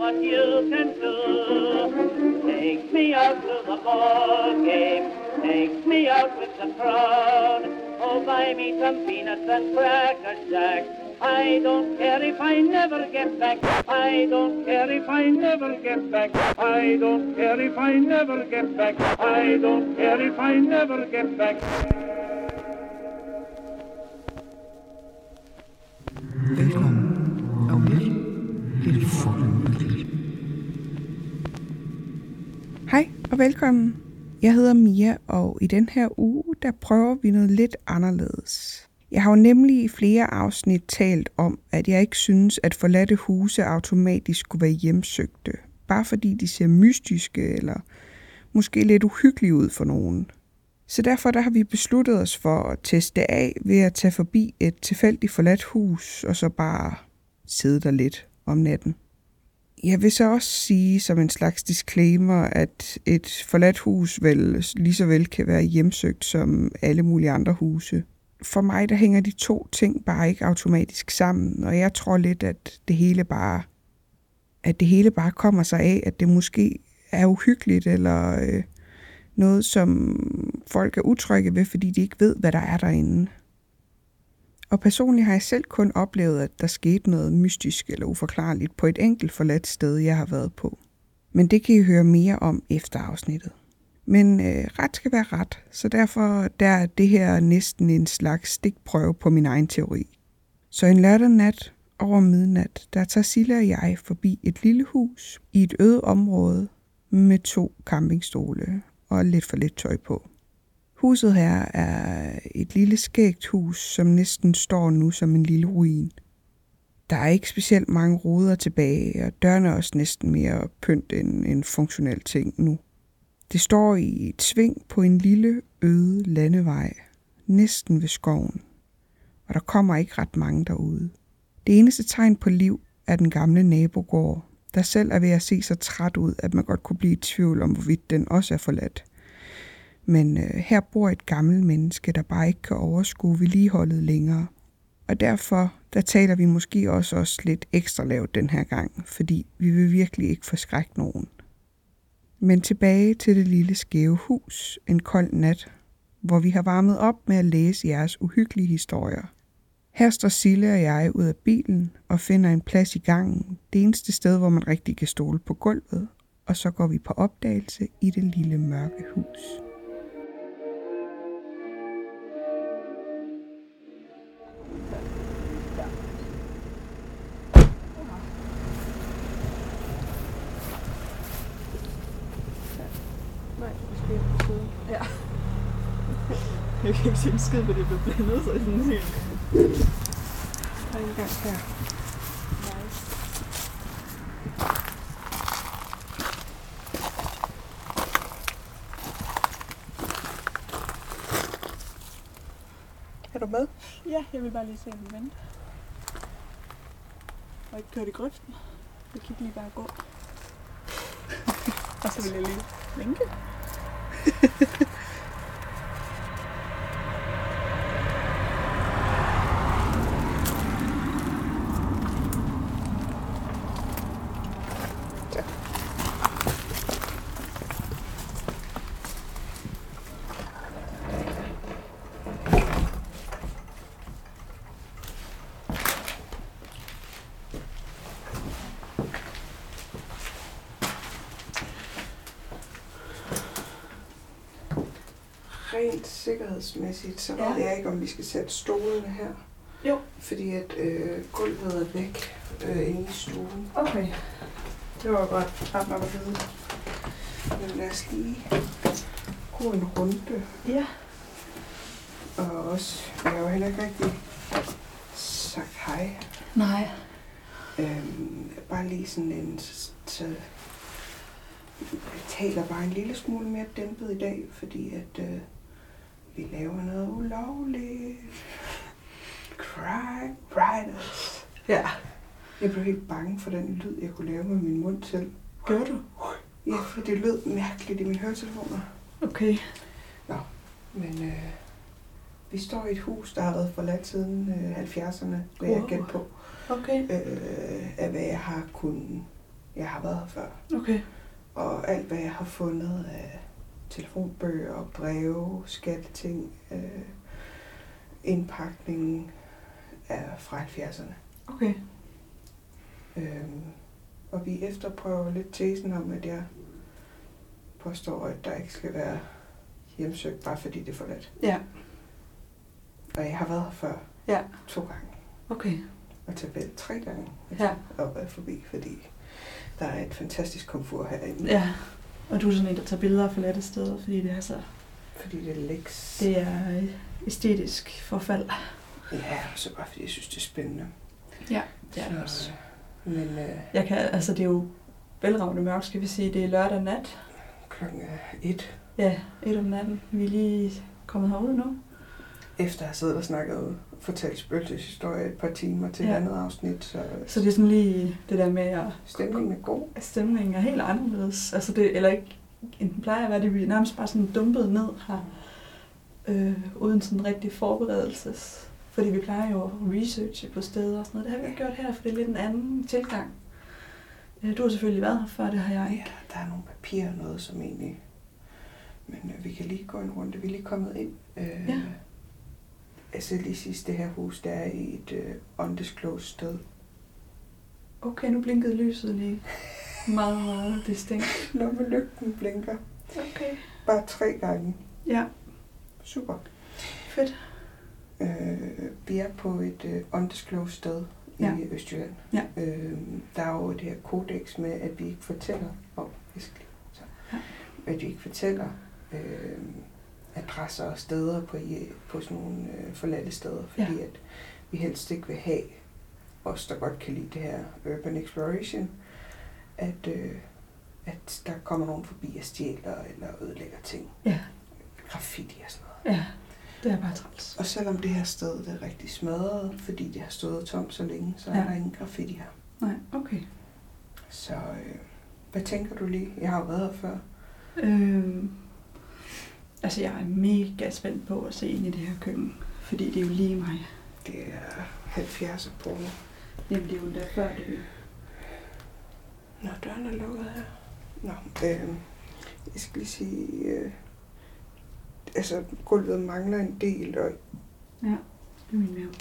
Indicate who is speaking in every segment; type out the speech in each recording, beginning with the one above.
Speaker 1: what you can do. Take me out to the ball game. Take me out with the crowd. Oh, buy me some peanuts and cracker jack. I don't care if I never get back. I don't care if I never get back. I don't care if I never get back. I don't care if I never get back.
Speaker 2: Velkommen og vel til Formel.
Speaker 3: Hej og velkommen. Jeg hedder Mia, og i den her uge, der prøver vi noget lidt anderledes. Jeg har jo nemlig i flere afsnit talt om, at jeg ikke synes, at forladte huse automatisk skulle være hjemsøgte. Bare fordi de ser mystiske eller måske lidt uhyggelige ud for nogen. Så derfor der har vi besluttet os for at teste det af ved at tage forbi et tilfældigt forladt hus og så bare sidde der lidt om natten. Jeg vil så også sige som en slags disclaimer, at et forladt hus vel lige så vel kan være hjemsøgt som alle mulige andre huse. For mig der hænger de to ting bare ikke automatisk sammen, og jeg tror lidt, at det hele bare at det hele bare kommer sig af, at det måske er uhyggeligt, eller øh, noget, som folk er utrygge ved, fordi de ikke ved, hvad der er derinde. Og personligt har jeg selv kun oplevet, at der skete noget mystisk eller uforklarligt på et enkelt forladt sted, jeg har været på. Men det kan I høre mere om efter afsnittet. Men øh, ret skal være ret, så derfor der er det her næsten en slags stikprøve på min egen teori. Så en lørdag nat over midnat, der tager Silla og jeg forbi et lille hus i et øde område med to campingstole og lidt for lidt tøj på. Huset her er et lille skægt hus, som næsten står nu som en lille ruin. Der er ikke specielt mange ruder tilbage, og dørene er også næsten mere pynt end en funktionel ting nu. Det står i et sving på en lille, øde landevej, næsten ved skoven, og der kommer ikke ret mange derude. Det eneste tegn på liv er den gamle nabogård, der selv er ved at se så træt ud, at man godt kunne blive i tvivl om, hvorvidt den også er forladt. Men øh, her bor et gammelt menneske, der bare ikke kan overskue vedligeholdet længere. Og derfor, der taler vi måske også, også lidt ekstra lavt den her gang, fordi vi vil virkelig ikke forskrække nogen. Men tilbage til det lille skæve hus en kold nat, hvor vi har varmet op med at læse jeres uhyggelige historier. Her står Sille og jeg ud af bilen og finder en plads i gangen, det eneste sted, hvor man rigtig kan stole på gulvet, og så går vi på opdagelse i det lille mørke hus.
Speaker 4: Nej, måske på siden.
Speaker 5: Ja. Jeg kan ikke se en skid, fordi jeg blev blandet, så jeg er sådan helt...
Speaker 4: Der er en gang her. Er du med?
Speaker 5: Ja, jeg vil bare lige se, om den venter. Og ikke kørt i grøften. Vi kan ikke lige bare gå. Og så vil jeg lige vinke.
Speaker 3: Rent sikkerhedsmæssigt, så
Speaker 5: Ja.
Speaker 3: ved jeg ikke, om vi skal sætte stolene her.
Speaker 5: Jo.
Speaker 3: Fordi at øh, gulvet er væk øh, inde i stuen.
Speaker 5: Okay.
Speaker 3: Det var godt ret nok at vide. Men lad os lige gå en runde.
Speaker 5: Ja.
Speaker 3: Og også, jeg har jo heller ikke rigtig sagt hej.
Speaker 5: Nej.
Speaker 3: Øhm, bare lige sådan en... Så, jeg taler bare en lille smule mere dæmpet i dag, fordi at øh, vi laver noget ulovligt. Crime Writers.
Speaker 5: Ja.
Speaker 3: Jeg blev helt bange for den lyd, jeg kunne lave med min mund selv.
Speaker 5: Gør du?
Speaker 3: Ja, for det lød mærkeligt i mine høretelefoner.
Speaker 5: Okay.
Speaker 3: Men øh, vi står i et hus, der har været forladt siden øh, 70'erne, vil jeg
Speaker 5: Wow.
Speaker 3: gætte på.
Speaker 5: Okay.
Speaker 3: Øh, af hvad jeg har kunnet jeg har været her før.
Speaker 6: Okay.
Speaker 3: Og alt, hvad jeg har fundet af telefonbøger, breve, skatteting, øh, indpakning er fra 70'erne.
Speaker 6: Okay.
Speaker 3: Øhm, og vi efterprøver lidt tesen om, at jeg påstår, at der ikke skal være hjemsøgt, bare fordi det er forladt.
Speaker 6: Ja.
Speaker 3: Og jeg har været her før.
Speaker 6: Ja.
Speaker 3: To gange.
Speaker 6: Okay.
Speaker 3: Og tilbage tre gange.
Speaker 6: Ja.
Speaker 3: Og været forbi, fordi der er et fantastisk komfort herinde.
Speaker 6: Ja. Og du er sådan en, der tager billeder af forladte steder, fordi det er så...
Speaker 3: Fordi det er læks.
Speaker 6: Det er øh, æstetisk forfald.
Speaker 3: Ja, og så bare fordi jeg synes, det er spændende.
Speaker 6: Ja, det er det også.
Speaker 3: Men øh,
Speaker 6: Jeg kan, altså det er jo velravende mørkt, skal vi sige. Det er lørdag nat.
Speaker 3: klokken er et,
Speaker 6: Ja, et om natten. Vi er lige kommet herud nu.
Speaker 3: efter at have siddet og snakket og fortalt spøgelseshistorie et par timer til ja.
Speaker 6: Ja.
Speaker 3: et andet afsnit, så,
Speaker 6: Så det er sådan lige det der med, at
Speaker 3: stemningen er god.
Speaker 6: at stemningen er helt anderledes. Altså det, eller ikke, end den plejer at være, det bliver nærmest bare sådan dumpet ned her, øh, uden sådan rigtig forberedelses. Fordi vi plejer jo at researche på steder og sådan noget. Det har vi ikke gjort her, for det er lidt en anden tilgang. Øh, Du har selvfølgelig været her før, det har jeg
Speaker 3: Ja,
Speaker 6: ikke.
Speaker 3: der er nogle papirer og noget, som egentlig... Men øh, vi kan lige gå en runde. Vi er lige kommet ind. Øh,
Speaker 6: Ja.
Speaker 3: Altså lige sidst, det her hus, der er i et øh, undisclosed sted.
Speaker 6: Okay, nu blinkede lyset lige meget, meget distinkt.
Speaker 3: Når med lygten blinker.
Speaker 6: Okay.
Speaker 3: Bare tre gange.
Speaker 6: Ja,
Speaker 3: Super.
Speaker 6: fedt.
Speaker 3: Øh, vi er på et øh, undisclosed sted
Speaker 6: Ja.
Speaker 3: i Østjylland.
Speaker 6: Ja.
Speaker 3: Øh, der er jo det her kodex med, at vi ikke fortæller om jeg skal lige- så, at vi ikke fortæller øh, adresser og steder på, i- på sådan nogle øh, forladte steder, fordi ja. at vi helst ikke vil have os, der godt kan lide det her urban exploration, at, øh, at der kommer nogen forbi og stjæler eller ødelægger ting.
Speaker 6: Ja.
Speaker 3: Graffiti og sådan noget.
Speaker 6: Ja, det er bare træls.
Speaker 3: Og selvom det her sted det er rigtig smadret, fordi det har stået tomt så længe, så ja.
Speaker 6: Ja.
Speaker 3: er der ingen graffiti her.
Speaker 6: Nej, okay.
Speaker 3: Så øh, hvad tænker du lige? Jeg har jo været her før.
Speaker 6: Øhm, altså, jeg er mega spændt på at se ind i det her køkken, fordi det er jo lige mig.
Speaker 3: Det er 70 porno.
Speaker 6: Jamen, det er jo endda før det.
Speaker 3: Nå, døren er lukket her. Nå, øh, jeg skal lige sige, øh, altså gulvet mangler en del, og
Speaker 6: Det er min mave.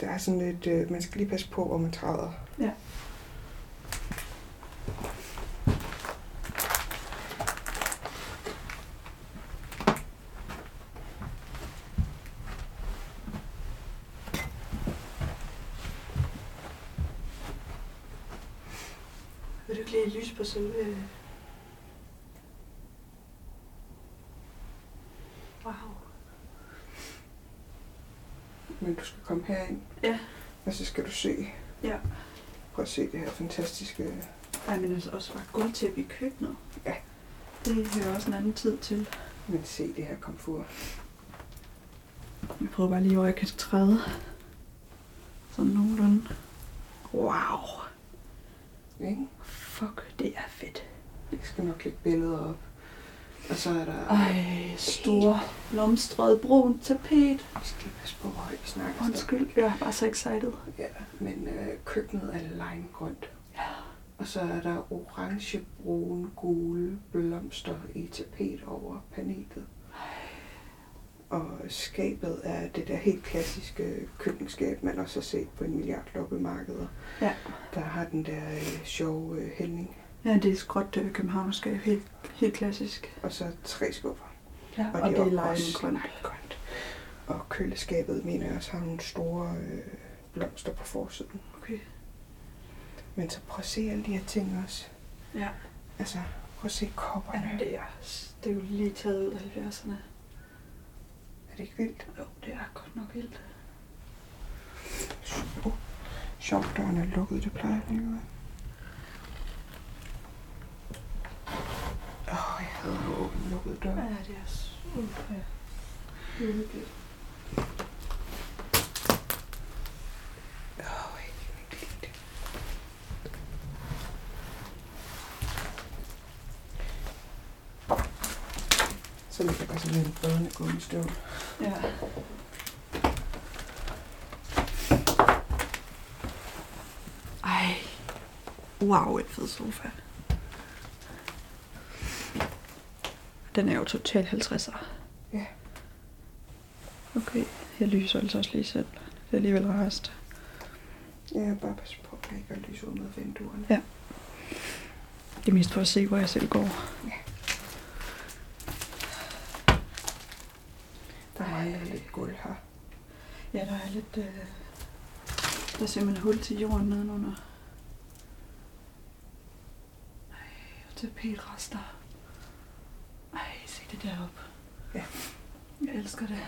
Speaker 3: der er sådan lidt, øh, man skal lige passe på, hvor man træder.
Speaker 6: Ja.
Speaker 3: Vil du ikke lige lyse på selve
Speaker 6: Wow.
Speaker 3: Men du skal komme herind.
Speaker 6: Ja.
Speaker 3: Og så skal du se.
Speaker 6: Ja.
Speaker 3: Prøv at se det her fantastiske...
Speaker 6: Ej, men altså også bare godt til at blive køkkenet.
Speaker 3: Ja.
Speaker 6: Det hører også en anden tid til.
Speaker 3: Men se det her komfur.
Speaker 6: Jeg prøver bare lige, hvor jeg kan træde. Sådan nogenlunde. Wow.
Speaker 3: Ikke?
Speaker 6: Fuck, det er fedt.
Speaker 3: Jeg skal nok lægge billeder op. Og så er der...
Speaker 6: Ah. Ej, store, blomstrede, brun tapet.
Speaker 3: Vi skal lige passe på, hvor højt vi snakker.
Speaker 6: Undskyld, jeg er bare så excited.
Speaker 3: Ja, men øh, køkkenet er limegrønt.
Speaker 6: Ja.
Speaker 3: Og så er der orange, brune, gule blomster i tapet over panelet. Og skabet er det der helt klassiske køkkenskab, man også har set på en milliard loppemarkeder.
Speaker 6: Ja.
Speaker 3: Der har den der øh, sjove øh, hældning.
Speaker 6: Ja, det er skråt øh, københavnerskab. Helt, helt klassisk.
Speaker 3: Og så tre skuffer.
Speaker 6: Ja,
Speaker 3: Og det er også
Speaker 6: limegrønt.
Speaker 3: limegrønt. Og køleskabet, mener jeg, også har nogle store øh, blomster på forsiden.
Speaker 6: Okay.
Speaker 3: Men så prøv at se alle de her ting også.
Speaker 6: Ja.
Speaker 3: Altså, prøv at se kopperne.
Speaker 6: Ja, det er, det er jo lige taget ud af 70'erne.
Speaker 3: Er det ikke vildt?
Speaker 6: Jo, det er godt nok vildt.
Speaker 3: Uh, sjovt, døren er lukket, det plejer den ikke at være. Åh, oh, jeg havde jo åbent lukket dør.
Speaker 6: Ja, det er s- uh, ja. Det er uhyggeligt.
Speaker 3: Åh, jeg kan ikke lide det. Så ligger der sådan en badende gummistøvl.
Speaker 6: Ja. Ej, Wow, en fed sofa. Den er jo totalt 50'er.
Speaker 3: Ja.
Speaker 6: Okay, jeg lyser altså også lige selv. Det er alligevel rarest.
Speaker 3: Ja, bare pas på, at jeg ikke har lys ud med vinduerne.
Speaker 6: Ja. Det er mest for at se, hvor jeg selv går.
Speaker 3: Der mangler
Speaker 6: Ej.
Speaker 3: lidt gulv her.
Speaker 6: Ja, der er lidt... Øh... Der er simpelthen hul til jorden nedenunder. Ej, og tapetrester. Ej, se det deroppe.
Speaker 3: Ja.
Speaker 6: Jeg elsker det.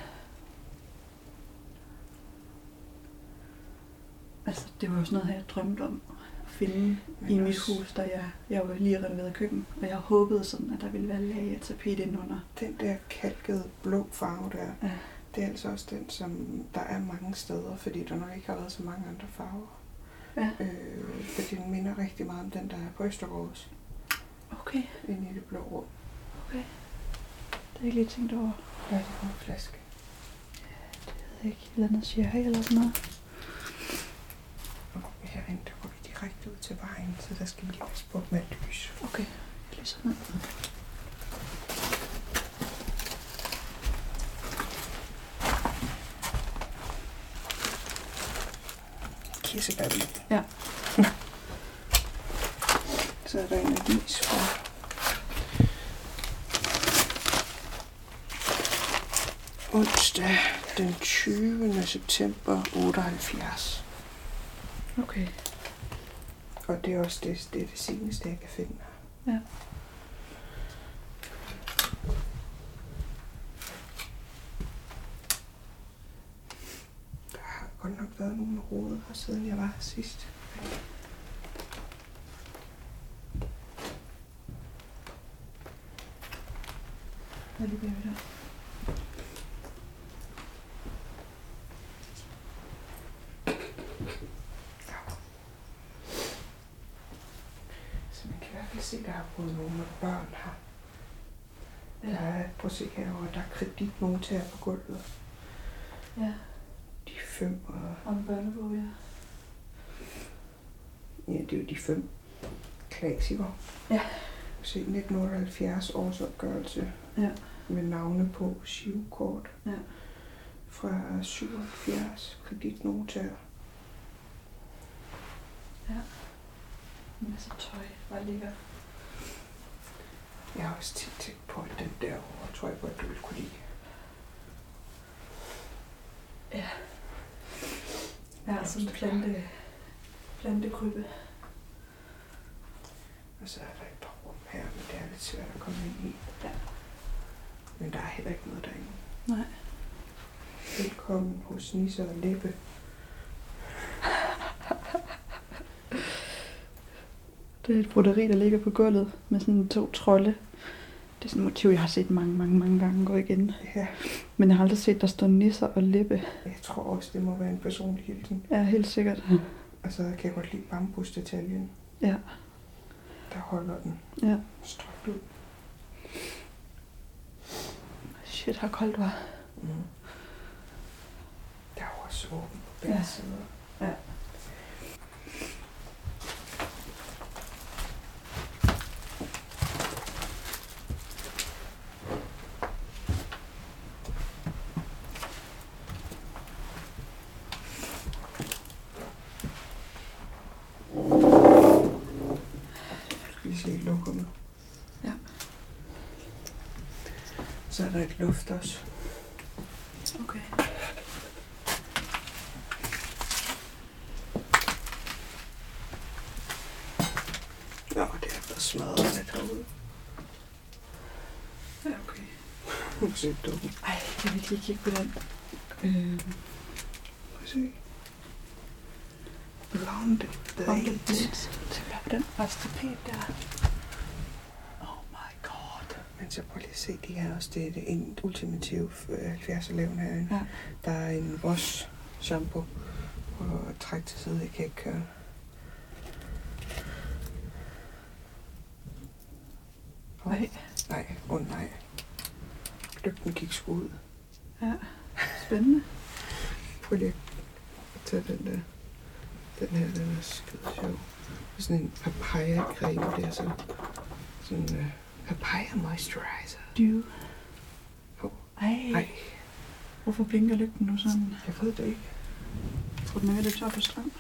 Speaker 6: Altså, det var jo sådan noget, jeg drømte om at finde
Speaker 3: Men
Speaker 6: i mit
Speaker 3: også
Speaker 6: hus, da jeg, jeg var lige renoveret køkken, og jeg håbede sådan, at der ville være lag af tapet indenunder.
Speaker 3: Den der kalkede blå farve der,
Speaker 6: Ja.
Speaker 3: det er altså også den, som der er mange steder, fordi der nok ikke har været så mange andre farver.
Speaker 6: Ja.
Speaker 3: Øh, fordi den minder rigtig meget om den, der er på Østergaards,
Speaker 6: Okay,
Speaker 3: inde i det blå rum.
Speaker 6: det har jeg ikke lige tænkt over.
Speaker 3: Ja, det er en flaske.
Speaker 6: Jeg ved ikke, et eller andet sherry eller sådan noget.
Speaker 3: Og herinde, der går vi direkte ud til vejen, så der skal vi lige passe på med lys.
Speaker 6: Okay, jeg lyser ned.
Speaker 3: Kirsebær i.
Speaker 6: Ja.
Speaker 3: Så er der en avis fra onsdag den 20. september 78.
Speaker 6: Okay.
Speaker 3: Og det er også det, det, er det seneste, jeg kan finde.
Speaker 6: Ja.
Speaker 3: Der har godt nok været nogle rode her, siden jeg var her sidst.
Speaker 6: Hvad lige ved der?
Speaker 3: Så man kan i hvert fald se, der har boet nogle med børn her. Der er, prøv at se herovre, der er kreditnotaer på gulvet.
Speaker 6: Ja,
Speaker 3: De fem, og
Speaker 6: og en børnebog, ja.
Speaker 3: ja, det er jo de fem klassikere.
Speaker 6: Ja.
Speaker 3: Se, 1978 årsopgørelse.
Speaker 6: Ja.
Speaker 3: Med navne på sivkort.
Speaker 6: Ja.
Speaker 3: Fra 77 kreditnotaer.
Speaker 6: En masse tøj, bare ligger.
Speaker 3: Jeg har også tit tænkt på, at den derovre, tror jeg godt, du ville kunne lide.
Speaker 6: Jeg har sådan en plante, plantekrybbe.
Speaker 3: Og så er der et par rum her, men det er lidt svært at komme ind i.
Speaker 6: Ja.
Speaker 3: Men der er heller ikke noget derinde.
Speaker 6: Nej.
Speaker 3: Velkommen hos Nisse og Læbe.
Speaker 6: Det er et broderi, der ligger på gulvet med sådan to trolde. Det er sådan et motiv, jeg har set mange, mange, mange gange gå igen.
Speaker 3: Ja,
Speaker 6: Men jeg har aldrig set, der står nisser og lippe.
Speaker 3: jeg tror også, det må være en personlig hilsen.
Speaker 6: Ja, helt sikkert.
Speaker 3: Og så kan jeg godt lide bambusdetaljen.
Speaker 6: Ja.
Speaker 3: Der holder den
Speaker 6: Ja.
Speaker 3: strakt ud.
Speaker 6: Shit, har koldt var.
Speaker 3: Mm. Der er jo også åben på begge
Speaker 6: Ja.
Speaker 3: ja. sider.
Speaker 6: Ja.
Speaker 3: Vi skal ikke lukke nu.
Speaker 6: Ja.
Speaker 3: Så er der et luft også.
Speaker 6: Okay.
Speaker 3: Nå, det er blevet smadret lidt herude.
Speaker 6: Ja, okay.
Speaker 3: Nu ser du.
Speaker 6: Ej, jeg vil lige kigge på den. Øh,
Speaker 3: Prøv at se. Rounded blade.
Speaker 6: Tilbage på den restapet der. Oh my god.
Speaker 3: Men så prøv lige at se, det her også, det er det en øh, ultimative 70 eleven herinde.
Speaker 6: Ja.
Speaker 3: Der er en Ross shampoo. Prøv at trække til side, jeg kan ikke køre. Åh,
Speaker 6: Nej.
Speaker 3: Nej, åh oh, nej. Lygten gik sgu ud.
Speaker 6: Spændende.
Speaker 3: Prøv lige at tage den der. Den her, den er skide sjov. sådan en papaya-creme der, så sådan uh, papaya moisturizer.
Speaker 6: Dyve.
Speaker 3: Hov.
Speaker 6: Ej,
Speaker 3: Nej,
Speaker 6: hvorfor blinker lygten nu sådan?
Speaker 3: jeg ved det ikke.
Speaker 6: Tror du, den er ved at løbe tør for strøm?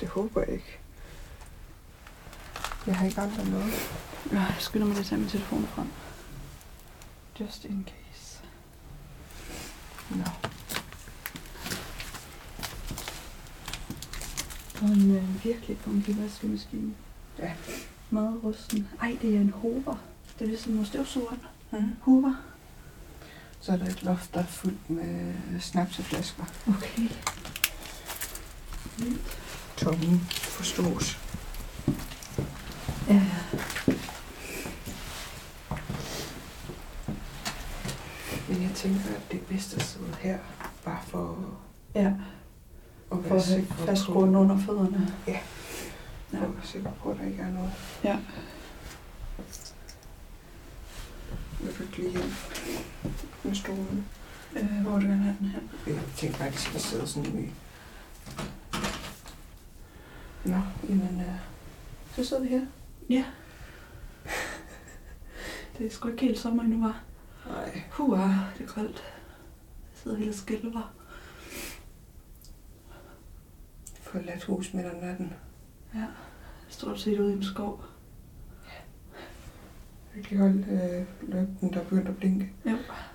Speaker 3: Det håber jeg ikke. Jeg har ikke andre noget.
Speaker 6: Ja, Øh, jeg skynder mig lige at tage min telefon frem. Just in case.
Speaker 3: Nå.
Speaker 6: Og en øh, virkelig funky vaskemaskine.
Speaker 3: Ja.
Speaker 6: Meget rusten. Ej, det er en hover. Det er ligesom en støvsuger.
Speaker 3: Mhm.
Speaker 6: Hover.
Speaker 3: Så er der et loft, der er fuldt med snapseflasker.
Speaker 6: Okay. Vildt.
Speaker 3: Tomme forstås.
Speaker 6: Ja.
Speaker 3: Men jeg tænker, at det er bedst at sidde her, bare for
Speaker 6: Ja,
Speaker 3: at
Speaker 6: for
Speaker 3: være
Speaker 6: at have
Speaker 3: sikker
Speaker 6: fast
Speaker 3: på,
Speaker 6: grund under fødderne.
Speaker 3: for at være sikker på, at der ikke er noget.
Speaker 6: Ja.
Speaker 3: Vil du ikke lige hjem med stolen?
Speaker 6: Øh, hvor vil du gerne have den her?
Speaker 3: Jeg tænkte bare, at de skal sidde sådan i. Nå, jamen, øh, så sidder vi her.
Speaker 6: Det er sgu ikke helt sommer endnu, var.
Speaker 3: Nej,
Speaker 6: Hua, det er koldt. Jeg sidder helt og skælver.
Speaker 3: forladt hus midt om natten.
Speaker 6: Stort set ude i en skov.
Speaker 3: Vi kan holde øh, lygten, der er begyndt at blinke.
Speaker 6: Ja.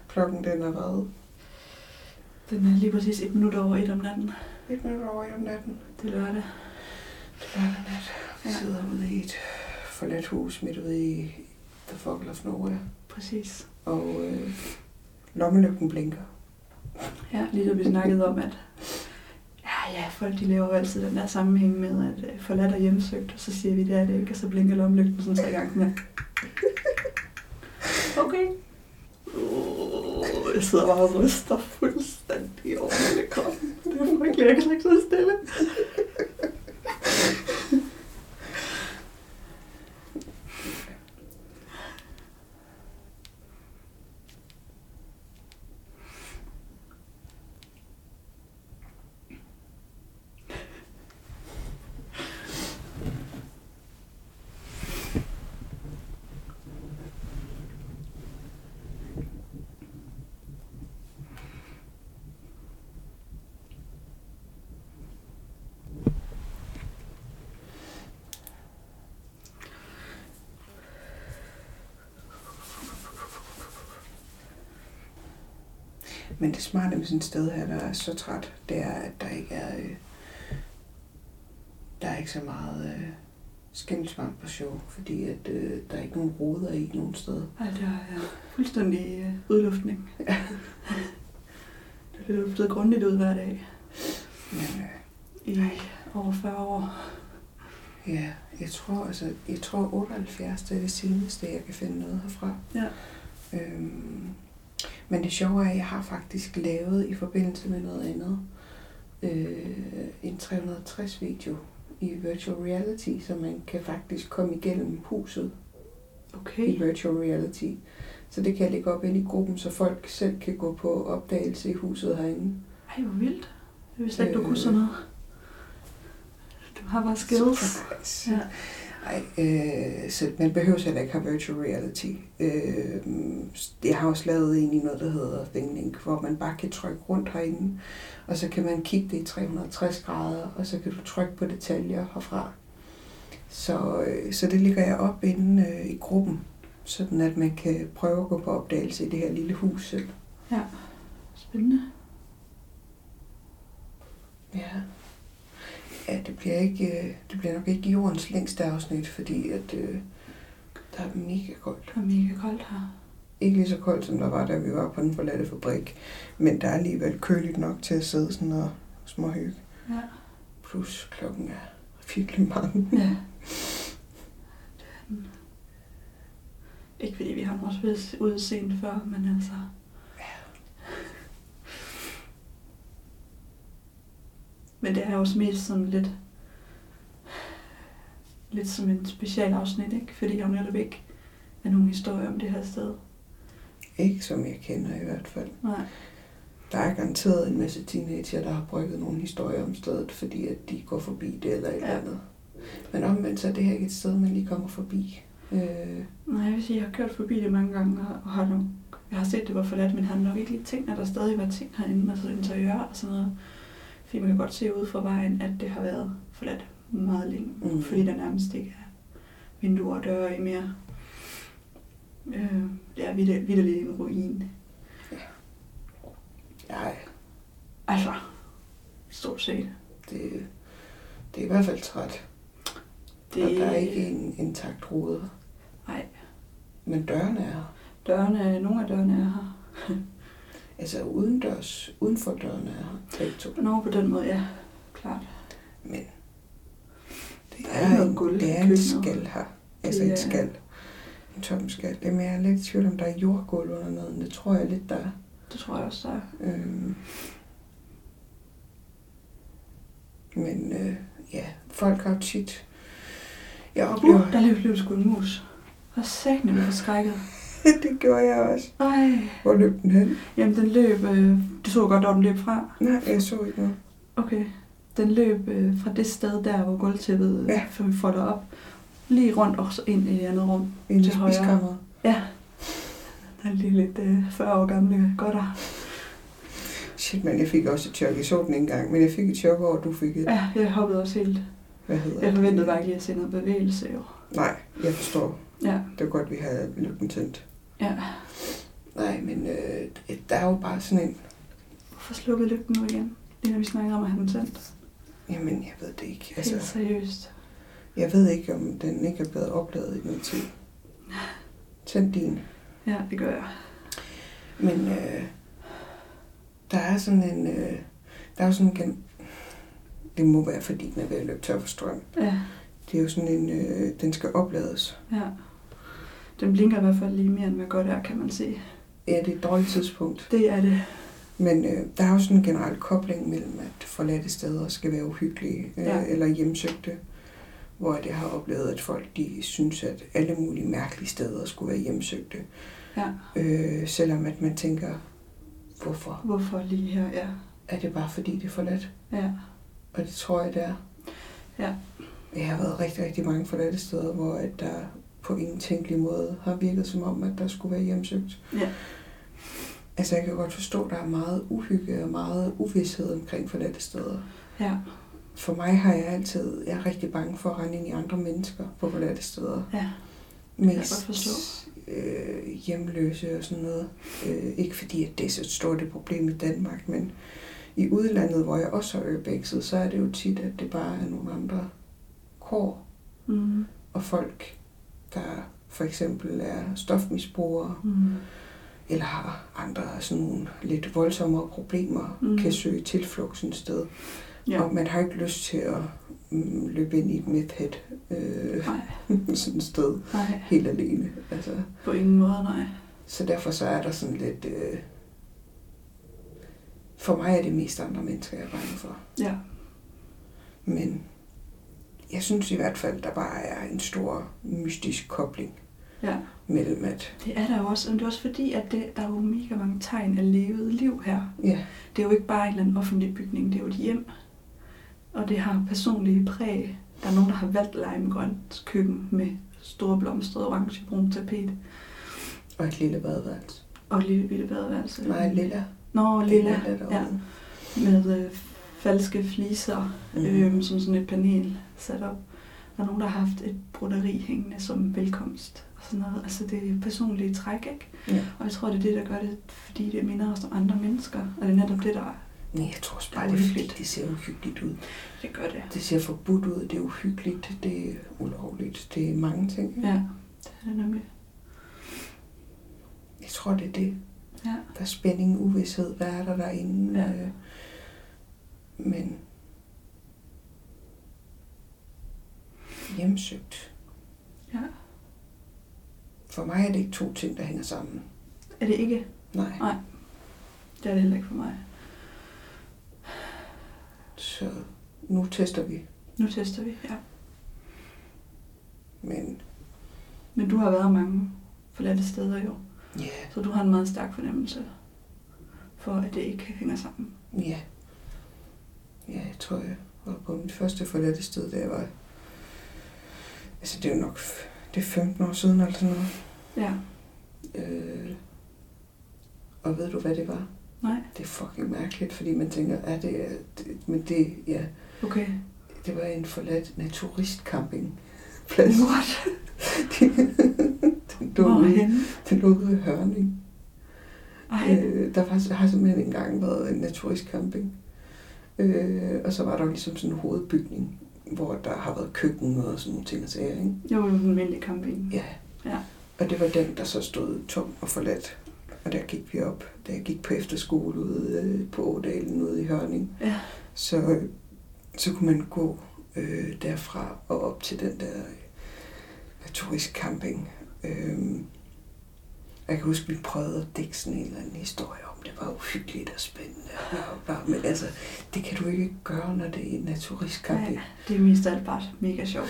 Speaker 3: Klokken den er været
Speaker 6: Den er lige præcis et minut over et om natten.
Speaker 3: et minut over et om natten.
Speaker 6: Det er lørdag.
Speaker 3: Det er lørdag nat. Vi
Speaker 6: Ja.
Speaker 3: sidder ude i et forladt hus midt ude i The Fogel of Nowhere.
Speaker 6: Præcis.
Speaker 3: Og øh, lommelygten blinker.
Speaker 6: Ja, lige da vi snakkede om, at ja, ja, folk de laver jo altid den der sammenhæng med, at øh, forladt og hjemsøgt, og så siger vi, det er det ikke, og så blinker lommelygten sådan tre gange mere. Okay. Oh, jeg sidder bare og ryster fuldstændig over hele kroppen. Det er frygteligt, jeg kan slet ikke sidde stille.
Speaker 3: Men det smarte med sådan et sted her, der er så træt, det er, at der ikke er, øh, der er ikke så meget øh, skimmelsvamp på show, fordi at, øh, der er ikke nogen ruder i nogen steder.
Speaker 6: Ej, det er ja, fuldstændig øh, udluftning. det er luftet grundigt ud hver dag
Speaker 3: Men øh,
Speaker 6: i over 40 år.
Speaker 3: ja, jeg tror, altså, jeg tror 78, det er det seneste, jeg kan finde noget herfra.
Speaker 6: Ja.
Speaker 3: Øhm, men det sjove er, at jeg har faktisk lavet i forbindelse med noget andet øh, en 360 video i virtual reality, så man kan faktisk komme igennem huset i
Speaker 6: Okay.
Speaker 3: virtual reality. Så det kan jeg lægge op ind i gruppen, så folk selv kan gå på opdagelse i huset herinde.
Speaker 6: Ej, hvor vildt. Jeg vidste ikke, du
Speaker 3: Øh.
Speaker 6: kunne sådan noget. Du har bare skills.
Speaker 3: Surprise.
Speaker 6: Ja.
Speaker 3: Ej, øh, så man behøver heller ikke have virtual reality. Øh, jeg har også lavet en i noget, der hedder ThinkLink, hvor man bare kan trykke rundt herinde, og så kan man kigge det i 360 grader, og så kan du trykke på detaljer herfra. Så, øh, så det ligger jeg op inde øh, i gruppen, sådan at man kan prøve at gå på opdagelse i det her lille hus selv.
Speaker 6: Spændende.
Speaker 3: Ja. Ja, det bliver, ikke, øh, det bliver nok ikke jordens længste afsnit, fordi at, øh, der er mega koldt.
Speaker 6: Det var mega koldt her.
Speaker 3: Ikke lige så koldt, som der var, da vi var på den forladte fabrik, men der er alligevel køligt nok til at sidde sådan og småhygge.
Speaker 6: Ja.
Speaker 3: Plus klokken er virkelig mange.
Speaker 6: ja. Det er den. Ikke fordi vi har måske været ude sent før, men altså... Men det er også mest sådan lidt... Lidt som en specialafsnit, ikke? Fordi der jo netop ikke er nogen historie om det her sted.
Speaker 3: Ikke som jeg kender i hvert fald.
Speaker 6: Nej.
Speaker 3: Der er garanteret en masse teenager, der har brygget nogle historier om stedet, fordi at de går forbi det eller et
Speaker 6: Ja.
Speaker 3: eller andet. Men omvendt så er det her ikke et sted, man lige kommer forbi. Øh,
Speaker 6: Nej, jeg vil sige, jeg har kørt forbi det mange gange, og- og har nok, jeg har set det var forladt, men har nok ikke lige tænkt, at der stadig var ting herinde, altså interiør og sådan noget. Fordi man kan godt se ude fra vejen, at det har været forladt meget længe,
Speaker 3: Mm.
Speaker 6: mm. fordi der nærmest ikke er vinduer og døre i mere. Øh, det er vidt- vitterligt en ruin.
Speaker 3: nej,
Speaker 6: Altså, stort set.
Speaker 3: det, det er i hvert fald træt. Det... Og der er ikke en intakt rude.
Speaker 6: Nej.
Speaker 3: Men dørene er her.
Speaker 6: Dørene, nogle af dørene er her.
Speaker 3: Altså udendørs, uden for dørene er her. Begge to.
Speaker 6: Nå, på den måde, ja, klart.
Speaker 3: Men
Speaker 6: Det
Speaker 3: der
Speaker 6: er, er
Speaker 3: er
Speaker 6: noget
Speaker 3: en,
Speaker 6: gulv. i
Speaker 3: det er en
Speaker 6: køkkenet.
Speaker 3: skal her. Altså
Speaker 6: Det
Speaker 3: et
Speaker 6: er-
Speaker 3: skal. En tom skal. Jamen, jeg er lidt i tvivl om, der er jordgulv under noget. Det tror jeg lidt, der er.
Speaker 6: Det tror jeg også, der er.
Speaker 3: Øhm. Men øh, ja, folk har jo tit... Jeg oplever...
Speaker 6: Uh, der løb, løb sgu en mus. Hvor sækken er forskrækket. Uh.
Speaker 3: det gjorde jeg også.
Speaker 6: Ej.
Speaker 3: Hvor løb den hen?
Speaker 6: Jamen, den løb... Øh, du så godt, hvor den løb fra.
Speaker 3: Nej, jeg så ikke noget.
Speaker 6: Okay. Den løb øh, fra det sted der, hvor gulvtæppet øh,
Speaker 3: Ja.
Speaker 6: ja. folder op. Lige rundt og så ind i et andet rum.
Speaker 3: Inde i
Speaker 6: Til højre.
Speaker 3: spiskammeret.
Speaker 6: Der er lige lidt øh, 40 år gamle godter.
Speaker 3: Shit, men jeg fik også et chok. Jeg så den ikke engang, men jeg fik et chok over, at du fik et...
Speaker 6: Ja, jeg hoppede også helt.
Speaker 3: Hvad hedder
Speaker 6: Jeg
Speaker 3: det?
Speaker 6: forventede bare ikke lige at se noget bevægelse, jo.
Speaker 3: Nej, jeg forstår.
Speaker 6: Ja.
Speaker 3: Det var godt, vi havde lygten tændt.
Speaker 6: Ja.
Speaker 3: Nej, men øh, der er jo bare sådan en...
Speaker 6: Hvorfor slukkede lygten nu igen? Lige når vi snakkede om at have den tændt.
Speaker 3: Jamen, jeg ved det ikke.
Speaker 6: Helt
Speaker 3: Altså,
Speaker 6: seriøst.
Speaker 3: jeg ved ikke, om den ikke er blevet opladet i noget tid. Tænd din.
Speaker 6: Ja, det gør jeg.
Speaker 3: Men øh, der er sådan en... Øh, der er jo sådan en... gen- Det må være, fordi den er ved at løbe tør for strøm.
Speaker 6: Ja.
Speaker 3: Det er jo sådan en... Øh, den skal oplades.
Speaker 6: Ja. Den blinker i hvert fald lige mere, end hvad godt er, kan man se.
Speaker 3: Ja, det er et dårligt tidspunkt.
Speaker 6: Det er det.
Speaker 3: Men øh, der er jo sådan en generel kobling mellem, at forladte steder skal være uhyggelige øh, ja.
Speaker 6: Ja.
Speaker 3: eller hjemsøgte. Hvor jeg har oplevet, at folk de synes, at alle mulige mærkelige steder skulle være hjemsøgte.
Speaker 6: Ja.
Speaker 3: Øh, selvom at man tænker, hvorfor?
Speaker 6: Hvorfor lige her? Ja.
Speaker 3: Er det bare fordi, det er forladt?
Speaker 6: Ja.
Speaker 3: Og det tror jeg, det er.
Speaker 6: Ja.
Speaker 3: Jeg har været rigtig, rigtig mange forladte steder, hvor at der på ingen tænkelig måde har virket som om, at der skulle være hjemsøgt.
Speaker 6: Ja.
Speaker 3: Altså, jeg kan godt forstå, at der er meget uhygge og meget uvidshed omkring forladte steder.
Speaker 6: Ja.
Speaker 3: For mig har jeg altid, jeg er rigtig bange for at rende ind i andre mennesker på forladte steder.
Speaker 6: Ja. jeg
Speaker 3: Mest
Speaker 6: godt forstå.
Speaker 3: øh, hjemløse og sådan noget. Øh, ikke fordi, at det er så stort et problem i Danmark, men i udlandet, hvor jeg også har urbexet, så er det jo tit, at det bare er nogle andre kår
Speaker 6: Mm.
Speaker 3: og folk, der for eksempel er stofmisbrugere
Speaker 6: Mm.
Speaker 3: eller har andre sådan nogle lidt voldsommere problemer, mm.
Speaker 6: Mm.
Speaker 3: kan søge tilflugt sådan et sted.
Speaker 6: Ja.
Speaker 3: Og man har ikke lyst til at mm, løbe ind i et methhead øh,
Speaker 6: Nej,
Speaker 3: sådan et sted
Speaker 6: nej.
Speaker 3: helt alene. Altså,
Speaker 6: På ingen måde, nej.
Speaker 3: så derfor så er der sådan lidt... Øh, for mig er det mest andre mennesker, jeg er bange for.
Speaker 6: Ja.
Speaker 3: Men jeg synes i hvert fald, der bare er en stor mystisk kobling
Speaker 6: Ja.
Speaker 3: mellem at...
Speaker 6: Det er der jo også. Men det er også fordi, at det, der er jo mega mange tegn af levet liv her.
Speaker 3: Ja,
Speaker 6: Det er jo ikke bare en eller anden offentlig bygning. Det er jo et hjem. Og det har personlige præg. Der er nogen, der har valgt limegrønt køkken med store blomstrede orange brun tapet.
Speaker 3: og et lille badeværelse.
Speaker 6: Og et lille bitte badeværelse.
Speaker 3: Nej, lilla.
Speaker 6: Nå,
Speaker 3: Det er
Speaker 6: lilla.
Speaker 3: derude.
Speaker 6: ja. Med øh, falske fliser.
Speaker 3: Mhm.
Speaker 6: øhm, som sådan et panel sat op. Der er nogen, der har haft et broderi hængende som velkomst og sådan noget. Altså det er personlige træk, ikke?
Speaker 3: Ja.
Speaker 6: Og jeg tror, det er det, der gør det, fordi det minder os om andre mennesker. Og det er netop det, der er.
Speaker 3: Nej, jeg tror også bare,
Speaker 6: Det er
Speaker 3: det er fordi,
Speaker 6: uhyggeligt.
Speaker 3: det ser uhyggeligt ud.
Speaker 6: Det gør det.
Speaker 3: Det ser forbudt ud, det er uhyggeligt, det er ulovligt, det er mange ting.
Speaker 6: Ja, det er det nemlig.
Speaker 3: Jeg tror, det er det.
Speaker 6: Ja.
Speaker 3: Der er spænding, uvidshed, hvad er der derinde?
Speaker 6: Ja.
Speaker 3: Øh, Men hjemsøgt.
Speaker 6: Ja.
Speaker 3: For mig er det ikke to ting, der hænger sammen.
Speaker 6: Er det ikke?
Speaker 3: Nej.
Speaker 6: Nej. Det er det heller ikke for mig.
Speaker 3: Så nu tester vi.
Speaker 6: Nu tester vi, ja.
Speaker 3: Men
Speaker 6: Men du har været mange forladte steder jo,
Speaker 3: ja,
Speaker 6: så du har en meget stærk fornemmelse for, at det ikke hænger sammen.
Speaker 3: ja. Ja, jeg tror, jeg var på mit første forladte sted, da jeg var altså det er jo nok f- det er 15 år siden eller sådan noget.
Speaker 6: Ja.
Speaker 3: Øh, og ved du, hvad det var?
Speaker 6: Nej.
Speaker 3: Det er fucking mærkeligt, fordi man tænker, er det, er det men det, ja,
Speaker 6: Okay.
Speaker 3: det var en forladt naturistcampingplads.
Speaker 6: What?
Speaker 3: den, lå
Speaker 6: Hvor
Speaker 3: ude,
Speaker 6: henne?
Speaker 3: den lå ude i Hørning.
Speaker 6: Ej.
Speaker 3: Øh, der var, har simpelthen engang været en naturistcamping. Øh, og så var der jo ligesom sådan en hovedbygning, hvor der har været køkken og sådan nogle ting og sager, ikke?
Speaker 6: Jo, jo, den almindelige camping.
Speaker 3: Ja.
Speaker 6: Ja.
Speaker 3: Og det var den, der så stod tom og forladt. Og der gik vi op, da jeg gik på efterskole ude øh, på Ådalen ude i Hørning.
Speaker 6: Ja.
Speaker 3: Så, øh, så kunne man gå øh, derfra og op til den der øh, turistcamping. Øhm, jeg kan huske, vi prøvede at dække sådan en eller anden historie om, det var uhyggeligt og spændende. Og bare, men altså, det kan du ikke gøre, når det er en naturistcamping.
Speaker 6: Det er mest af alt bare mega sjovt.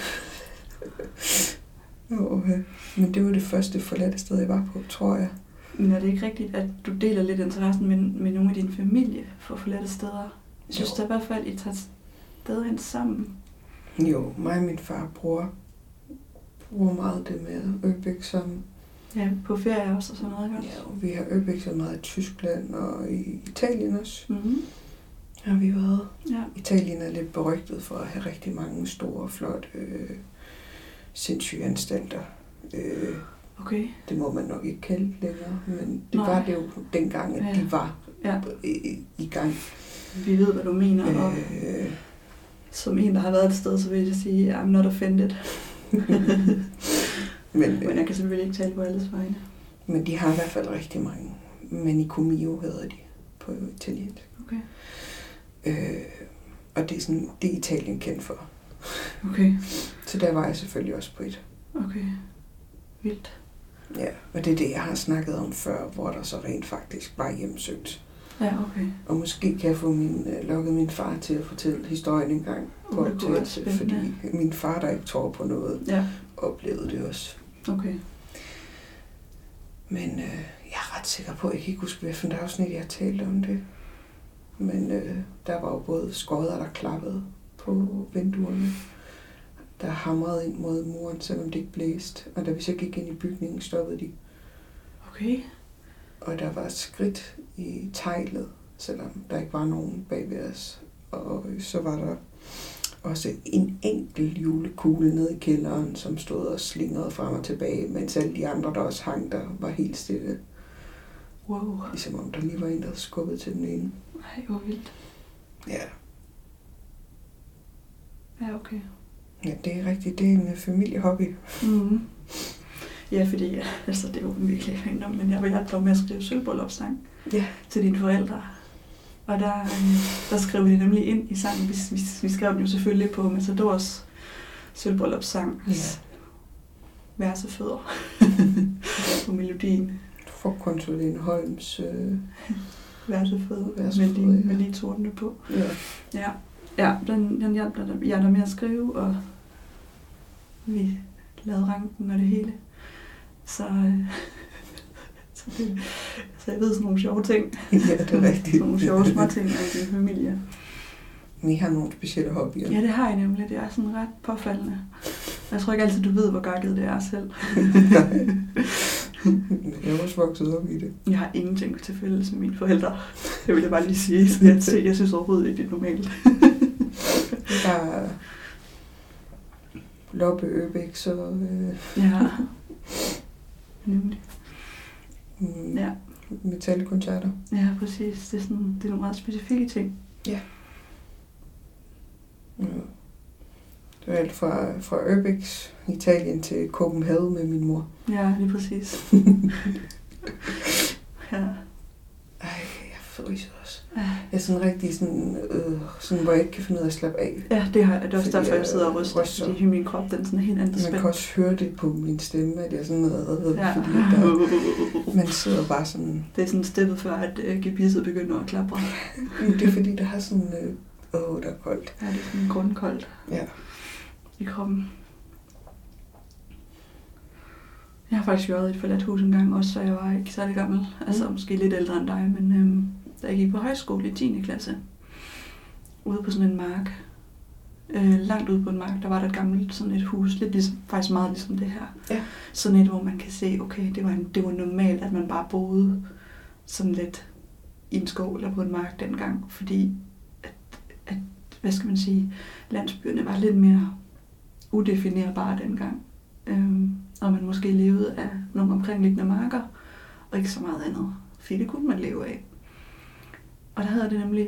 Speaker 3: Jo, øh, men det var det første forladte sted, jeg var på, tror jeg.
Speaker 6: Men er det ikke rigtigt, at du deler lidt interessen med, med nogle af dine familie for forladte steder? Jeg synes
Speaker 3: Jo.
Speaker 6: da i hvert fald, I tager sted hen sammen.
Speaker 3: Jo, mig og min far bruger, bruger meget det med Øbæk som...
Speaker 6: Ja, på ferie også og sådan noget, ikke også?
Speaker 3: Ja, og vi har Øbæk så meget i Tyskland og i Italien også.
Speaker 6: Mm-hmm.
Speaker 3: Har vi været.
Speaker 6: Ja.
Speaker 3: Italien er lidt berygtet for at have rigtig mange store, flotte, øh, sindssyge anstalter. Øh,
Speaker 6: Okay.
Speaker 3: det må man nok ikke kalde det længere, men det
Speaker 6: Nej.
Speaker 3: var det jo dengang, at
Speaker 6: Ja.
Speaker 3: de var
Speaker 6: Ja.
Speaker 3: i, i gang.
Speaker 6: Vi ved, hvad du mener, og
Speaker 3: Øh,
Speaker 6: som en, der har været et sted, så vil jeg sige, I'm not offended.
Speaker 3: men, øh,
Speaker 6: Men jeg kan selvfølgelig ikke tale på alles vegne.
Speaker 3: Men de har i hvert fald rigtig mange. Manicomio hedder de på italiensk.
Speaker 6: Okay.
Speaker 3: Øh, og det er, sådan, det er Italien kendt for.
Speaker 6: Okay,
Speaker 3: Så der var jeg selvfølgelig også på et.
Speaker 6: okay. Vildt.
Speaker 3: Ja, og det er det, jeg har snakket om før, hvor der så rent faktisk var hjemsøgt.
Speaker 6: Ja, okay.
Speaker 3: Og måske kan jeg få min, øh, lukket min far til at fortælle historien en gang.
Speaker 6: Uh,
Speaker 3: på
Speaker 6: det
Speaker 3: et
Speaker 6: kunne være
Speaker 3: teater, fordi
Speaker 6: spændende.
Speaker 3: min far, der ikke tror på noget,
Speaker 6: Ja,
Speaker 3: oplevede det også.
Speaker 6: okay.
Speaker 3: Men øh, jeg er ret sikker på, at jeg kan ikke huske, hvilken afsnit jeg har talt om det. Men øh, der var jo både skodder, der klappede på vinduerne, der hamrede ind mod muren, selvom det ikke blæste. Og da vi så gik ind i bygningen, stoppede de.
Speaker 6: Okay.
Speaker 3: Og der var skridt i teglet, selvom der ikke var nogen bag ved os. Og øh, så var der også en enkelt julekugle nede i kælderen, som stod og slingrede frem og tilbage, mens alle de andre, der også hang der, var helt stille.
Speaker 6: Wow.
Speaker 3: Ligesom om der lige var en, der havde skubbet til den ene.
Speaker 6: Ej, hvor vildt.
Speaker 3: Ja.
Speaker 6: Ja, okay.
Speaker 3: Ja, det er rigtigt. Det er en øh, familiehobby.
Speaker 6: Mm-hmm. Ja, fordi ja, altså, det er jo virkelig random, men jeg var hjælpe med at skrive sølvbryllupssang
Speaker 3: Ja.
Speaker 6: til dine forældre. Og der, øh, der skrev vi det nemlig ind i sangen. Vi, vi, vi skrev den jo selvfølgelig på Matadors sølvbryllupssang.
Speaker 3: Ja.
Speaker 6: Vers og fødder på melodien.
Speaker 3: Frugtkonsulent Holms. Øh,
Speaker 6: Vers og fødder
Speaker 3: Vers og
Speaker 6: med,
Speaker 3: fødder,
Speaker 6: lige,
Speaker 3: ja.
Speaker 6: med lige tornene på.
Speaker 3: ja.
Speaker 6: Ja, ja den, den hjalp der, jeg der med at skrive, og vi lavede ranken og det hele. Så, øh, så, det, så jeg ved sådan nogle sjove ting.
Speaker 3: ja, det er rigtigt.
Speaker 6: Sådan nogle sjove små ting af din familie.
Speaker 3: Vi har nogle specielle hobbyer.
Speaker 6: Ja, det har jeg nemlig. Det er sådan ret påfaldende. Og Jeg tror ikke altid, du ved, hvor gakket det er selv.
Speaker 3: Men Jeg er også vokset op i det.
Speaker 6: Jeg har ingenting til fælles med mine forældre. Det vil jeg bare lige sige. Så jeg, se- jeg synes overhovedet ikke, det er normalt.
Speaker 3: Der er øh, Loppe Øbæk, så... Øh,
Speaker 6: Ja. Nemlig.
Speaker 3: mm,
Speaker 6: Ja.
Speaker 3: Metalkoncerter.
Speaker 6: Ja, præcis. Det er, sådan, det er nogle meget specifikke ting.
Speaker 3: Ja. Det var alt fra, fra Øbæks Italien til Copenhagen med min mor.
Speaker 6: Ja, lige præcis. ja.
Speaker 3: Ej, jeg fryser også.
Speaker 6: Ja.
Speaker 3: Jeg er sådan rigtig sådan, øh, sådan, hvor jeg ikke kan finde ud af at slappe af.
Speaker 6: ja, det, har, det er også
Speaker 3: Fordi
Speaker 6: derfor, jeg
Speaker 3: jeg
Speaker 6: sidder og ryster,
Speaker 3: ryster.
Speaker 6: fordi min krop den er sådan helt andet
Speaker 3: Man
Speaker 6: spændt.
Speaker 3: kan også høre det på min stemme, at jeg sådan noget,
Speaker 6: Ja.
Speaker 3: ja. fordi at der, man sidder bare sådan,
Speaker 6: Det er sådan steppet før, at øh, gebisset begynder at klapre.
Speaker 3: "Mm, det er fordi, der har sådan, øh, åh, der er koldt.
Speaker 6: Ja, det er sådan grundkoldt
Speaker 3: Ja.
Speaker 6: i kroppen. Jeg har faktisk været i et forladt hus engang også, så jeg var ikke særlig gammel.
Speaker 3: Mm.
Speaker 6: Altså måske lidt ældre end dig, men øhm, da jeg gik på højskole i 10. klasse, ude på sådan en mark, Øh, langt ude på en mark, der var der et gammelt sådan et hus, lidt ligesom, faktisk meget ligesom det her.
Speaker 3: Ja.
Speaker 6: Sådan et, hvor man kan se, okay, det var, en, det var normalt, at man bare boede sådan lidt i en skov eller på en mark dengang, fordi at, at hvad skal man sige, landsbyerne var lidt mere udefinerbare dengang. Øhm, og man måske levede af nogle omkringliggende marker, og ikke så meget andet. Fordi det kunne man leve af. Og der havde jeg det nemlig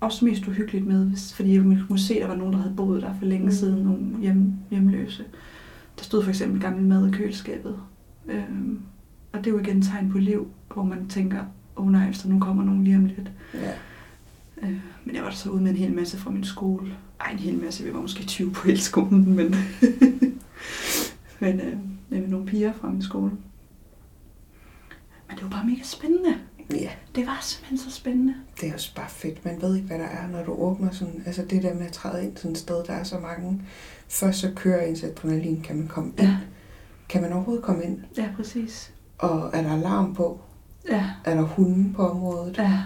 Speaker 6: også mest uhyggeligt med, hvis, fordi jeg kunne se, at der var nogen, der havde boet der for længe siden, nogle hjem, hjemløse. Der stod for eksempel gammel mad i køleskabet. Øhm, og det er jo igen et tegn på liv, hvor man tænker, åh oh, nej, så nu kommer nogen lige om lidt.
Speaker 3: Ja.
Speaker 6: Øh, men jeg var så ude med en hel masse fra min skole. Ej, en hel masse, vi var måske 20 på hele skolen, men, men øh, med nogle piger fra min skole. Men det var bare mega spændende.
Speaker 3: ja.
Speaker 6: Det var simpelthen så spændende.
Speaker 3: Det er også bare fedt. Man ved ikke, hvad der er, når du åbner sådan. Altså det der med at træde ind sådan et sted, der er så mange. Først så kører ens adrenalin. Kan man komme ind?
Speaker 6: Ja,
Speaker 3: Kan man overhovedet komme ind?
Speaker 6: ja præcis.
Speaker 3: Og er der alarm på?
Speaker 6: Ja,
Speaker 3: Er der hunde på området?
Speaker 6: ja,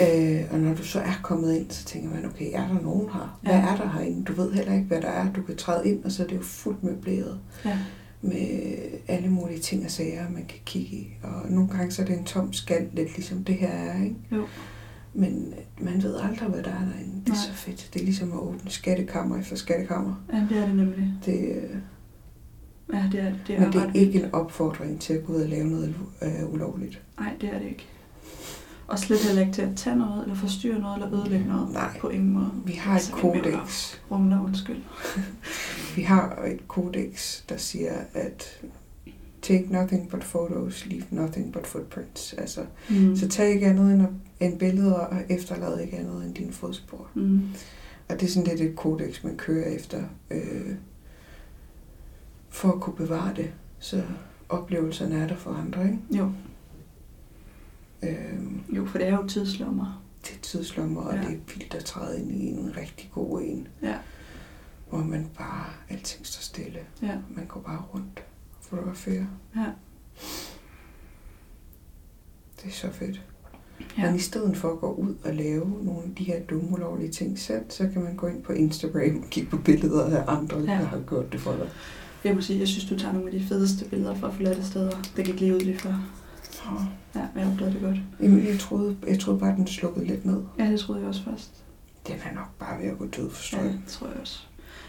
Speaker 3: Øh, og når du så er kommet ind, så tænker man, okay, er der nogen her? Hvad
Speaker 6: Ja.
Speaker 3: er der herinde? Du ved heller ikke, hvad der er. Du kan træde ind, og så er det jo fuldt møbleret
Speaker 6: ja,
Speaker 3: med alle mulige ting og sager, man kan kigge i. Og nogle gange så er det en tom skal, lidt ligesom det her er, ikke?
Speaker 6: jo.
Speaker 3: Men øh, man ved aldrig, hvad der er derinde. Det er
Speaker 6: Nej.
Speaker 3: så fedt. Det er ligesom at åbne skattekammer efter skattekammer.
Speaker 6: Ja, det er det nemlig.
Speaker 3: Det, øh,
Speaker 6: Ja, det er det. Er
Speaker 3: men det er
Speaker 6: ret
Speaker 3: ikke en opfordring til at gå ud og lave noget øh, ulovligt.
Speaker 6: Nej, det er det ikke. Og slet heller ikke til at tage noget, eller forstyrre noget, eller ødelægge noget.
Speaker 3: Nej.
Speaker 6: På ingen måde.
Speaker 3: Vi har et
Speaker 6: Så Altså, vi mævler.
Speaker 3: kodex.
Speaker 6: Rumler, undskyld.
Speaker 3: Vi har et kodex, der siger, at take nothing but photos, leave nothing but footprints. Altså,
Speaker 6: Mm.
Speaker 3: så tag ikke andet end, end billeder, og efterlad ikke andet end dine fodspor.
Speaker 6: Mm.
Speaker 3: Og det er sådan lidt et kodex, man kører efter, øh, for at kunne bevare det, så oplevelserne er der for andre, ikke?
Speaker 6: Jo.
Speaker 3: Øh,
Speaker 6: jo, for det er jo tidslommer.
Speaker 3: det er tidslommer, og
Speaker 6: Ja.
Speaker 3: det er vildt at træde ind i en rigtig god en,
Speaker 6: Ja.
Speaker 3: hvor man bare, alting står stille.
Speaker 6: Ja.
Speaker 3: Man går bare rundt og fotograferer.
Speaker 6: Ja.
Speaker 3: Det er så fedt. Ja. Men
Speaker 6: Ja.
Speaker 3: i stedet for at gå ud og lave nogle af de her dumme ulovlige ting selv, så kan man gå ind på Instagram og kigge på billeder af andre, ja.
Speaker 6: Ja.
Speaker 3: der har gjort det for dig.
Speaker 6: Jeg må sige, jeg synes, du tager nogle af de fedeste billeder fra forladte steder. Det kan jeg ikke lige uddybe for.
Speaker 3: Åh.
Speaker 6: Ja, men jeg opdagede det godt.
Speaker 3: Jamen, jeg troede, jeg troede bare, at den slukkede lidt ned.
Speaker 6: Ja, det troede jeg også først.
Speaker 3: Den er nok bare ved at gå død, forstår
Speaker 6: Ja,
Speaker 3: jeg.
Speaker 6: det tror jeg også.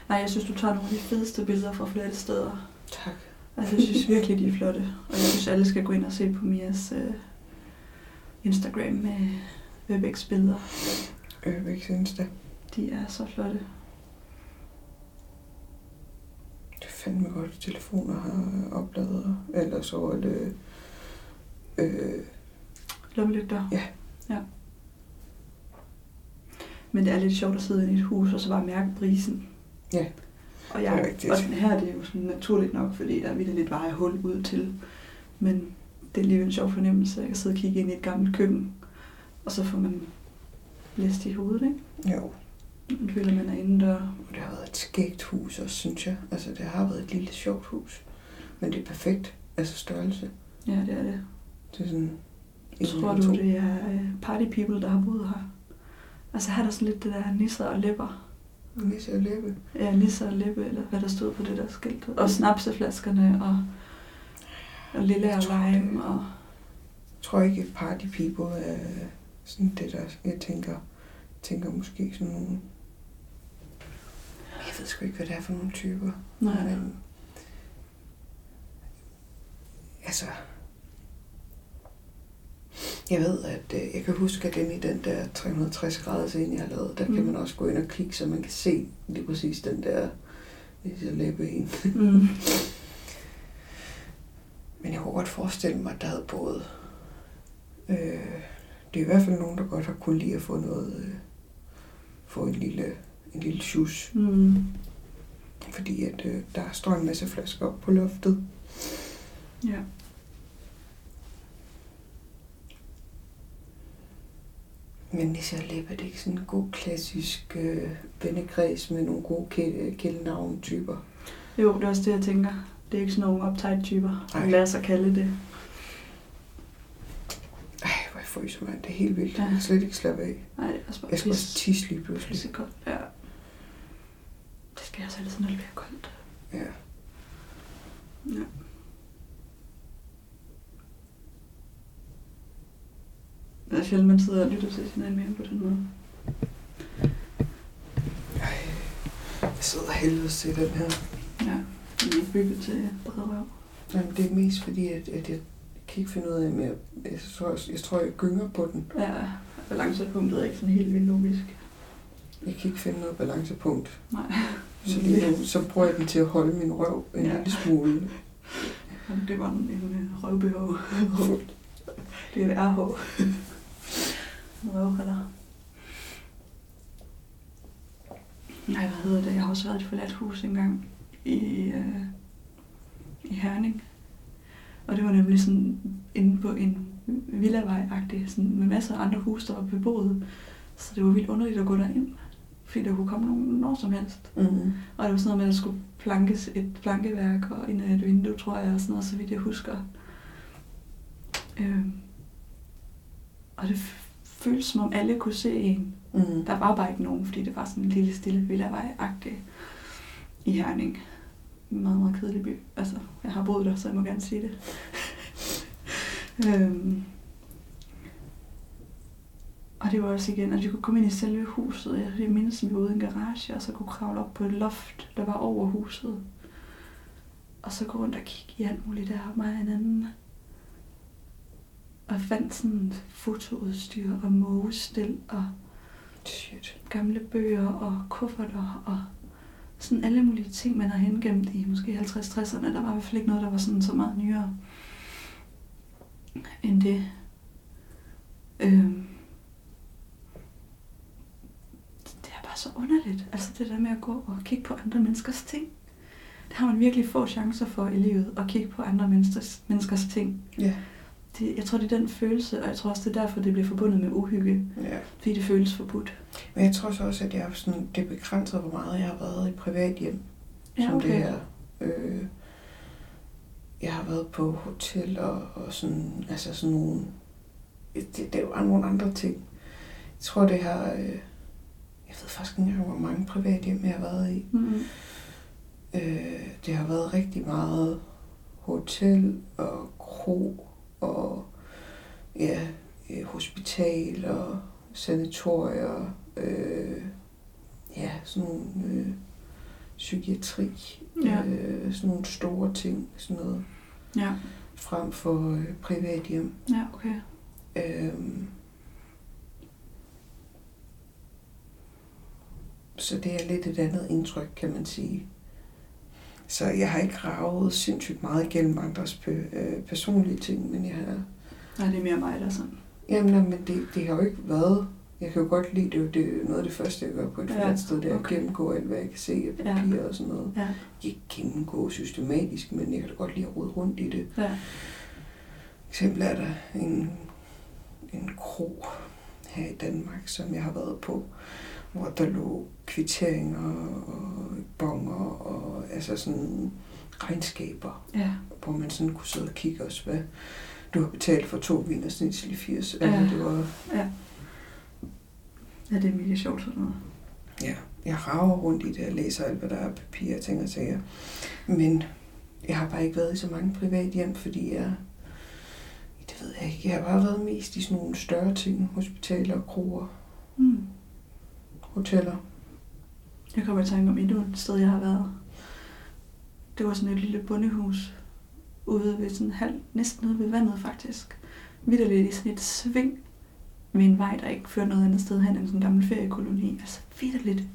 Speaker 6: Nej, jeg synes, du tager nogle af de fedeste billeder fra forladte steder.
Speaker 3: Tak.
Speaker 6: Altså, jeg synes virkelig, de er flotte. Og jeg synes, alle skal gå ind og se på Mias øh, Instagram med WebEx-billeder.
Speaker 3: Øh, ikke synes det.
Speaker 6: De er så flotte.
Speaker 3: Det er fandme godt, at telefoner har opladet. Eller så er det... Øh,
Speaker 6: Lommelygter.
Speaker 3: Ja.
Speaker 6: ja. Men det er lidt sjovt at sidde inde i et hus og så bare mærke brisen.
Speaker 3: Ja,
Speaker 6: Og,
Speaker 3: det er
Speaker 6: jeg,
Speaker 3: rigtigt.
Speaker 6: og den her det er jo sådan naturligt nok, fordi der er vildt lidt veje hul ud til. Men det er alligevel en sjov fornemmelse. Jeg kan sidde og kigge ind i et gammelt køkken, og så får man blæst i hovedet, ikke?
Speaker 3: jo,
Speaker 6: Man føler, man er indendør.
Speaker 3: det har været et skægt hus også, synes jeg. Altså, det har været et lille sjovt hus. Men det er perfekt. Altså størrelse.
Speaker 6: Ja, det er det.
Speaker 3: Det er sådan... en
Speaker 6: Tror
Speaker 3: eller
Speaker 6: du,
Speaker 3: to.
Speaker 6: det er øh, party people, der har boet her? Altså her er der sådan lidt det der nisser og læpper.
Speaker 3: Nisse og læbe.
Speaker 6: Ja, nisser og læppe, eller hvad der stod på det der skilt. Og snapseflaskerne, og, og lille og
Speaker 3: Jeg tror, det
Speaker 6: lime,
Speaker 3: er-
Speaker 6: og
Speaker 3: Jeg tror ikke, at party people er sådan det, der jeg tænker, jeg tænker måske sådan nogle... Jeg ved sgu ikke, hvad det er for nogle typer.
Speaker 6: nej,
Speaker 3: Men, altså, jeg ved, at øh, jeg kan huske, at inde i den der 360 graders en, jeg har lavet, der mm. kan
Speaker 6: Mm.
Speaker 3: man også gå ind og kigge, så man kan se lige præcis den der lille læbe en.
Speaker 6: mm,
Speaker 3: Men jeg kunne godt forestille mig, at der havde boet. Øh, det er i hvert fald nogen, der godt har kunnet lide at få noget, øh, få en lille, en lille sjus.
Speaker 6: mm,
Speaker 3: Fordi at, øh, der står en masse flasker op på loftet.
Speaker 6: ja.
Speaker 3: Men Nisse og Læb, er det ikke sådan en god klassisk øh, vennekreds med nogle gode kæ- kælenavn-typer?
Speaker 6: Jo, det er også det, jeg tænker. Det er ikke sådan nogle uptight typer,
Speaker 3: Ej.
Speaker 6: der lader sig kalde det.
Speaker 3: Ej, hvor jeg fryser, mand. Det er helt vildt.
Speaker 6: Ja.
Speaker 3: Jeg kan slet ikke slappe af.
Speaker 6: Nej, det er også bare
Speaker 3: Jeg skal også
Speaker 6: pis.
Speaker 3: tisse lige pludselig.
Speaker 6: Pissekoldt, ja. skal jeg også have lidt sådan, når det bliver koldt.
Speaker 3: Ja.
Speaker 6: Ja. Det er sjældent, man sidder og lytter til hinanden mere på den måde.
Speaker 3: Jeg sidder helvedes til den her.
Speaker 6: Ja, men jeg er bygget til bredere røv.
Speaker 3: Jamen, det er mest fordi, at, at jeg kan ikke finde ud af, om jeg, jeg, tror, jeg tror, jeg gynger på den.
Speaker 6: Ja, balancepunktet er ikke sådan helt vildt logisk.
Speaker 3: Jeg kan ikke finde noget balancepunkt.
Speaker 6: Nej.
Speaker 3: Så lige nu, så bruger jeg den til at holde min røv en
Speaker 6: Ja.
Speaker 3: ja. lille smule.
Speaker 6: Jamen, Det var en, en øh, røvbehov. det er et RH. En Røvholder. Nej, hvad hedder det? Jeg har også været i et forladt hus engang i, øh, i Herning. Og det var nemlig sådan inde på en villavej-agtig, sådan med masser af andre huse, der var beboet. Så det var vildt underligt at gå derind, fordi der kunne komme nogen når som helst.
Speaker 3: Mm-hmm.
Speaker 6: Og det var sådan noget med, at der skulle plankes et plankeværk og ind ad et vindue, tror jeg, og sådan noget, så vidt jeg husker. Øhm. Og det f- føltes, som om alle kunne se en.
Speaker 3: Mm-hmm.
Speaker 6: Der var bare ikke nogen, fordi det var sådan en lille, stille villavej-agtig i Herning. En meget, meget kedelig by. Altså, jeg har boet der, så jeg må gerne sige det. øhm. Og det var også igen, at vi kunne komme ind i selve huset. Jeg- Jeg mindes, at vi var ude i en garage, og så kunne kravle op på et loft, der var over huset. Og så gå rundt og kigge i alt muligt der, mig og en anden. Og fandt sådan fotoudstyr og mågestil og
Speaker 3: Shit.
Speaker 6: gamle bøger og kufferter og sådan alle mulige ting, man har hengemt i måske 50-60'erne. Der var i hvert fald ikke noget, der var sådan så meget nyere end det. Øhm. Det er bare så underligt. Altså det der med at gå og kigge på andre menneskers ting. Det har man virkelig få chancer for i livet, at kigge på andre menneskers, menneskers ting.
Speaker 3: Ja.
Speaker 6: Det, jeg tror, det er den følelse, og jeg tror også, det er derfor, det bliver forbundet med uhygge.
Speaker 3: ja.
Speaker 6: Fordi det føles forbudt.
Speaker 3: Men jeg tror så også, at jeg er sådan, det er begrænset, hvor meget jeg har været i privat hjem. som det her. Øh, jeg har været på hotel og, og sådan, altså sådan nogle, det, det er jo nogle andre ting. Jeg tror det her, øh, jeg ved faktisk ikke engang, hvor mange private hjem jeg har været i.
Speaker 6: Mm-hmm.
Speaker 3: Øh, det har været rigtig meget hotel og kro og ja, øh, hospital og sanatorier, øh, ja, sådan nogle øh, psykiatri,
Speaker 6: Ja.
Speaker 3: øh, sådan nogle store ting, sådan noget,
Speaker 6: Ja.
Speaker 3: frem for øh, privat hjem.
Speaker 6: Ja, okay.
Speaker 3: Øhm. Så det er lidt et andet indtryk, kan man sige. Så jeg har ikke ravet sindssygt meget igennem andres pe- øh, personlige ting, men jeg har...
Speaker 6: Nej, det er mere mig, der er sådan.
Speaker 3: Jamen, nej, men det, det har jo ikke været... Jeg kan jo godt lide det, jo- det er jo noget af det første, jeg gør på et
Speaker 6: Ja,
Speaker 3: ja, sted, det er at
Speaker 6: okay.
Speaker 3: gennemgå alt, hvad jeg kan se af
Speaker 6: Ja.
Speaker 3: papirer og sådan noget.
Speaker 6: Ja.
Speaker 3: Ikke gennemgå systematisk, men jeg kan da godt lide at rode rundt i det.
Speaker 6: Ja.
Speaker 3: For eksempel er der en, en kro her i Danmark, som jeg har været på, hvor der lå kvitteringer og bonger og altså sådan regnskaber,
Speaker 6: Ja.
Speaker 3: hvor man sådan kunne sidde og kigge også, hvad du har betalt for to viner snitsel i 80. Ja.
Speaker 6: Ja.
Speaker 3: Altså, det var,
Speaker 6: ja, det er mega sjovt sådan noget.
Speaker 3: ja, jeg rager rundt i det, jeg læser alt, hvad der er af papir og ting og sager. Men jeg har bare ikke været i så mange privat hjem, fordi jeg, det ved jeg ikke, jeg har bare været mest i sådan nogle større ting, hospitaler, kroer,
Speaker 6: Mm.
Speaker 3: hoteller.
Speaker 6: Jeg kommer i tanke om endnu et sted, jeg har været. Det var sådan et lille bondehus ude ved sådan halv, næsten ude ved vandet faktisk. Vitterligt i sådan et sving med en vej, der ikke fører noget andet sted hen end sådan en gammel feriekoloni. Altså vitterligt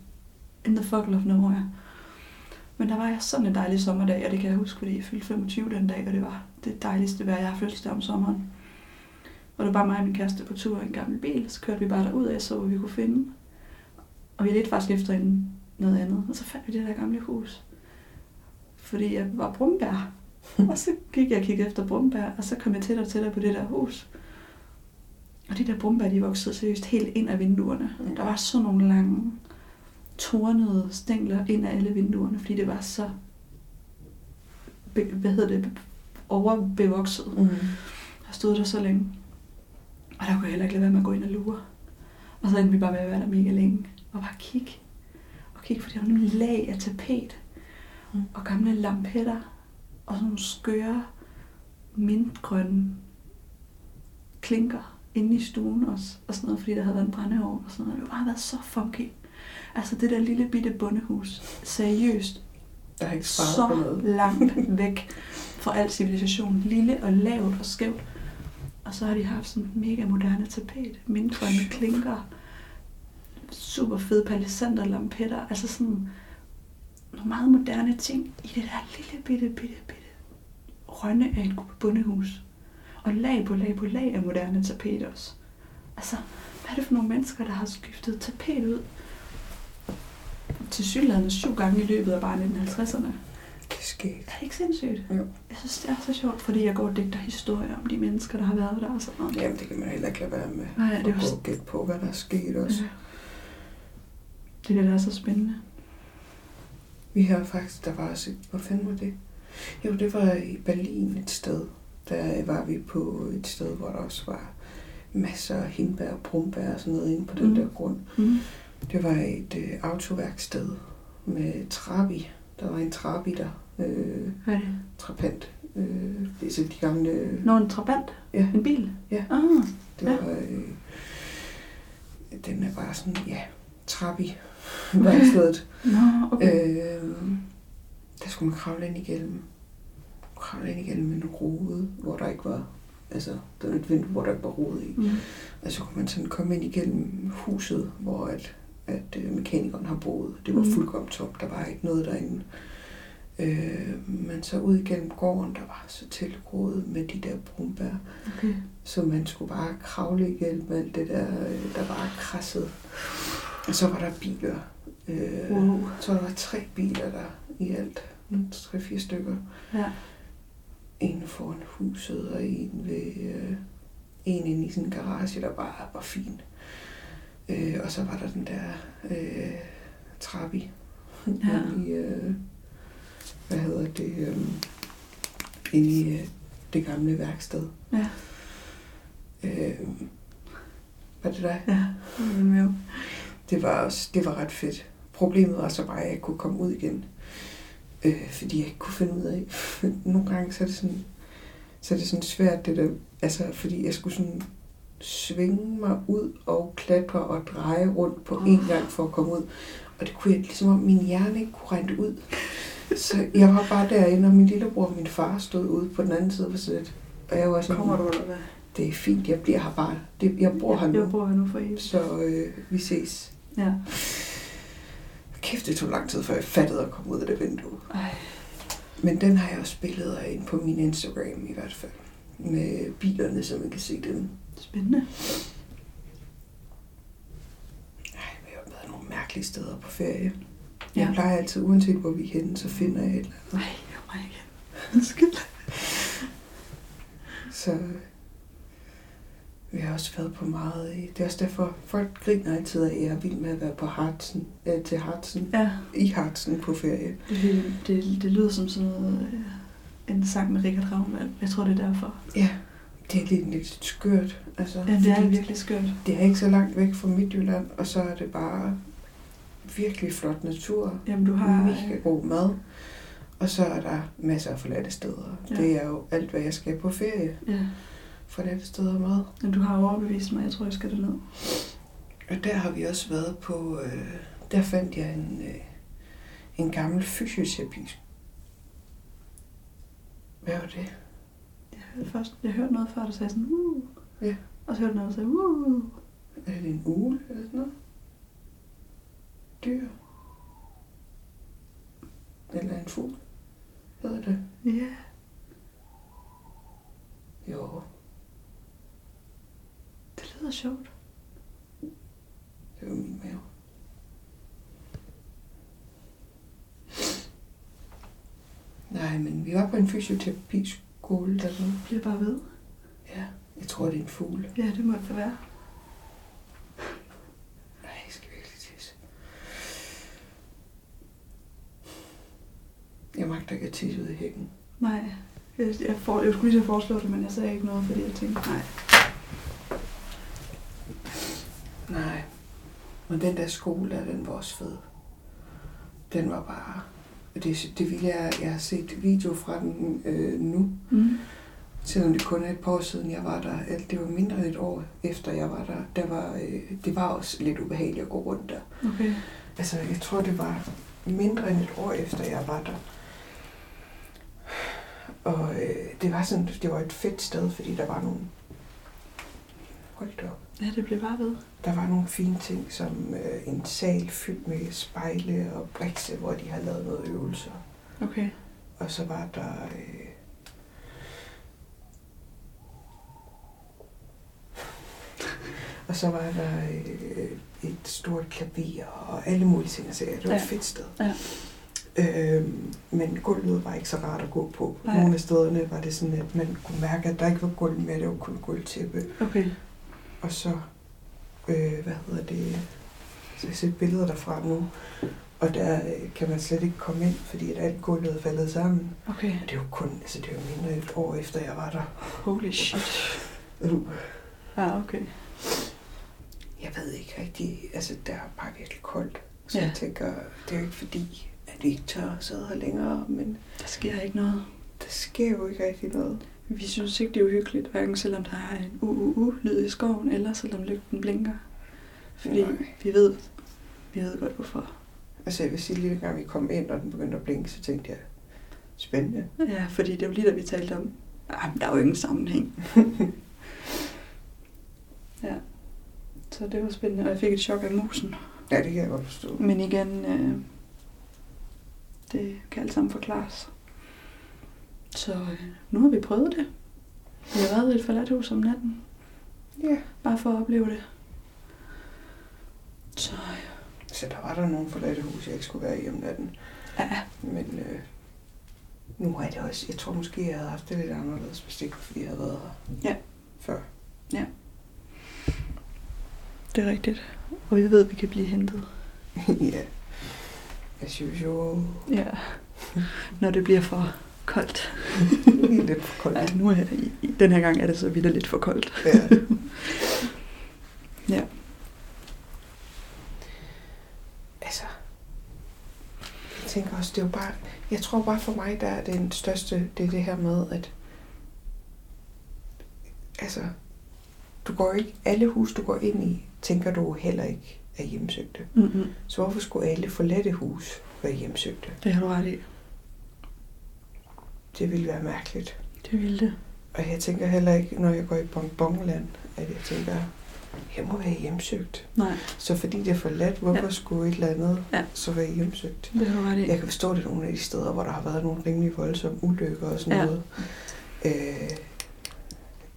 Speaker 6: in the fuck of nowhere. Men der var jeg sådan en dejlig sommerdag, og det kan jeg huske, fordi jeg fyldte 25 den dag, og det var det dejligste vejr, jeg har fødselsdag om sommeren. Og det var bare mig og min kæreste på tur i en gammel bil, så kørte vi bare derud af, så hvad vi kunne finde. Og vi lidt faktisk efter en, noget andet. Og så fandt vi det der gamle hus. Fordi jeg var brumbær. og så gik jeg og kiggede efter brumbær, og så kom jeg tættere og tættere på det der hus. Og de der brumbær, de voksede seriøst helt ind af vinduerne.
Speaker 3: Mm.
Speaker 6: Der var sådan nogle lange, tornede stængler ind af alle vinduerne, fordi det var så, be, hvad hedder det, overbevokset.
Speaker 3: Mm.
Speaker 6: Jeg stod der så længe. Og der kunne jeg heller ikke lade være med at gå ind og lure. Og så endte vi bare med at være der mega længe. Og bare kigge. Og kigge, for det var nogle lag af tapet
Speaker 7: Mm.
Speaker 6: og gamle lampetter og sådan nogle skøre mintgrønne klinker inde i stuen også, og sådan noget, fordi der havde været en brændeovn og sådan noget. Det har bare været så funky. Altså det der lille bitte bondehus, seriøst,
Speaker 3: Der er ikke sparet på
Speaker 6: så
Speaker 3: noget.
Speaker 6: langt væk fra al civilisation. Lille og lavt og skævt. Og så har de haft sådan et mega moderne tapet, mindgrønne klinker, super fede palisander, lampetter, altså sådan nogle meget moderne ting i det der lille bitte, bitte, bitte rønne af et bondehus. Og lag på lag på lag af moderne tapet også. Altså, hvad er det for nogle mennesker, der har skiftet tapet ud til synligheden syv gange i løbet af bare 1950'erne?
Speaker 3: Det er skægt.
Speaker 6: Er det ikke sindssygt?
Speaker 3: Jo.
Speaker 6: Jeg synes, det er så sjovt, fordi jeg går og digter historier om de mennesker, der har været der og sådan noget.
Speaker 3: Jamen, det kan man heller ikke lade være med.
Speaker 6: Nej, det er
Speaker 3: at gå
Speaker 6: også-
Speaker 3: og gætte på, hvad der er sket også.
Speaker 6: Ja. Det er det, der er så spændende.
Speaker 3: Vi har faktisk, der var også, et- hvor fanden var det? Jo, det var i Berlin et sted. Der var vi på et sted, hvor der også var masser af hindbær og brumbær og sådan noget inde på den
Speaker 6: Mm.
Speaker 3: mm. der grund.
Speaker 6: Mm.
Speaker 3: Det var et øh, autoværksted med trabi. Der var en trabi der. Øh,
Speaker 6: Hvad er det?
Speaker 3: trapant. Øh, det er så de gamle... øh,
Speaker 6: Nå, en trabant?
Speaker 3: Ja.
Speaker 6: En bil?
Speaker 3: Ja.
Speaker 6: Ah,
Speaker 3: Det
Speaker 6: Ja.
Speaker 3: var, øh, den er bare sådan, ja, trabi værkstedet.
Speaker 6: nå, okay.
Speaker 3: Øh, der skulle man kravle ind igennem. Kravle ind igennem en rode, hvor der ikke var... Altså, der var et vindue, hvor der ikke var rode i.
Speaker 6: Mm.
Speaker 3: Og så kunne man sådan komme ind igennem huset, hvor at, at øh, mekanikeren har boet. Det var
Speaker 6: Mm.
Speaker 3: fuldkommen tomt. Der var ikke noget derinde. Øh, men så ud igennem gården, der var så tilgroet med de der brumbær.
Speaker 6: Okay.
Speaker 3: Så man skulle bare kravle igennem alt det der, øh, der var krasset. Og så var der biler. Øh,
Speaker 6: Wow.
Speaker 3: Så der var tre biler der i alt. Tre-fire stykker.
Speaker 6: Ja.
Speaker 3: En foran huset, og en ved... Øh, en inde i sådan en garage, der bare var fin. Øh, og så var der den der øh, trappi.
Speaker 6: Ja.
Speaker 3: I, øh, hvad hedder det? Øh, inde i øh, det gamle værksted.
Speaker 6: Ja.
Speaker 3: Øh, var det dig?
Speaker 6: Ja. Mm, jo.
Speaker 3: Det var, også, det var ret fedt. Problemet var så bare, at jeg ikke kunne komme ud igen. Øh, fordi jeg ikke kunne finde ud af... Nogle gange så er det sådan, så er det sådan svært, det der, altså, fordi jeg skulle sådan svinge mig ud og klatre og dreje rundt på én gang for at komme ud. Og det kunne jeg, ligesom om min hjerne ikke kunne rente ud. Så jeg var bare derinde, og min lillebror og min far stod ude på den anden side af sædet. Og jeg var sådan,
Speaker 6: Kommer du eller hvad?
Speaker 3: det er fint, jeg bliver her bare. Det, jeg bor her
Speaker 6: Jeg
Speaker 3: nu,
Speaker 6: bor her nu for evigt.
Speaker 3: så øh, vi ses.
Speaker 6: Ja.
Speaker 3: Kæft, det tog lang tid, før jeg fattede at komme ud af det vindue.
Speaker 6: Ej.
Speaker 3: Men den har jeg også billeder af inde på min Instagram i hvert fald. Med bilerne, så man kan se dem.
Speaker 6: Spændende.
Speaker 3: Ej, vi har været nogle mærkelige steder på ferie.
Speaker 6: Ja.
Speaker 3: Jeg plejer altid, uanset hvor vi er henne, så finder jeg et eller andet.
Speaker 6: Nej, jeg må ikke. Undskyld.
Speaker 3: Så øh, vi har også været på meget i... Det er også derfor, folk griner altid af, at jeg er vild med at være på Hartsen, øh, til Hartsen,
Speaker 6: Ja,
Speaker 3: i Hartsen på ferie.
Speaker 6: det, det, det lyder som sådan noget, øh, en sang med Richard Ravnvald. Jeg tror, det er derfor.
Speaker 3: Ja, det er lidt, lidt skørt. Altså,
Speaker 6: Ja, det er
Speaker 3: fordi-
Speaker 6: virkelig skørt.
Speaker 3: Det er ikke så langt væk fra Midtjylland, og så er det bare virkelig flot natur,
Speaker 6: Jamen, du har...
Speaker 3: mega god mad, og så er der masser af forladte steder.
Speaker 6: Ja.
Speaker 3: Ja. Det er jo alt, hvad jeg skal på ferie.
Speaker 6: Ja,
Speaker 3: Forladte steder og mad.
Speaker 6: men du har overbevist mig. Jeg tror, jeg skal derned.
Speaker 3: Og der har vi også været på, øh, der fandt jeg en, øh, en gammel fysioterapi. Hvad var det?
Speaker 6: Jeg hørte, først, jeg hørte noget før, der sagde sådan, uh.
Speaker 3: Ja.
Speaker 6: Og så hørte jeg noget, der sagde, uh.
Speaker 3: Er det en ule eller sådan noget? Dyr? Eller en fugl? Hedder det?
Speaker 6: Ja.
Speaker 3: Jo,
Speaker 6: Det lyder sjovt.
Speaker 3: det var min mave. Nej, men vi var på en fysioterapiskole dernede.
Speaker 6: Jeg bliver bare ved.
Speaker 3: Ja, jeg tror, det er en fugl.
Speaker 6: Ja, det må det da være.
Speaker 3: Nej, jeg skal virkelig tisse. Jeg magter ikke at tisse ud i hækken.
Speaker 6: Nej. Jeg, jeg, for, jeg skulle lige til at foreslå det, men jeg sagde ikke noget, fordi jeg tænkte, nej.
Speaker 3: Nej. Men den der skole, der, den var også fed. den var bare... Det, det ville jeg, jeg har set video fra den øh, nu,
Speaker 6: Mm.
Speaker 3: selvom det kun er et par år siden, jeg var der. Eller det var mindre end et år efter, jeg var der. der var, øh, det var også lidt ubehageligt at gå rundt der.
Speaker 6: Okay.
Speaker 3: Altså, jeg tror, det var mindre end et år efter, jeg var der. Og øh, det var sådan, det var et fedt sted, fordi der var nogle... Hold da op.
Speaker 6: Ja, det blev bare ved.
Speaker 3: Der var nogle fine ting, som øh, en sal fyldt med spejle og brikse, hvor de har lavet noget øvelser.
Speaker 6: Okay.
Speaker 3: Og så var der... Øh... Og så var der øh, et stort klaver og alle mulige ting. Så det var
Speaker 6: Ja.
Speaker 3: et fedt sted.
Speaker 6: Ja.
Speaker 3: Øhm, men gulvet var ikke så rart at gå på.
Speaker 6: Nej.
Speaker 3: Nogle af stederne var det sådan, at man kunne mærke, at der ikke var gulv mere. Det var kun gulvtæppe.
Speaker 6: Okay.
Speaker 3: Og så, øh, hvad hedder det, så jeg ser billeder derfra nu. Og der øh, kan man slet ikke komme ind, fordi at alt gulvet er faldet sammen.
Speaker 6: Okay.
Speaker 3: Det er jo kun, altså det er jo mindre end et år efter, jeg var der.
Speaker 6: Holy shit.
Speaker 3: Uh.
Speaker 6: Ja, okay.
Speaker 3: Jeg ved ikke rigtig, altså der er bare virkelig koldt. Så
Speaker 6: Ja.
Speaker 3: ja. jeg tænker, det er jo ikke fordi, at vi ikke tør at sidde her længere, men
Speaker 6: Der sker ikke noget.
Speaker 3: der sker jo ikke rigtig noget.
Speaker 6: Vi synes ikke, det er uhyggeligt, hverken selvom der er en u-u-u-lyd i skoven, eller selvom lygten blinker. Fordi
Speaker 3: Nej.
Speaker 6: vi ved, vi ved godt hvorfor.
Speaker 3: Altså jeg vil sige, lige dengang vi kom ind, og den begyndte at blinke, så tænkte jeg, spændende.
Speaker 6: Ja, fordi det var lige da vi talte om, ah, men der er jo ingen sammenhæng. ja, så det var spændende, og jeg fik et chok af musen.
Speaker 3: Ja, det kan jeg godt forstå.
Speaker 6: Men igen, øh, det kan alt sammen forklares. Så øh, nu har vi prøvet det. Vi har været i et forladt hus om natten.
Speaker 3: Ja,
Speaker 6: Bare for at opleve det. Så
Speaker 3: så der var der nogle forladte hus, jeg ikke skulle være i om natten.
Speaker 6: ja,
Speaker 3: Men øh, nu er det også, jeg tror måske, jeg havde haft det lidt anderledes, hvis det ikke var, fordi jeg havde været her
Speaker 6: Ja.
Speaker 3: før.
Speaker 6: det er rigtigt. Og vi ved, at vi kan blive hentet.
Speaker 3: ja, as usual.
Speaker 6: Ja. Når det bliver for koldt.
Speaker 3: Lige lidt for koldt.
Speaker 6: Ja, nu er i, i, den her gang er det så vidt lidt for koldt.
Speaker 3: Ja.
Speaker 6: Ja.
Speaker 3: Altså, jeg tænker også, det er jo bare, jeg tror bare for mig, der er det den største, det er det her med, at, altså, du går ikke, alle hus, du går ind i, tænker du heller ikke er hjemsøgte.
Speaker 6: Mm-hmm.
Speaker 3: Så hvorfor skulle alle forladte hus være hjemsøgte?
Speaker 6: Det har du ret i.
Speaker 3: Det ville være mærkeligt.
Speaker 6: Det ville det.
Speaker 3: Og jeg tænker heller ikke, når jeg går i bonbonland, at jeg tænker, jeg må være hjemsøgt.
Speaker 6: Nej,
Speaker 3: Så fordi det er forladt, hvorfor
Speaker 6: Ja.
Speaker 3: ja. skulle et eller andet
Speaker 6: Ja.
Speaker 3: ja. så være hjemsøgt?
Speaker 6: det har du ret i.
Speaker 3: Jeg kan forstå, at det er nogle af de steder, hvor der har været nogle rimelig voldsomme ulykker og sådan
Speaker 6: Ja.
Speaker 3: ja. noget. Øh,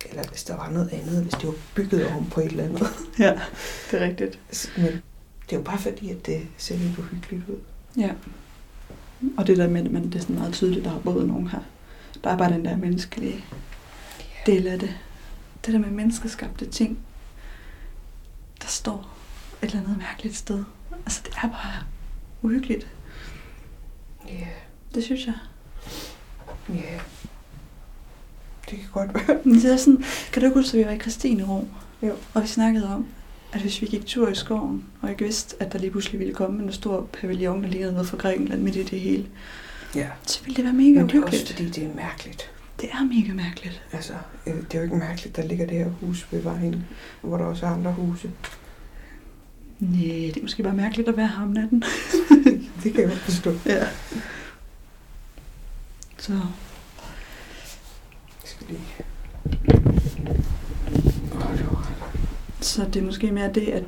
Speaker 3: eller hvis der var noget andet, hvis det var bygget oven på et eller andet. Altså,
Speaker 6: Det er rigtigt.
Speaker 3: Men det er jo bare fordi, at det ser lidt uhyggeligt ud.
Speaker 6: Og det der med, at man, det er sådan meget tydeligt, der er både nogen her. Der er bare den der menneskelige del af det. Det der med menneskeskabte ting, der står et eller andet mærkeligt sted. Altså, det er bare uhyggeligt.
Speaker 3: Ja,
Speaker 6: Det synes jeg.
Speaker 3: ja. Det kan godt være.
Speaker 6: Men det er sådan, kan du ikke huske, at vi var i Kristinerum?
Speaker 3: Jo.
Speaker 6: Og vi snakkede om, at hvis vi gik tur i skoven, og ikke vidste, at der lige pludselig ville komme en stor pavillon, der lignede noget fra Grækenland midt i det hele,
Speaker 3: Ja.
Speaker 6: så ville det være mega
Speaker 3: Men det er også
Speaker 6: uhyggeligt.
Speaker 3: fordi, det er mærkeligt.
Speaker 6: Det er mega mærkeligt.
Speaker 3: Altså, øh, det er jo ikke mærkeligt, der ligger det her hus ved vejen, hvor der også er andre huse.
Speaker 6: Nej, det er måske bare mærkeligt at være her om natten.
Speaker 3: Det kan jeg godt forstå.
Speaker 6: Ja. Så
Speaker 3: Jeg skal lige... Mm. Åh, det var
Speaker 6: Så det er måske mere det, at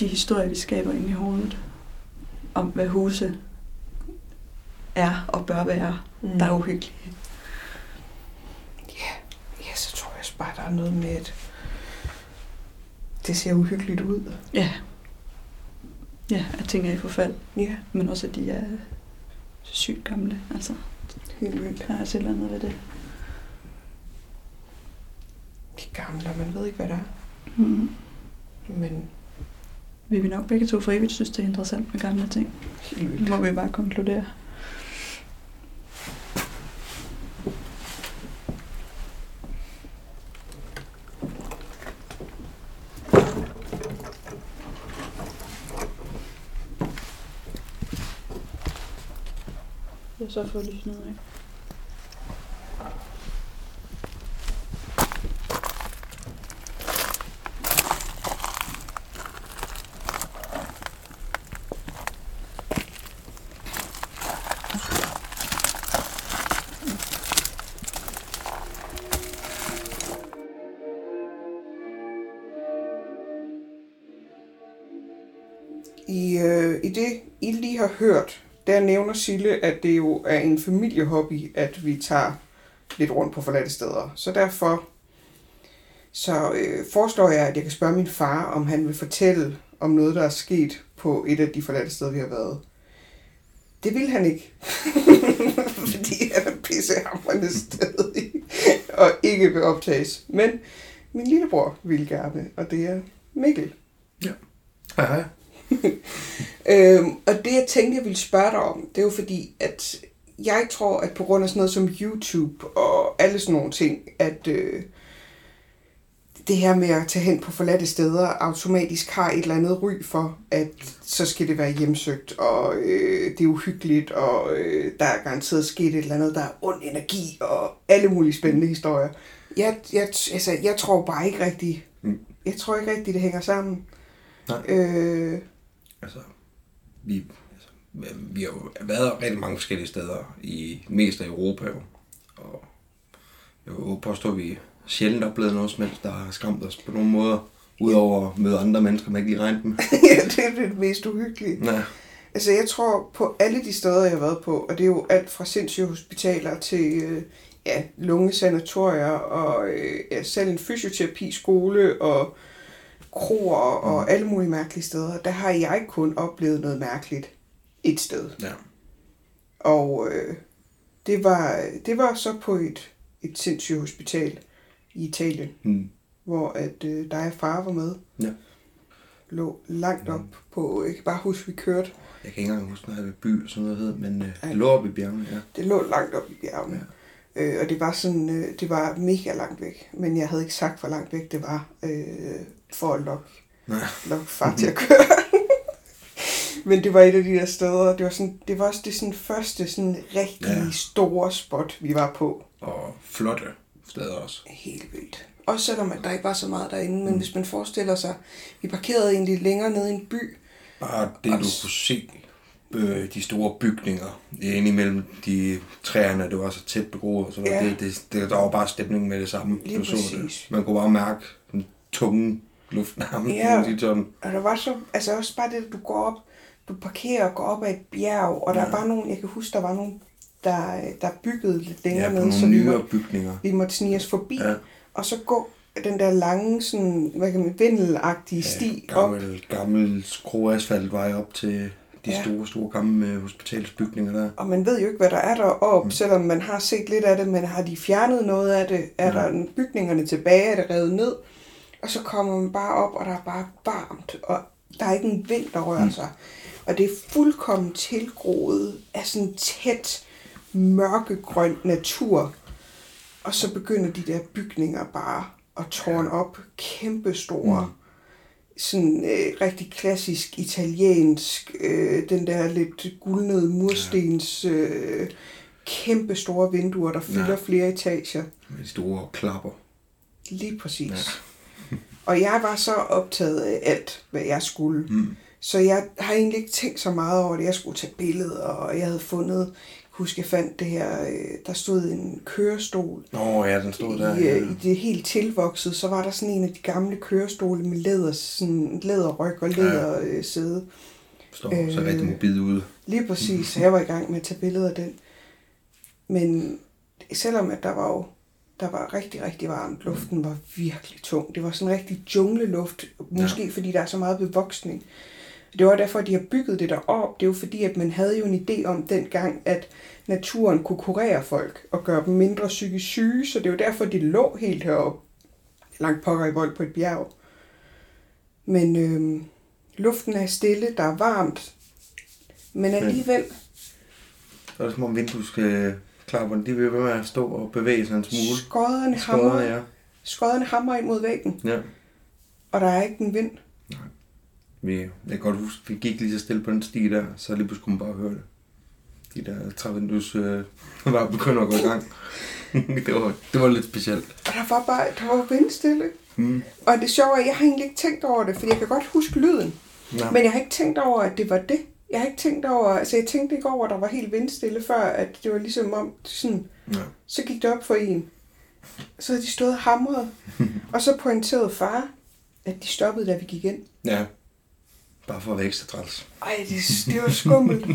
Speaker 6: de historier, vi skaber inde i hovedet, om hvad huse er og bør være, mm. der er uhyggelige.
Speaker 3: Ja, så tror jeg også bare, der er noget med, at det ser uhyggeligt ud.
Speaker 6: Ja. Ja, at ting er i forfald,
Speaker 3: Ja,
Speaker 6: men også at de er sygt gamle. Altså,
Speaker 3: helt vildt.
Speaker 6: der er altså et eller andet ved det.
Speaker 3: De er gamle, og man ved ikke, hvad der er.
Speaker 6: Mm.
Speaker 3: Men
Speaker 6: Vi vil nok begge to for evigt synes, det er interessant med gamle ting.
Speaker 3: helt
Speaker 6: Det
Speaker 3: vildt.
Speaker 6: må vi bare konkludere. jeg så få lige noget af.
Speaker 3: I, øh, I det, I lige har hørt, der nævner Sille, at det jo er en familiehobby, at vi tager lidt rundt på forladte steder. Så derfor så øh, foreslår jeg, at jeg kan spørge min far, om han vil fortælle om noget, der er sket på et af de forladte steder, vi har været. Det vil han ikke. Fordi han er pissehammerende stadig og ikke vil optages. Men min lillebror vil gerne, og det er Mikkel.
Speaker 7: Hej, hej.
Speaker 3: Øhm, og det jeg tænkte, jeg ville spørge dig om, det er jo fordi, at jeg tror, at på grund af sådan noget som YouTube og alle sådan nogle ting, at øh, det her med at tage hen på forladte steder automatisk har et eller andet ry for, at så skal det være hjemsøgt, og øh, det er uhyggeligt, og øh, der er garanteret sket et eller andet, der er ond energi, og alle mulige spændende historier. Jeg, jeg, altså, jeg tror bare ikke rigtigt,
Speaker 7: Mm.
Speaker 3: jeg tror ikke rigtigt, det hænger sammen.
Speaker 7: Nej.
Speaker 3: Øh,
Speaker 7: Altså, vi, altså, vi har jo været rigtig mange forskellige steder, i mest af Europa jo. Og jeg vil påstå, at vi sjældent oplevede noget som helst, der har skræmt os på nogen måder. Udover at møde andre mennesker, man ikke lige regnede med.
Speaker 3: ja, det er det mest uhyggelige.
Speaker 7: Nej.
Speaker 3: Altså, jeg tror på alle de steder, jeg har været på, og det er jo alt fra sindssyge hospitaler til øh, ja, lungesanatorier og øh, ja, selv en fysioterapiskole og kroer og alle mulige mærkelige steder. Der har jeg kun oplevet noget mærkeligt et sted.
Speaker 7: Ja.
Speaker 3: Og øh, det, var, det var så på et, et sindssyge hospital i Italien,
Speaker 7: Mm.
Speaker 3: hvor at øh, dig og far var med.
Speaker 7: Ja.
Speaker 3: Lå langt op på, jeg kan bare huske, vi kørte
Speaker 7: Jeg kan ikke engang huske, hvad by eller sådan noget hed, men øh,
Speaker 3: Ej.
Speaker 7: det lå oppe i bjergene, ja.
Speaker 3: Det lå langt op i bjergene. Ja. Øh, og det var sådan, øh, det var mega langt væk. Men jeg havde ikke sagt, hvor langt væk det var, øh, for at lokke,
Speaker 7: Nej.
Speaker 3: lokke far til at køre. Men det var et af de der steder, det var, sådan, det var også det sådan første sådan rigtig ja.
Speaker 7: Ja.
Speaker 3: store spot, vi var på.
Speaker 7: Og flotte steder også.
Speaker 3: Helt vildt. Også selvom at der ikke var så meget derinde,
Speaker 7: Mm.
Speaker 3: men hvis man forestiller sig, vi parkerede egentlig længere nede i en by,
Speaker 7: Bare det, du kunne se øh, de store bygninger inde imellem de træerne, det var så tæt begroet, så var
Speaker 3: Ja.
Speaker 7: ja. det, det, det, der var bare stemning med det samme.
Speaker 3: Lige
Speaker 7: du så
Speaker 3: præcis.
Speaker 7: det. Man kunne bare mærke den tunge luftnarmen.
Speaker 3: Ja.
Speaker 7: i sådan.
Speaker 3: Og der var så, altså også bare det, at du går op, du parkerer og går op ad et bjerg, og der ja. var nogen, jeg kan huske, der var nogen, der, øh, der byggede lidt længere
Speaker 7: Ja, på
Speaker 3: ned, så
Speaker 7: nogle
Speaker 3: vi
Speaker 7: nyere
Speaker 3: måtte,
Speaker 7: bygninger.
Speaker 3: vi måtte snige os forbi, ja.
Speaker 7: Ja.
Speaker 3: og så gå den der lange, sådan, hvad kan man, vindelagtige ja, sti
Speaker 7: Ja,
Speaker 3: op.
Speaker 7: gammel, gammel skroasfaltvej op til de
Speaker 3: Ja.
Speaker 7: ja. store, store gamle øh, hospitalsbygninger der.
Speaker 3: Og man ved jo ikke, hvad der er deroppe, mm. selvom man har set lidt af det, men har de fjernet noget af det? Er
Speaker 7: Mm.
Speaker 3: der en- bygningerne tilbage? Er det revet ned? Og så kommer man bare op, og der er bare varmt, og der er ikke en vind, der rører mm. sig. Og det er fuldkommen tilgroet af sådan tæt, mørkegrøn natur. Og så begynder de der bygninger bare at tårne op. Kæmpestore. Mm sådan øh, rigtig klassisk italiensk, øh, den der lidt gulnede murstens øh, kæmpe store vinduer, der fylder ja.
Speaker 7: Ja.
Speaker 3: flere etager.
Speaker 7: Med de store klapper.
Speaker 3: Lige præcis. Ja. Og jeg var så optaget af alt, hvad jeg skulle. Mm. Så jeg har egentlig ikke tænkt så meget over det. Jeg skulle tage billeder, og jeg havde fundet, husk jeg fandt det her, øh, der stod en kørestol
Speaker 7: Nå ja, den stod der.
Speaker 3: i, øh, i det helt tilvoksede, så var der sådan en af de gamle kørestole med læder, sådan læderryg og lædersæde. Ja.
Speaker 7: Står så
Speaker 3: øh,
Speaker 7: rigtig mobil ude.
Speaker 3: Lige præcis, så jeg var i gang med at tage billeder af den. Men selvom at der var jo, der var rigtig, rigtig varmt, luften var virkelig tung. Det var sådan rigtig jungleluft, måske ja. fordi der er så meget bevoksning. Det var derfor, at de har bygget det derop. Det er jo fordi, at man havde jo en idé om dengang, at naturen kunne kurere folk og gøre dem mindre psykisk syge, så det er jo derfor, de lå helt heroppe, langt pokker i vold på et bjerg. Men øhm, luften er stille, der er varmt, men alligevel,
Speaker 7: Så er det som om vinduesklapperne, de vil ved med at stå og bevæge sig en smule.
Speaker 3: skodderne hamrer,
Speaker 7: Skåret, ja.
Speaker 3: skodderne hamrer ind mod væggen,
Speaker 7: ja.
Speaker 3: og der er ikke en vind.
Speaker 7: Vi, jeg kan godt huske, vi gik lige så stille på den sti der, så lige pludselig kunne man bare høre det. de der trævindus øh, var begyndt at gå i gang. det, var, det var lidt specielt.
Speaker 3: Og der var bare, der var vindstille.
Speaker 7: Mm.
Speaker 3: Og det sjove er, at jeg har egentlig ikke tænkt over det, for jeg kan godt huske lyden.
Speaker 7: Nej.
Speaker 3: Men jeg har ikke tænkt over, at det var det. Jeg har ikke tænkt over, altså jeg tænkte ikke over, at der var helt vindstille før, at det var ligesom om, sådan,
Speaker 7: Ja.
Speaker 3: så gik det op for en. Så havde de stået og hamret, og så pointerede far, at de stoppede, da vi gik ind.
Speaker 7: ja. Bare for at være ekstra træls.
Speaker 3: Ej, det, det var skummelt.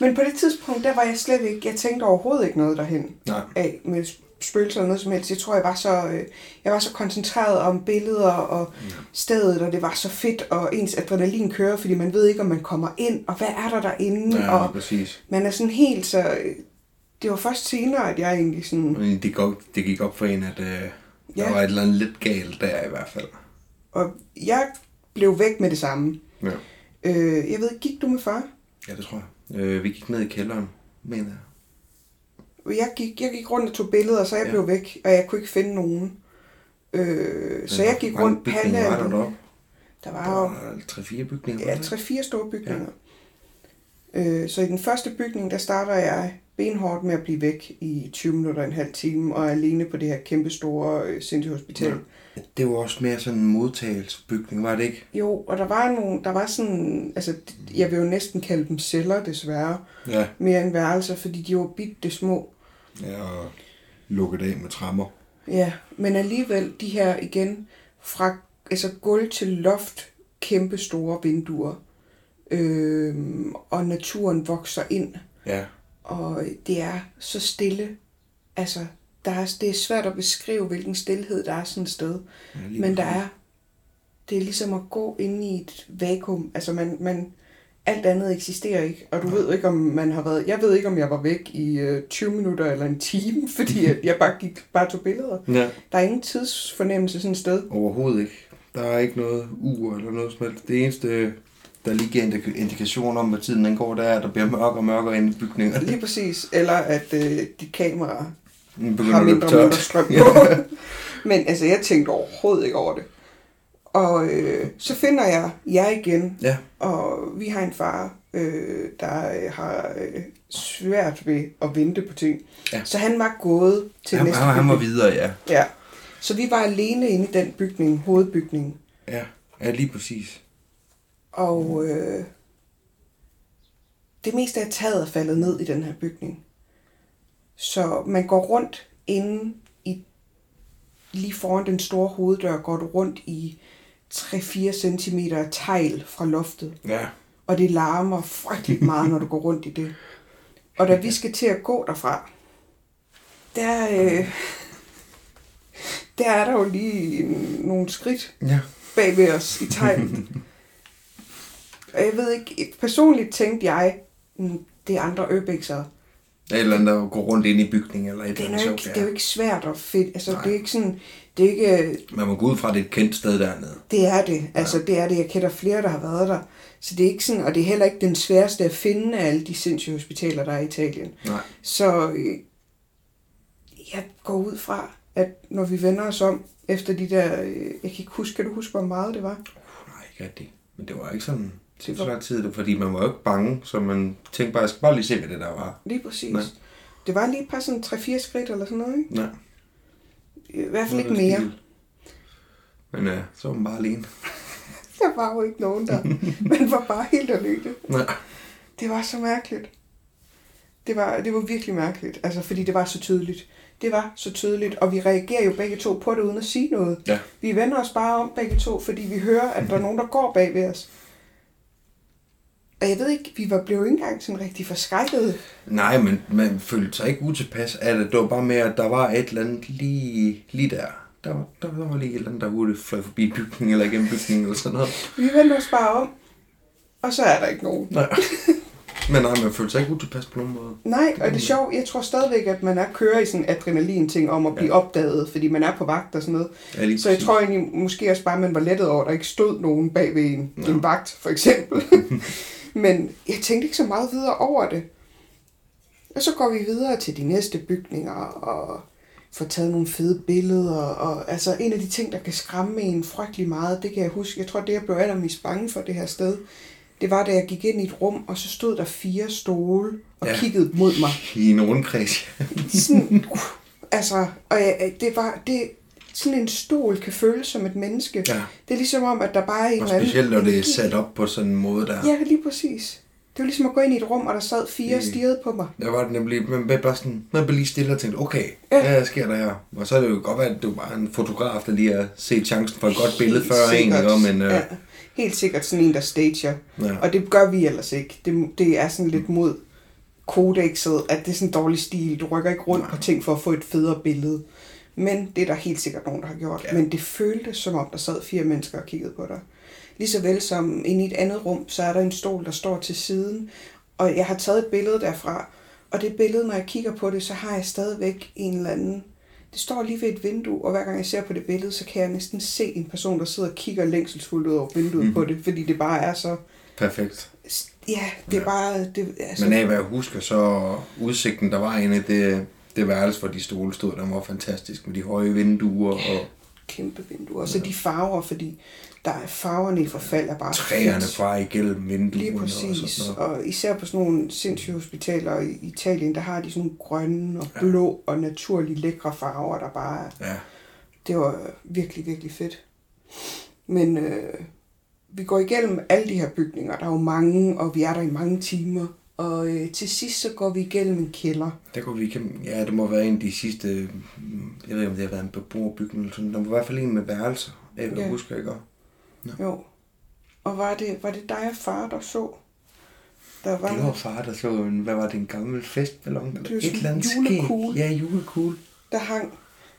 Speaker 3: Men på det tidspunkt, der var jeg slet ikke, jeg tænkte overhovedet ikke noget derhen
Speaker 7: Nej.
Speaker 3: af med spøgelser eller noget som helst. Jeg tror, jeg var så, øh, jeg var så koncentreret om billeder og stedet, og det var så fedt, og ens adrenalin kører, fordi man ved ikke, om man kommer ind, og hvad er der derinde,
Speaker 7: Ja,
Speaker 3: Mm, og
Speaker 7: præcis.
Speaker 3: man er sådan helt så... øh, Det var først senere, at jeg egentlig sådan...
Speaker 7: Men det, gik op, det gik op for en, at øh, der
Speaker 3: Ja.
Speaker 7: var et eller andet lidt galt der i hvert fald.
Speaker 3: Og jeg blev væk med det samme.
Speaker 7: Ja.
Speaker 3: Øh, jeg ved, ikke, gik du med far?
Speaker 7: Ja, det tror jeg. Øh, vi gik ned i kælderen, mener jeg.
Speaker 3: Jeg gik, jeg gik rundt og tog billeder, så jeg
Speaker 7: Ja.
Speaker 3: ja. blev væk, og jeg kunne ikke finde nogen. Øh, så jeg gik rundt
Speaker 7: pande. Der var,
Speaker 3: Der var jo
Speaker 7: der var 3-4 bygninger.
Speaker 3: Ja,
Speaker 7: var der
Speaker 3: 3-4
Speaker 7: ikke?
Speaker 3: store bygninger. Ja. Øh, så i den første bygning, der starter jeg benhårdt med at blive væk i 20 minutter, en halv time, og er alene på det her kæmpe store øh, sindssyge hospital. Ja.
Speaker 7: Det var også mere sådan en modtagelsesbygning, var det ikke?
Speaker 3: Jo, og der var nogle, der var sådan, altså jeg vil jo næsten kalde dem celler desværre,
Speaker 7: Ja.
Speaker 3: mere end værelser, fordi de var bitte små.
Speaker 7: Ja, og lukket af med trammer.
Speaker 3: Ja, men alligevel de her igen, fra altså gulv til loft, kæmpe store vinduer. Øhm, og naturen vokser ind.
Speaker 7: Ja.
Speaker 3: og det er så stille. Altså, der er, det er svært at beskrive, hvilken stillhed der er sådan et sted.
Speaker 7: Ja, lige
Speaker 3: Men der
Speaker 7: præcis.
Speaker 3: er, det er ligesom at gå ind i et vakuum. Altså, man, man, alt andet eksisterer ikke, og du ved jo ikke, om man har været... Jeg ved ikke, om jeg var væk i øh, 20 minutter eller en time, fordi at jeg bare, gik, bare tog billeder.
Speaker 7: Ja.
Speaker 3: Der er ingen tidsfornemmelse sådan et sted.
Speaker 7: Overhovedet ikke. Der er ikke noget ur eller noget som helst. Det eneste, der lige giver indik- indikation om, hvad tiden den går, det er, at der bliver mørkere og mørkere inde i bygningerne.
Speaker 3: Lige præcis. Eller at øh, de kameraer
Speaker 7: Den
Speaker 3: har
Speaker 7: begynder at løbe
Speaker 3: mindre og mindre
Speaker 7: tørt.
Speaker 3: strøm på. Men altså, jeg tænkte overhovedet ikke over det. Og øh, så finder jeg jer igen,
Speaker 7: Ja.
Speaker 3: og vi har en far, øh, der øh, har øh, svært ved at vente på ting.
Speaker 7: Ja.
Speaker 3: Så han var gået til
Speaker 7: Han,
Speaker 3: næste
Speaker 7: han, han var
Speaker 3: bygning.
Speaker 7: videre, ja.
Speaker 3: Ja. Så vi var alene inde i den bygning, hovedbygningen.
Speaker 7: Ja, ja lige præcis.
Speaker 3: Og øh, det meste af taget er faldet ned i den her bygning. Så man går rundt inden i, lige foran den store hoveddør, går du rundt i 3-4 cm tegl fra loftet.
Speaker 7: Ja.
Speaker 3: Og det larmer frygteligt meget, når du går rundt i det. Og da vi skal til at gå derfra, der, øh, der er der jo lige en- nogle skridt
Speaker 7: Ja.
Speaker 3: bag ved os i tegnet. Og jeg ved ikke, personligt tænkte jeg, "Mm, det er andre øbækser.
Speaker 7: Der er et eller andet, der går rundt inde i bygningen eller et
Speaker 3: Det
Speaker 7: eller
Speaker 3: er,
Speaker 7: andet
Speaker 3: jo
Speaker 7: sjovt.
Speaker 3: ikke, det er jo
Speaker 7: Ja.
Speaker 3: ikke svært at finde. Altså,
Speaker 7: Nej.
Speaker 3: det er ikke sådan, det er ikke,
Speaker 7: Man må gå ud fra, at det er et kendt sted dernede.
Speaker 3: det er det. Altså, det er det. Jeg kender flere, der har været der. Så det er ikke sådan, og det er heller ikke den sværeste at finde af alle de sindssyge hospitaler, der er i Italien.
Speaker 7: Nej.
Speaker 3: Så øh, jeg går ud fra, at når vi vender os om efter de der, øh, jeg kan ikke huske, kan du huske, hvor meget det var?
Speaker 7: Nej, ikke rigtigt. Men det var ikke sådan det så lang tid, fordi man var jo ikke bange, så man tænkte bare, jeg skal bare lige se, hvad det der var.
Speaker 3: Lige præcis.
Speaker 7: Nej.
Speaker 3: Det var lige et par sådan 3-4 skridt eller sådan noget, ikke?
Speaker 7: Nej.
Speaker 3: I hvert fald ikke mere.
Speaker 7: Men øh, så var man bare alene.
Speaker 3: Der var jo ikke nogen der. Man var bare helt alene.
Speaker 7: Nej.
Speaker 3: Det var så mærkeligt. Det var, det var virkelig mærkeligt, altså, fordi det var så tydeligt. Det var så tydeligt, og vi reagerer jo begge to på det, uden at sige noget.
Speaker 7: Ja.
Speaker 3: Vi vender os bare om begge to, fordi vi hører, at der er nogen, der går bag ved os. Og jeg ved ikke, vi var blev ikke engang sådan rigtig forskrækkede.
Speaker 7: Nej, men man følte sig ikke utilpas af det. Det var bare mere, at der var et eller andet lige, lige der. Der var, der, der var lige et eller andet, der burde fløj forbi bygningen eller igennem bygningen eller sådan noget.
Speaker 3: Vi vender os bare om, og så er der ikke nogen.
Speaker 7: Nej. Men nej, man følte sig ikke utilpas på nogen måde.
Speaker 3: Nej, og det er sjovt, jeg tror stadigvæk, at man er kører i sådan adrenalin-ting om at blive ja. opdaget, fordi man er på vagt og sådan noget.
Speaker 7: Ja, lige
Speaker 3: Så jeg
Speaker 7: præcis.
Speaker 3: tror egentlig måske også bare, at man var lettet over, at der ikke stod nogen bag ved en, en vagt, for eksempel. Men jeg tænkte ikke så meget videre over det. Og så går vi videre til de næste bygninger og får taget nogle fede billeder. Og, altså en af de ting, der kan skræmme en frygtelig meget, det kan jeg huske. Jeg tror, det jeg blev allermest bange for det her sted, det var, da jeg gik ind i et rum, og så stod der fire stole og
Speaker 7: Ja.
Speaker 3: ja. kiggede mod mig.
Speaker 7: I en rundkreds.
Speaker 3: Sådan, uh, altså, og jeg, det var, det, sådan en stol kan føles som et menneske.
Speaker 7: Ja.
Speaker 3: Det er ligesom om, at der bare er en
Speaker 7: Og
Speaker 3: eller anden
Speaker 7: specielt, når det er
Speaker 3: energi.
Speaker 7: sat op på sådan en måde der.
Speaker 3: Ja, lige præcis. Det var ligesom at gå ind i et rum, og der sad fire og
Speaker 7: Mm.
Speaker 3: stirrede på mig.
Speaker 7: Der var det nemlig, man blev bare sådan, man blev lige stille og tænkte, okay,
Speaker 3: Ja.
Speaker 7: ja. hvad sker der her? Og så er det jo godt være, at du bare er en fotograf, der lige har set chancen for et godt billede
Speaker 3: Helt
Speaker 7: før en,
Speaker 3: sikkert.
Speaker 7: ikke? men øh,
Speaker 3: ja, helt sikkert sådan en, der stager.
Speaker 7: ja. Mm.
Speaker 3: Og det gør vi ellers ikke. Det, det er sådan lidt mod kodexet, at det er sådan en dårlig stil. Du rykker ikke rundt på ting for at få et federe billede. Men det er der helt sikkert nogen, der har gjort.
Speaker 7: Ja.
Speaker 3: Ja. Men det føltes som om, der sad fire mennesker og kiggede på dig. Lige så vel som inde i et andet rum, så er der en stol, der står til siden. Og jeg har taget et billede derfra. Og det billede, når jeg kigger på det, så har jeg stadigvæk en eller anden... Det står lige ved et vindue, og hver gang jeg ser på det billede, så kan jeg næsten se en person, der sidder og kigger længselsfuldt ud over vinduet mm. på
Speaker 7: Mm-hmm.
Speaker 3: det, fordi det bare er så
Speaker 7: perfekt.
Speaker 3: Ja, det er
Speaker 7: Ja.
Speaker 3: bare... Det, altså,
Speaker 7: Men af hvad jeg husker, så udsigten, der var inde i det, det værelse, hvor de stole stod, der var fantastisk, med de høje vinduer og
Speaker 3: kæmpe vinduer. Og så de farver, fordi der er farverne i forfald er bare...
Speaker 7: træerne
Speaker 3: fedt.
Speaker 7: fra igennem vinduerne
Speaker 3: Lige
Speaker 7: og
Speaker 3: præcis.
Speaker 7: sådan noget.
Speaker 3: Og især på sådan nogle sindssyge hospitaler i Italien, der har de sådan nogle grønne og blå og naturlig lækre farver, der bare er...
Speaker 7: Ja,
Speaker 3: Det var virkelig, virkelig fedt. Men øh, vi går igennem alle de her bygninger. Der er jo mange, og vi er der i mange timer. Og øh, til sidst så går vi igennem en kælder.
Speaker 7: der kunne vi igennem, ja, det må være en af de sidste, mm, jeg ved ikke, om det har været en beboerbygning eller sådan, der var i hvert fald en med værelser, af hvad jeg
Speaker 3: Ja.
Speaker 7: husker, ikke? Og
Speaker 3: Jo. Og var det, var det dig og far, der så? Der var,
Speaker 7: Det var far, der så en, hvad var det, en gammel festballon?
Speaker 3: Det var
Speaker 7: Eller et
Speaker 3: sådan
Speaker 7: eller andet
Speaker 3: julekugle.
Speaker 7: skæg. Ja, julekugle.
Speaker 3: der hang,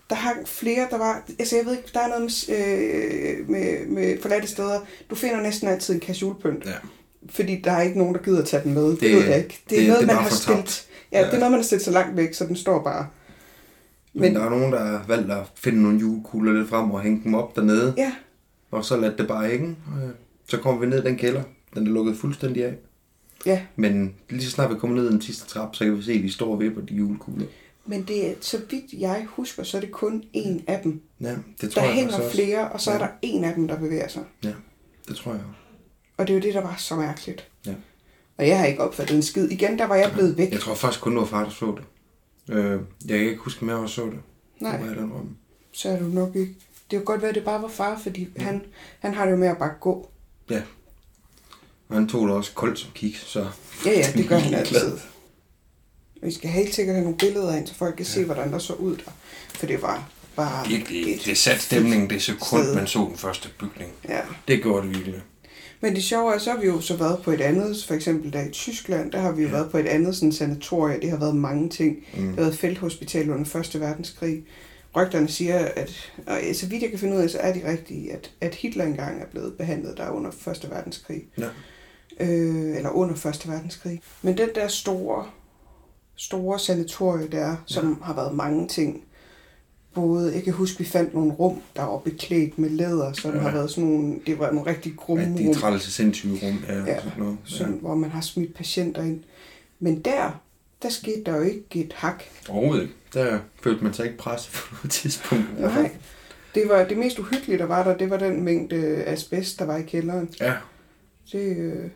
Speaker 3: der hang flere, der var, altså jeg ved ikke, der er noget med, øh, med, med forladte steder. Du finder næsten altid en kasulepynt,
Speaker 7: Ja.
Speaker 3: fordi der er ikke nogen, der gider at tage den med. Det,
Speaker 7: Det-
Speaker 3: ved jeg ikke. Det er
Speaker 7: det-
Speaker 3: noget,
Speaker 7: det er
Speaker 3: man
Speaker 7: bare
Speaker 3: har
Speaker 7: fortabt.
Speaker 3: stillet. Ja, ja, det er noget, man har stillet så langt væk, så den står bare.
Speaker 7: Men,
Speaker 3: Men-
Speaker 7: Men der er nogen, der har valgt at finde nogle julekugler lidt frem og hænge dem op dernede.
Speaker 3: Ja,
Speaker 7: Og så lade det bare hænge. Og, øh, Så kommer vi ned i den kælder. Den er lukket fuldstændig af.
Speaker 3: ja.
Speaker 7: Men lige så snart vi kommer ned ad den sidste trap, så kan vi se, at de står og vipper de julekugler.
Speaker 3: Men det er, så vidt jeg husker, så er det kun en af dem.
Speaker 7: Ja, det tror
Speaker 3: Der
Speaker 7: jeg faktisk
Speaker 3: hænger
Speaker 7: også.
Speaker 3: flere, og så er
Speaker 7: Ja.
Speaker 3: der en af dem, der bevæger sig.
Speaker 7: Ja, det tror jeg.
Speaker 3: Og det er jo det, der var så mærkeligt.
Speaker 7: Ja.
Speaker 3: Og jeg har ikke opfattet en skid. Igen, der var jeg blevet væk.
Speaker 7: Jeg tror faktisk kun, det var far, der så det. Øh, jeg kan ikke huske, om jeg også så det.
Speaker 3: Nej.
Speaker 7: Det var i den rum.
Speaker 3: så er du nok ikke. Det kan godt være, at det bare var far, fordi mm. han, han har det jo med at bare gå.
Speaker 7: Ja. Og han tog det også koldt som kiks, så...
Speaker 3: Ja, ja, det gør han altid. Vi skal helt sikkert have nogle billeder ind, så folk kan ja. se, hvordan der så ud der. For det var bare...
Speaker 7: Virkelig,
Speaker 3: et-
Speaker 7: det satte stemningen det sekund,
Speaker 3: sted.
Speaker 7: man så den første bygning.
Speaker 3: Ja.
Speaker 7: Det gjorde det virkelig.
Speaker 3: Men det sjove er, så har vi jo så været på et andet, for eksempel der i Tyskland, der har vi jo været på et andet sådan sanatorie, det har været mange ting. Mm. Det har været felthospital under 1. verdenskrig. Rygterne siger, at, og så vidt jeg kan finde ud af, så er de rigtige, at, at Hitler engang er blevet behandlet der under 1. verdenskrig.
Speaker 7: Ja.
Speaker 3: Øh, eller under 1. verdenskrig. Men den der store, store sanatorie der, som har været mange ting, både, jeg kan huske, vi fandt nogle rum, der var beklædt med læder, som
Speaker 7: Ja.
Speaker 3: har været sådan nogle, det var nogle rigtig grumme
Speaker 7: At
Speaker 3: rum
Speaker 7: de træls til sindssyge rum. Ja,
Speaker 3: ja,
Speaker 7: sådan noget. Ja.
Speaker 3: sådan, hvor man har smidt patienter ind. Men der, der skete der jo ikke et hak.
Speaker 7: Overhovedet ikke. Der følte man sig ikke presset på noget tidspunkt. i hvert
Speaker 3: Nej.
Speaker 7: fald.
Speaker 3: Altså, Det var det mest uhyggelige, der var der, det var den mængde asbest, der var i kælderen.
Speaker 7: Ja.
Speaker 3: Det, øh,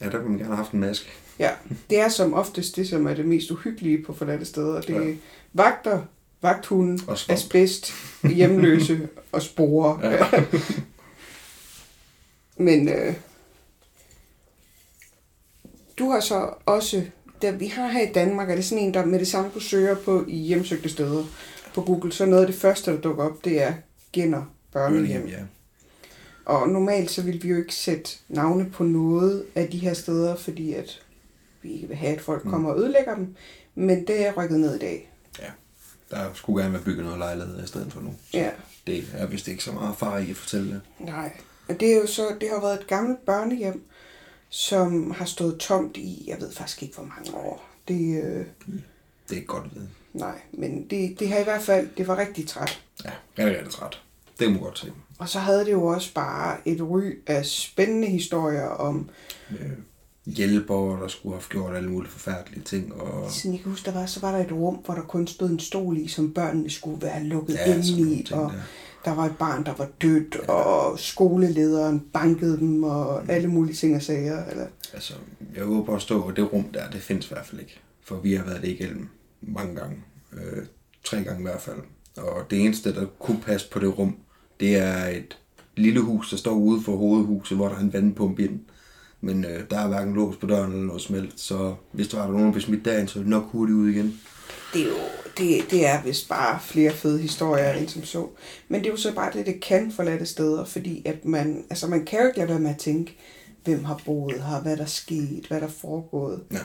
Speaker 7: ja, der kunne man gerne have haft en maske.
Speaker 3: ja, det er som oftest det, som er det mest uhyggelige på forladte steder. Det er
Speaker 7: Ja.
Speaker 3: vagter, vagthunde,
Speaker 7: Og svamp.
Speaker 3: asbest, hjemløse og sporer.
Speaker 7: Ja.
Speaker 3: Men øh, du har så også, der vi har her i Danmark, er det sådan en, der med det samme du søger på i hjemsøgte steder på Google, så noget af det første, der dukker op, det er genner børnehjem.
Speaker 7: ja.
Speaker 3: Og normalt så vil vi jo ikke sætte navne på noget af de her steder, fordi at vi ikke vil have, at
Speaker 7: Mm.
Speaker 3: folk kommer og ødelægger dem. Men det er rykket ned i dag.
Speaker 7: Der skulle gerne være bygget noget lejlighed i stedet for nu.
Speaker 3: Ja.
Speaker 7: Det er vist ikke så meget far i at fortælle det.
Speaker 3: Nej, og det er jo så, det har været et gammelt børnehjem, som har stået tomt i, jeg ved faktisk ikke hvor mange år. Det, øh,
Speaker 7: Det er ikke godt at vide.
Speaker 3: nej, men det, det har i hvert fald, det var rigtig træt.
Speaker 7: Ja, jeg er rigtig træt. Det må godt se.
Speaker 3: Og så havde det jo også bare et ry af spændende historier om,
Speaker 7: Øh, hjælpere, der skulle have gjort alle mulige forfærdelige ting. Og...
Speaker 3: sådan jeg kan huske, der var, så var der et rum, hvor der kun stod en stol i, som børnene skulle være lukket
Speaker 7: Ja,
Speaker 3: ja, inde
Speaker 7: sådan nogle
Speaker 3: i,
Speaker 7: ting
Speaker 3: og
Speaker 7: der.
Speaker 3: der. der var et barn, der var dødt, og skolelederen bankede dem, og alle mulige ting og sager. Eller,
Speaker 7: Altså, jeg håber at stå, at det rum der, det findes i hvert fald ikke. For vi har været det igennem mange gange. Øh, tre gange i hvert fald. Og det eneste, der kunne passe på det rum, det er et lille hus, der står ude for hovedhuset, hvor der er en vandpumpe i den. Men øh, der er hverken lås på døren eller noget smelt, så hvis der var nogen, der blev smidt derind, så er det nok hurtigt ud igen.
Speaker 3: det, er jo, det, det er vist bare flere fede historier end som så. Men det er jo så bare det, det kan forlade steder, fordi at man, altså man kan jo ikke lade være med at tænke, hvem har boet her, hvad der er sket, hvad der er foregået.
Speaker 7: Ja.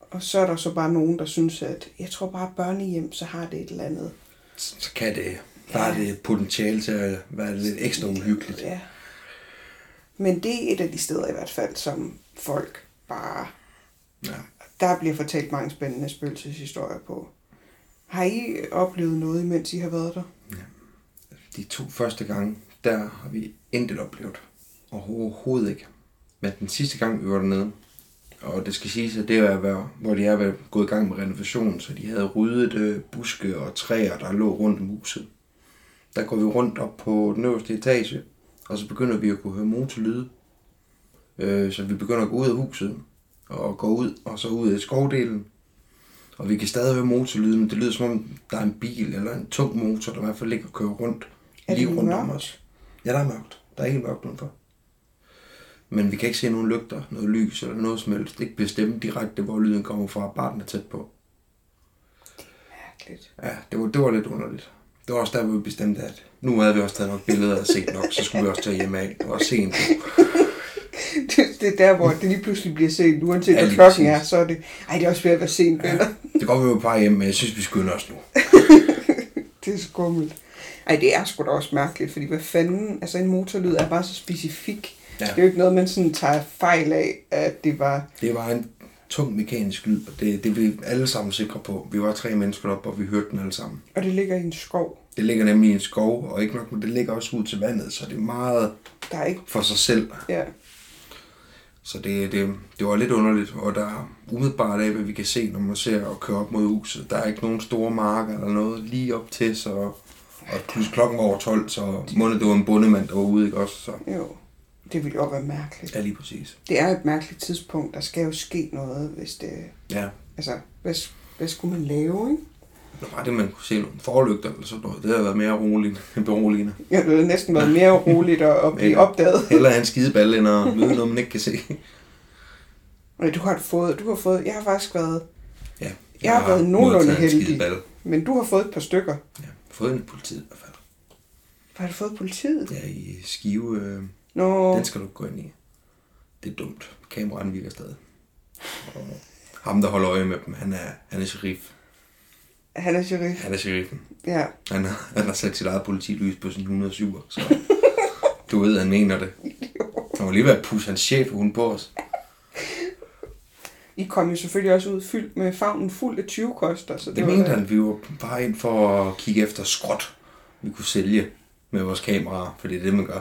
Speaker 3: Og så er der så bare nogen, der synes, at jeg tror bare, at børnehjem, så har det et eller andet.
Speaker 7: Så så kan det bare det potentiale til at være lidt ekstra uhyggeligt.
Speaker 3: Ja. Men det er et af de steder i hvert fald, som folk bare...
Speaker 7: Ja.
Speaker 3: Der bliver fortalt mange spændende spøgelseshistorier på. Har I oplevet noget, mens I har været der?
Speaker 7: De to første gange, der har vi intet oplevet. Overhovedet ikke. Men den sidste gang, vi var dernede, og det skal siges, at det var, hvor- hvor de er været gået i gang med renovationen, så de havde ryddet øh, buske og træer, der lå rundt om huset. Der går vi rundt op på den øverste etage, og så begynder vi at kunne høre motorlyde. Øh, så vi begynder at gå ud af huset, og gå ud, og så ud i skovdelen. Og vi kan stadig høre motorlyden, men det lyder som om, der er en bil eller en tung motor, der i hvert fald ligger og kører rundt.
Speaker 3: Er det
Speaker 7: lige rundt om
Speaker 3: mørkt?
Speaker 7: os. Ja, der er mørkt. Der er helt mørkt udenfor. Men vi kan ikke se nogen lygter, noget lys eller noget som helst. Ikke bestemme direkte, hvor lyden kommer fra. Bare den er tæt på.
Speaker 3: Mærkeligt.
Speaker 7: Ja, det var, det var lidt underligt. Det var også der, hvor vi bestemte, at nu havde vi også taget nok billeder og set nok, så skulle vi også tage hjem af og se en god.
Speaker 3: Det, det er der, hvor det lige pludselig bliver sent, uanset
Speaker 7: Ja,
Speaker 3: ja, hvad
Speaker 7: lige
Speaker 3: klokken er,
Speaker 7: præcis.
Speaker 3: så er det... Ej, det er også ved at være sent, venner. Ja.
Speaker 7: Det går vi jo bare hjem, men jeg synes, vi skynder os nu.
Speaker 3: Det er skummelt. Ej, det er sgu da også mærkeligt, fordi hvad fanden... Altså, en motorlyd er bare så specifik.
Speaker 7: Ja.
Speaker 3: Ja. Det er jo ikke noget, man sådan tager fejl af, at det var...
Speaker 7: Det var en tung mekanisk lyd, og det, det er vi alle sammen sikre på. Vi var tre mennesker op, og vi hørte den alle sammen.
Speaker 3: Og det ligger i en skov.
Speaker 7: Det ligger nemlig i en skov, og ikke nok, men det ligger også ud til vandet, så det er meget
Speaker 3: Der er ikke...
Speaker 7: for sig selv.
Speaker 3: Ja.
Speaker 7: Så det, det, det var lidt underligt, og der er umiddelbart af, hvad vi kan se, når man ser og kører op mod huset. Der er ikke nogen store marker eller noget lige op til, så, og plus klokken var over 12, så måned det var en bondemand, der var ude, ikke også? Så,
Speaker 3: Jo. Det ville jo være mærkeligt.
Speaker 7: ja, lige præcis.
Speaker 3: Det er et mærkeligt tidspunkt. Der skal jo ske noget, hvis det...
Speaker 7: Ja,
Speaker 3: Altså, hvad, hvad skulle man lave, ikke?
Speaker 7: nu var det, man kunne se nogle forlygter eller sådan noget. Det havde været mere roligt, beroligende.
Speaker 3: Ja, det havde næsten været mere roligt at, at blive
Speaker 7: Ja.
Speaker 3: opdaget.
Speaker 7: Heller en skideballe, end at møde noget, man ikke kan se.
Speaker 3: Men du har fået... Du har fået... Jeg har faktisk været...
Speaker 7: Ja,
Speaker 3: Jeg har været nogenlunde
Speaker 7: modtaget en
Speaker 3: heldig.
Speaker 7: skideballe.
Speaker 3: Men du har fået et par stykker.
Speaker 7: Ja, fået en i politiet i hvert fald.
Speaker 3: Har du fået politiet?
Speaker 7: Ja, i Skive, øh,
Speaker 3: Nå,
Speaker 7: Den skal du ikke gå ind i. Det er dumt. Kameraen virker stadig. Og ham, der holder øje med dem, han er, han er sheriff.
Speaker 3: han er sheriff.
Speaker 7: Han er sheriffen.
Speaker 3: Ja.
Speaker 7: Han har, han har sat sit eget politilys på sin 107, så du ved, han mener det. Han var lige ved at pusse hans chef hun på os.
Speaker 3: I kom jo selvfølgelig også ud fyldt med favnen fuld af 20 koster. Så det,
Speaker 7: Det
Speaker 3: var
Speaker 7: mente han, vi var bare ind for at kigge efter skråt, vi kunne sælge med vores kameraer, for det er det, man gør.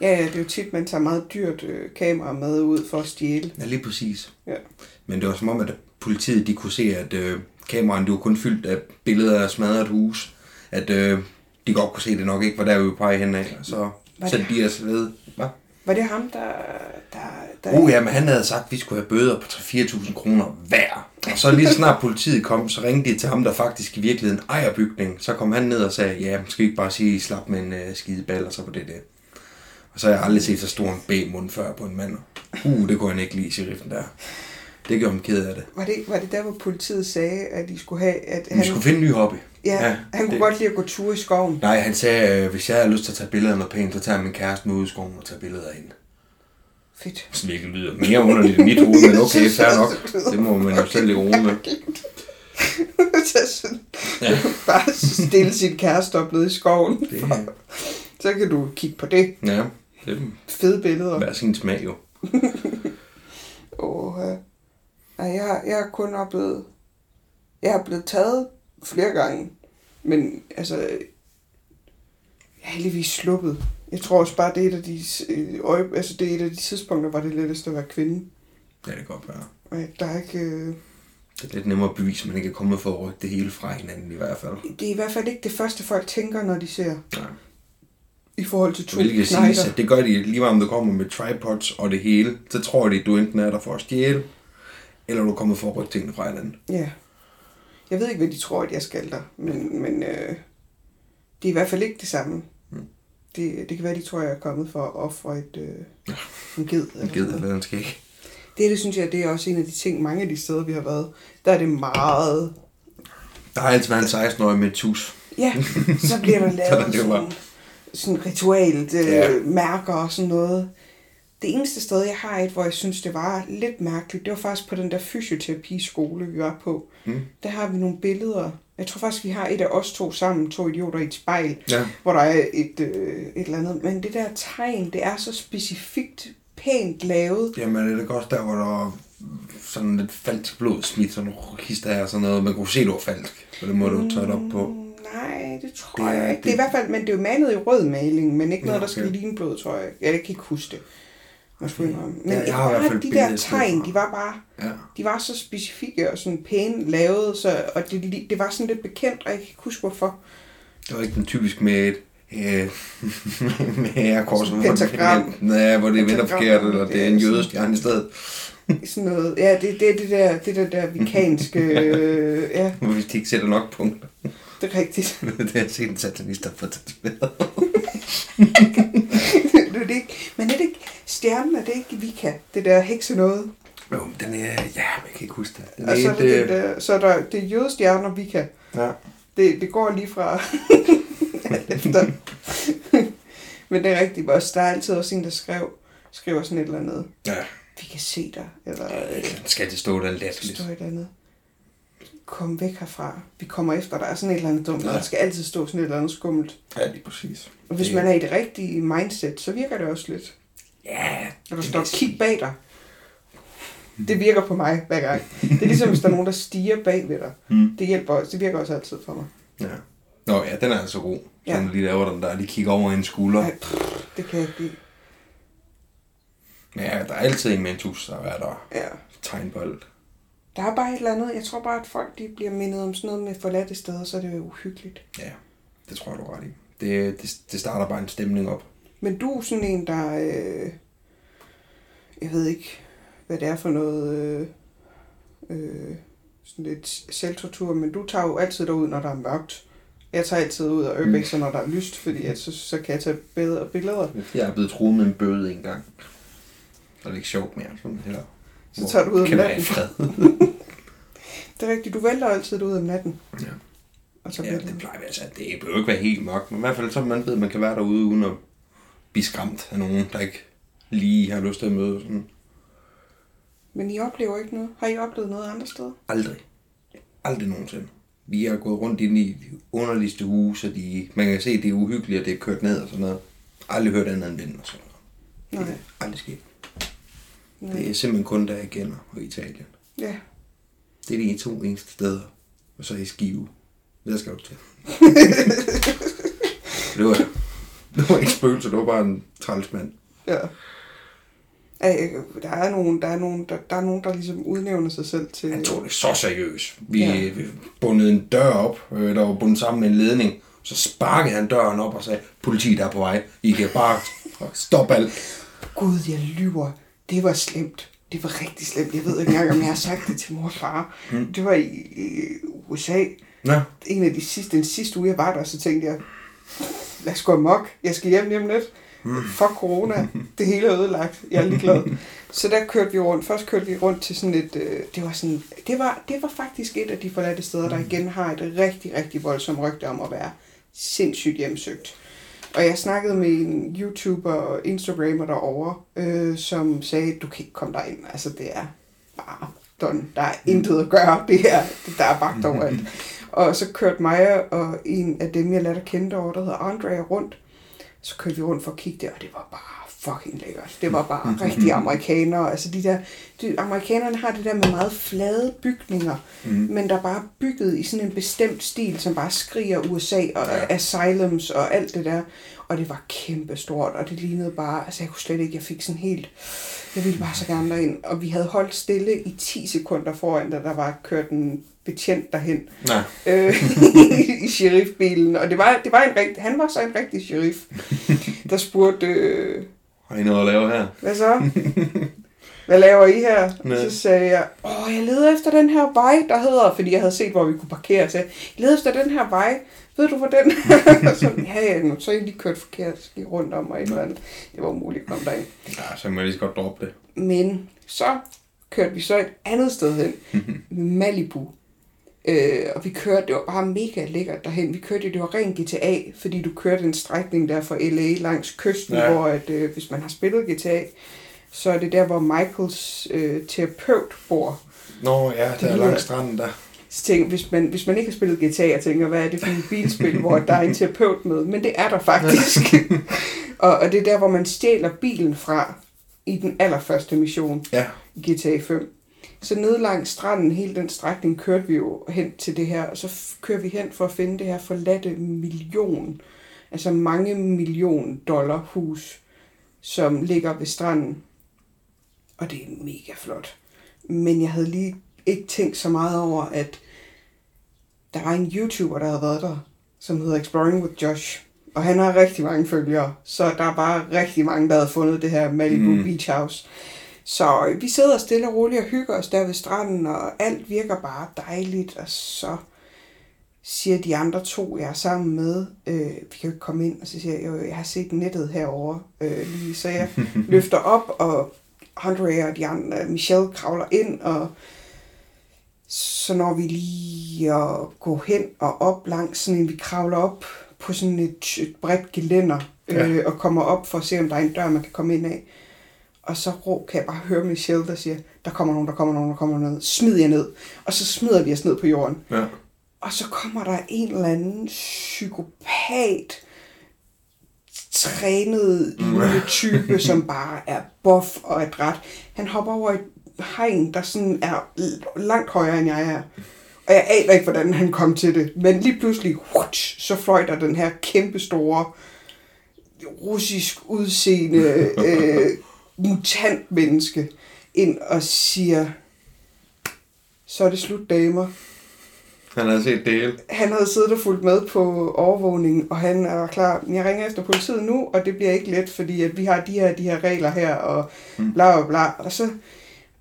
Speaker 3: Ja, ja, det er jo tit, man tager meget dyrt øh, kamera med ud for at stjæle.
Speaker 7: Ja, lige præcis.
Speaker 3: Ja.
Speaker 7: Men det var som om, at politiet de kunne se, at øh, kameraen det var kun fyldt af billeder af smadret hus. At øh, de godt kunne se, at det nok ikke var der, vi var på vej henad. Og så
Speaker 3: Hvad
Speaker 7: sendte de os ved. Hvad?
Speaker 3: Var det ham, der... der, der
Speaker 7: Uh, ja, men han havde sagt, at vi skulle have bøder på 3-4.000 kroner hver. Og så lige så snart politiet kom, så ringte de til ham, der faktisk i virkeligheden ejer bygningen. Så kom han ned og sagde, ja, skal vi ikke bare sige, I slap med en øh, skideball, og så på det der. Og så har jeg aldrig set så stor en B-mund før på en mand. Uh, det kunne han ikke lide, sheriffen der. Det gjorde ham ked af det.
Speaker 3: Var det, var det der, hvor politiet sagde, at de skulle have... At
Speaker 7: Vi skulle finde en ny hobby.
Speaker 3: ja, ja, han kunne
Speaker 7: det-
Speaker 3: godt lide at gå tur i skoven.
Speaker 7: Nej, han sagde, øh, hvis jeg har lyst til at tage billeder af noget pænt, så tager jeg min kæreste med ud i skoven og tager billeder af hende.
Speaker 3: Fedt.
Speaker 7: Som ikke lyder mere underligt i mit hoved, men okay, fair nok. Det må man jo selv ligge ro med.
Speaker 3: så sådan, ja. bare stille sin kæreste op nede i skoven.
Speaker 7: Det,
Speaker 3: Så kan du kigge på det.
Speaker 7: ja, det er
Speaker 3: Fede billeder.
Speaker 7: hver sin smag jo.
Speaker 3: Og øh, nej, jeg, jeg har kun oplevet... Jeg er blevet taget flere gange, men altså... Jeg er heldigvis sluppet. Jeg tror også bare, det er et af de, øh, øje, altså, det er et af de tidspunkter, hvor det er lettest at være kvinde.
Speaker 7: Ja, det kan godt være.
Speaker 3: Og at der er ikke, øh,
Speaker 7: Det er lidt nemmere at bevise, at man ikke er kommet for at rykke det hele fra hinanden i hvert fald.
Speaker 3: det er i hvert fald ikke det første, folk tænker, når de ser
Speaker 7: Nej.
Speaker 3: i forhold til to
Speaker 7: Hvilket siges,
Speaker 3: knejder.
Speaker 7: at det gør de lige meget, om du kommer med tripods og det hele. Så tror de, at du enten er der for at stjæle, eller du kommer for at rykke tingene fra hinanden.
Speaker 3: Ja. Jeg ved ikke, hvad de tror, at jeg skal der, men, men øh, det er i hvert fald ikke det samme.
Speaker 7: Mm.
Speaker 3: Det, det kan være, de tror, jeg er kommet for at ofre et, øh, en ged. Eller
Speaker 7: Jeg
Speaker 3: sådan
Speaker 7: gider,
Speaker 3: noget.
Speaker 7: hvad den skal ikke.
Speaker 3: Det, det synes jeg, det er også en af de ting, mange af de steder, vi har været, der er det meget...
Speaker 7: Der har altid været en 16-årig med et tus.
Speaker 3: Ja, så bliver der
Speaker 7: Så er det
Speaker 3: lavet
Speaker 7: jo
Speaker 3: sådan,
Speaker 7: bare-
Speaker 3: sådan ritualt øh,
Speaker 7: Ja.
Speaker 3: mærker og sådan noget. Det eneste sted, jeg har et, hvor jeg synes, det var lidt mærkeligt, det var faktisk på den der fysioterapiskole, vi var på.
Speaker 7: Mm.
Speaker 3: Der har vi nogle billeder. Jeg tror faktisk, vi har et af os to sammen, to idioter i et spejl,
Speaker 7: Ja.
Speaker 3: hvor der er et, øh, et eller andet. Men det der tegn, det er så specifikt pænt lavet.
Speaker 7: Jamen, er det godt der, hvor der var sådan lidt falsk blod smidt, sådan nogle hister her og sådan noget. Man kunne se, det var falsk, og det må du tørre op på.
Speaker 3: Mm, Nej, det tror
Speaker 7: Det
Speaker 3: det er,
Speaker 7: er-
Speaker 3: jeg ikke. Det,
Speaker 7: det-
Speaker 3: er i hvert fald, men det er jo malet i rød maling, men ikke
Speaker 7: Ja,
Speaker 3: noget, der skal
Speaker 7: okay.
Speaker 3: ligne blod, tror jeg. Jeg kan ikke huske det. Måske
Speaker 7: Okay.
Speaker 3: okay. Men
Speaker 7: Ja, jeg
Speaker 3: ikke
Speaker 7: har i hvert
Speaker 3: bare
Speaker 7: fald
Speaker 3: de
Speaker 7: billeder
Speaker 3: der
Speaker 7: et sted
Speaker 3: tegn,
Speaker 7: fra.
Speaker 3: de var bare
Speaker 7: Ja.
Speaker 3: de var så specifikke og sådan pæne lavet, så, og det, li- det var sådan lidt bekendt, og jeg kan ikke huske hvorfor.
Speaker 7: Det var ikke den typisk med et øh, med herrekors.
Speaker 3: Sådan pentagram.
Speaker 7: Ja, hvor det vender
Speaker 3: Pentagram,
Speaker 7: forkert, eller det er en
Speaker 3: det er
Speaker 7: jødestjerne i stedet.
Speaker 3: Sådan noget, ja, det er det, er det der, det der, der vikanske, øh, ja,
Speaker 7: Hvis de ikke sætter nok punkter.
Speaker 3: det er rigtigt.
Speaker 7: det har jeg set en satanist, der har fået tatoveret.
Speaker 3: det er det ikke. Men er det ikke, stjernen er det ikke Vika, det der hekse noget?
Speaker 7: Jo, men den er... Ja, jeg kan ikke huske det. Den
Speaker 3: Og så er,
Speaker 7: et,
Speaker 3: Altså, det, det
Speaker 7: øh,
Speaker 3: der, så er der, det er jødestjerner Vika.
Speaker 7: Ja.
Speaker 3: Det, det går lige fra alt efter. Men det er rigtigt, også, der er altid også en, der skrev, skriver sådan et eller andet.
Speaker 7: ja.
Speaker 3: Vi kan se dig, eller
Speaker 7: Den skal det stå der let.
Speaker 3: der står et eller andet. Kom væk herfra. Vi kommer efter dig. Sådan et eller andet dumt.
Speaker 7: Ja.
Speaker 3: Ja. Der skal altid stå sådan et eller andet skummelt.
Speaker 7: Ja, lige præcis.
Speaker 3: Og hvis
Speaker 7: Det-
Speaker 3: man er i det rigtige mindset, så virker det også lidt.
Speaker 7: Ja,
Speaker 3: Når der står, kig bag dig. Det virker på mig hver gang. Det er ligesom, hvis der er nogen, der stiger bag ved dig.
Speaker 7: Mm.
Speaker 3: Det hjælper også. Det virker også altid for mig.
Speaker 7: Ja. Nå ja, den er altså god.
Speaker 3: Ja.
Speaker 7: Den lige laver den der, lige kigger over en skulder.
Speaker 3: Ej, pff, det kan jeg ikke lide.
Speaker 7: Ja, der er altid en med en tus, der er der
Speaker 3: Ja.
Speaker 7: tegnbold.
Speaker 3: Der er bare et eller andet. Jeg tror bare, at folk de bliver mindet om sådan noget med forladte steder, så er det jo uhyggeligt.
Speaker 7: Ja, det tror jeg, du har ret i. Det, det, det starter bare en stemning op.
Speaker 3: Men du er sådan en, der... Øh, jeg ved ikke, hvad det er for noget... Øh, øh, sådan lidt selvtortur, men du tager jo altid derud, når der er mørkt. Jeg tager altid ud og ørbækser, når der er lyst, fordi at så, så kan jeg tage bedre billeder.
Speaker 7: Jeg er blevet truet med en bøde en gang. Så er det ikke sjovt mere. Sådan, eller,
Speaker 3: Så tager du ud om
Speaker 7: kan være i
Speaker 3: natten.
Speaker 7: fred.
Speaker 3: Det er rigtigt, du vælter altid ud om natten.
Speaker 7: Ja.
Speaker 3: Og så
Speaker 7: ja,
Speaker 3: ja,
Speaker 7: det plejer vi altså. Det behøver jo ikke være helt mørkt, men i hvert fald så man ved, at man kan være derude uden at blive skræmt af nogen, der ikke lige har lyst til at møde sådan.
Speaker 3: Men I oplever ikke noget? Har I oplevet noget andre steder?
Speaker 7: Aldrig. Aldrig nogensinde. Vi har gået rundt ind i de underligste huse, og de, man kan se, at det er uhyggeligt, og det er kørt ned og sådan noget. Aldrig hørt andet end vind og sådan noget. Det
Speaker 3: Nej.
Speaker 7: er aldrig sket. Det
Speaker 3: Nej.
Speaker 7: er simpelthen kun, der jeg kender på Italien.
Speaker 3: Ja.
Speaker 7: Det er de to eneste steder. Og så i Skive. Men der skal du til. det, var, det var ikke spøgelser, det var bare en trælsmand.
Speaker 3: Ja. Ej, øh, der er nogen, der er nogen, der, der er nogen, der ligesom udnævner sig selv til...
Speaker 7: Han tog det så seriøst. Vi, ja.
Speaker 3: Ja.
Speaker 7: vi bundede en dør op, øh, der var bundet sammen med en ledning. Så sparkede han døren op og sagde, politiet er på vej. I kan bare stoppe alt.
Speaker 3: Gud, jeg lyver. Det var slemt. Det var rigtig slemt. Jeg ved ikke engang, om jeg har sagt det til mor og far. Det var i, i USA.
Speaker 7: Nå,
Speaker 3: En af de sidste, den sidste uge, jeg var der, så tænkte jeg, lad os gå amok. Jeg skal hjem lige om lidt. Fuck corona. Det hele er ødelagt. Jeg er ligeglad. Så der kørte vi rundt. Først kørte vi rundt til sådan et... Øh, det, var sådan, det, var, det var faktisk et af de forladte steder, der igen har et rigtig, rigtig voldsomt rygte om at være sindssygt hjemsøgt. Og jeg snakkede med en YouTuber og Instagrammer derovre, øh, som sagde, du kan ikke komme derind. Altså, det er bare done. Der er intet at gøre. Det her, der er vagt overalt. Og så kørte mig og en af dem, jeg lærte at kende derovre, der hedder Andrea, rundt. Så kørte vi rundt for at kigge der, og det var bare fucking lækkert. Det var bare rigtige amerikanere. Altså de der, de, amerikanerne har det der med meget flade bygninger, mm. men der er bare bygget i sådan en bestemt stil, som bare skriger USA og ja. asylums og alt det der. Og det var kæmpestort, og det lignede bare, altså jeg kunne slet ikke, jeg fik sådan helt, jeg ville bare så gerne derind. Og vi havde holdt stille i 10 sekunder foran, da der var kørt en betjent derhen
Speaker 7: Nej.
Speaker 3: øh, i sheriffbilen. Og det var, det var en rigt, han var så en rigtig sheriff, der spurgte, øh,
Speaker 7: Har I noget at lave her?
Speaker 3: hvad så? Hvad laver I her? Og
Speaker 7: Nej.
Speaker 3: så sagde jeg, åh, jeg leder efter den her vej, der hedder, fordi jeg havde set, hvor vi kunne parkere. Så jeg "Jeg leder efter den her vej. Ved du, hvor den er? Og så, ja, ja, nu, så er jeg lige kørt forkert, så gik rundt om og et eller andet. Det var umuligt at komme derind.
Speaker 7: Ja, så må jeg lige så godt droppe det.
Speaker 3: Men så kørte vi så et andet sted hen, Malibu. Øh, og vi kørte, det var bare mega lækkert derhen. Vi kørte, det var ren GTA, fordi du kørte en strækning der fra LA langs kysten,
Speaker 7: Ja.
Speaker 3: ja. hvor at, øh, hvis man har spillet GTA, så er det der, hvor Michaels øh, terapeut bor.
Speaker 7: Nå ja, der er
Speaker 3: lyder-
Speaker 7: langs stranden der.
Speaker 3: Så tænker, hvis, man, hvis man ikke har spillet GTA, jeg tænker, hvad er det for et bilspil, hvor der er en terapeut med? Men det er der faktisk. og, og det er der, hvor man stjæler bilen fra i den allerførste mission
Speaker 7: Ja,
Speaker 3: i GTA 5. Så ned langs stranden, hele den strækning, kørte vi jo hen til det her, og så f- kører vi hen for at finde det her forladte million, altså mange million dollar hus, som ligger ved stranden. Og det er mega flot. Men jeg havde lige ikke tænkt så meget over, at der var en YouTuber, der havde været der, som hedder Exploring with Josh. Og han har rigtig mange følgere, så der er bare rigtig mange, der havde fundet det her Malibu
Speaker 7: Mm.
Speaker 3: mm. Beach House. Så vi sidder stille og roligt og hygger os der ved stranden, og alt virker bare dejligt, og så siger de andre to, jeg er sammen med, øh, vi kan jo ikke komme ind, og så siger jeg, jo, jeg har set nettet herovre, øh, lige, så jeg løfter op, og Andre og de andre, Michelle kravler ind, og så når vi lige at gå hen og op langs sådan en, vi kravler op på sådan et, et bredt gelænder,
Speaker 7: Ja.
Speaker 3: øh, og kommer op for at se, om der er en dør, man kan komme ind af. Og så rå, kan jeg bare høre Michelle, der siger, der kommer nogen, der kommer nogen, der kommer noget. Smid jer ned. Og så smider vi os ned på jorden.
Speaker 7: ja.
Speaker 3: Og så kommer der en eller anden psykopat, trænet lille type, som bare er buff og et ret. Han hopper over et hegn, der sådan er l- langt højere, end jeg er. Og jeg aner ikke, hvordan han kom til det. Men lige pludselig, whutsch, så fløj der den her kæmpe store russisk udseende øh, mutant menneske ind og siger, så er det slut, damer
Speaker 7: Han havde set det hele.
Speaker 3: han havde siddet og fulgt med på overvågningen, og han var klar, jeg ringer efter politiet nu, og det bliver ikke let, fordi at vi har de her, de her regler her, og bla bla bla. Og så,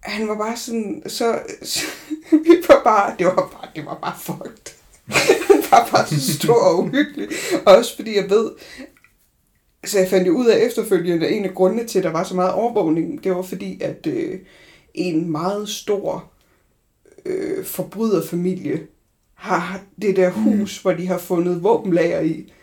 Speaker 3: han var bare sådan, så, så vi var bare, det var bare, det var bare fucked. Han var bare så stor og uhyggelig. Også fordi jeg ved, så jeg fandt jo ud af efterfølgende, at en af grundene til, at der var så meget overvågning, det var fordi, at øh, en meget stor øh, forbryderfamilie har har det der hus, mm. hvor de har fundet våbenlager i.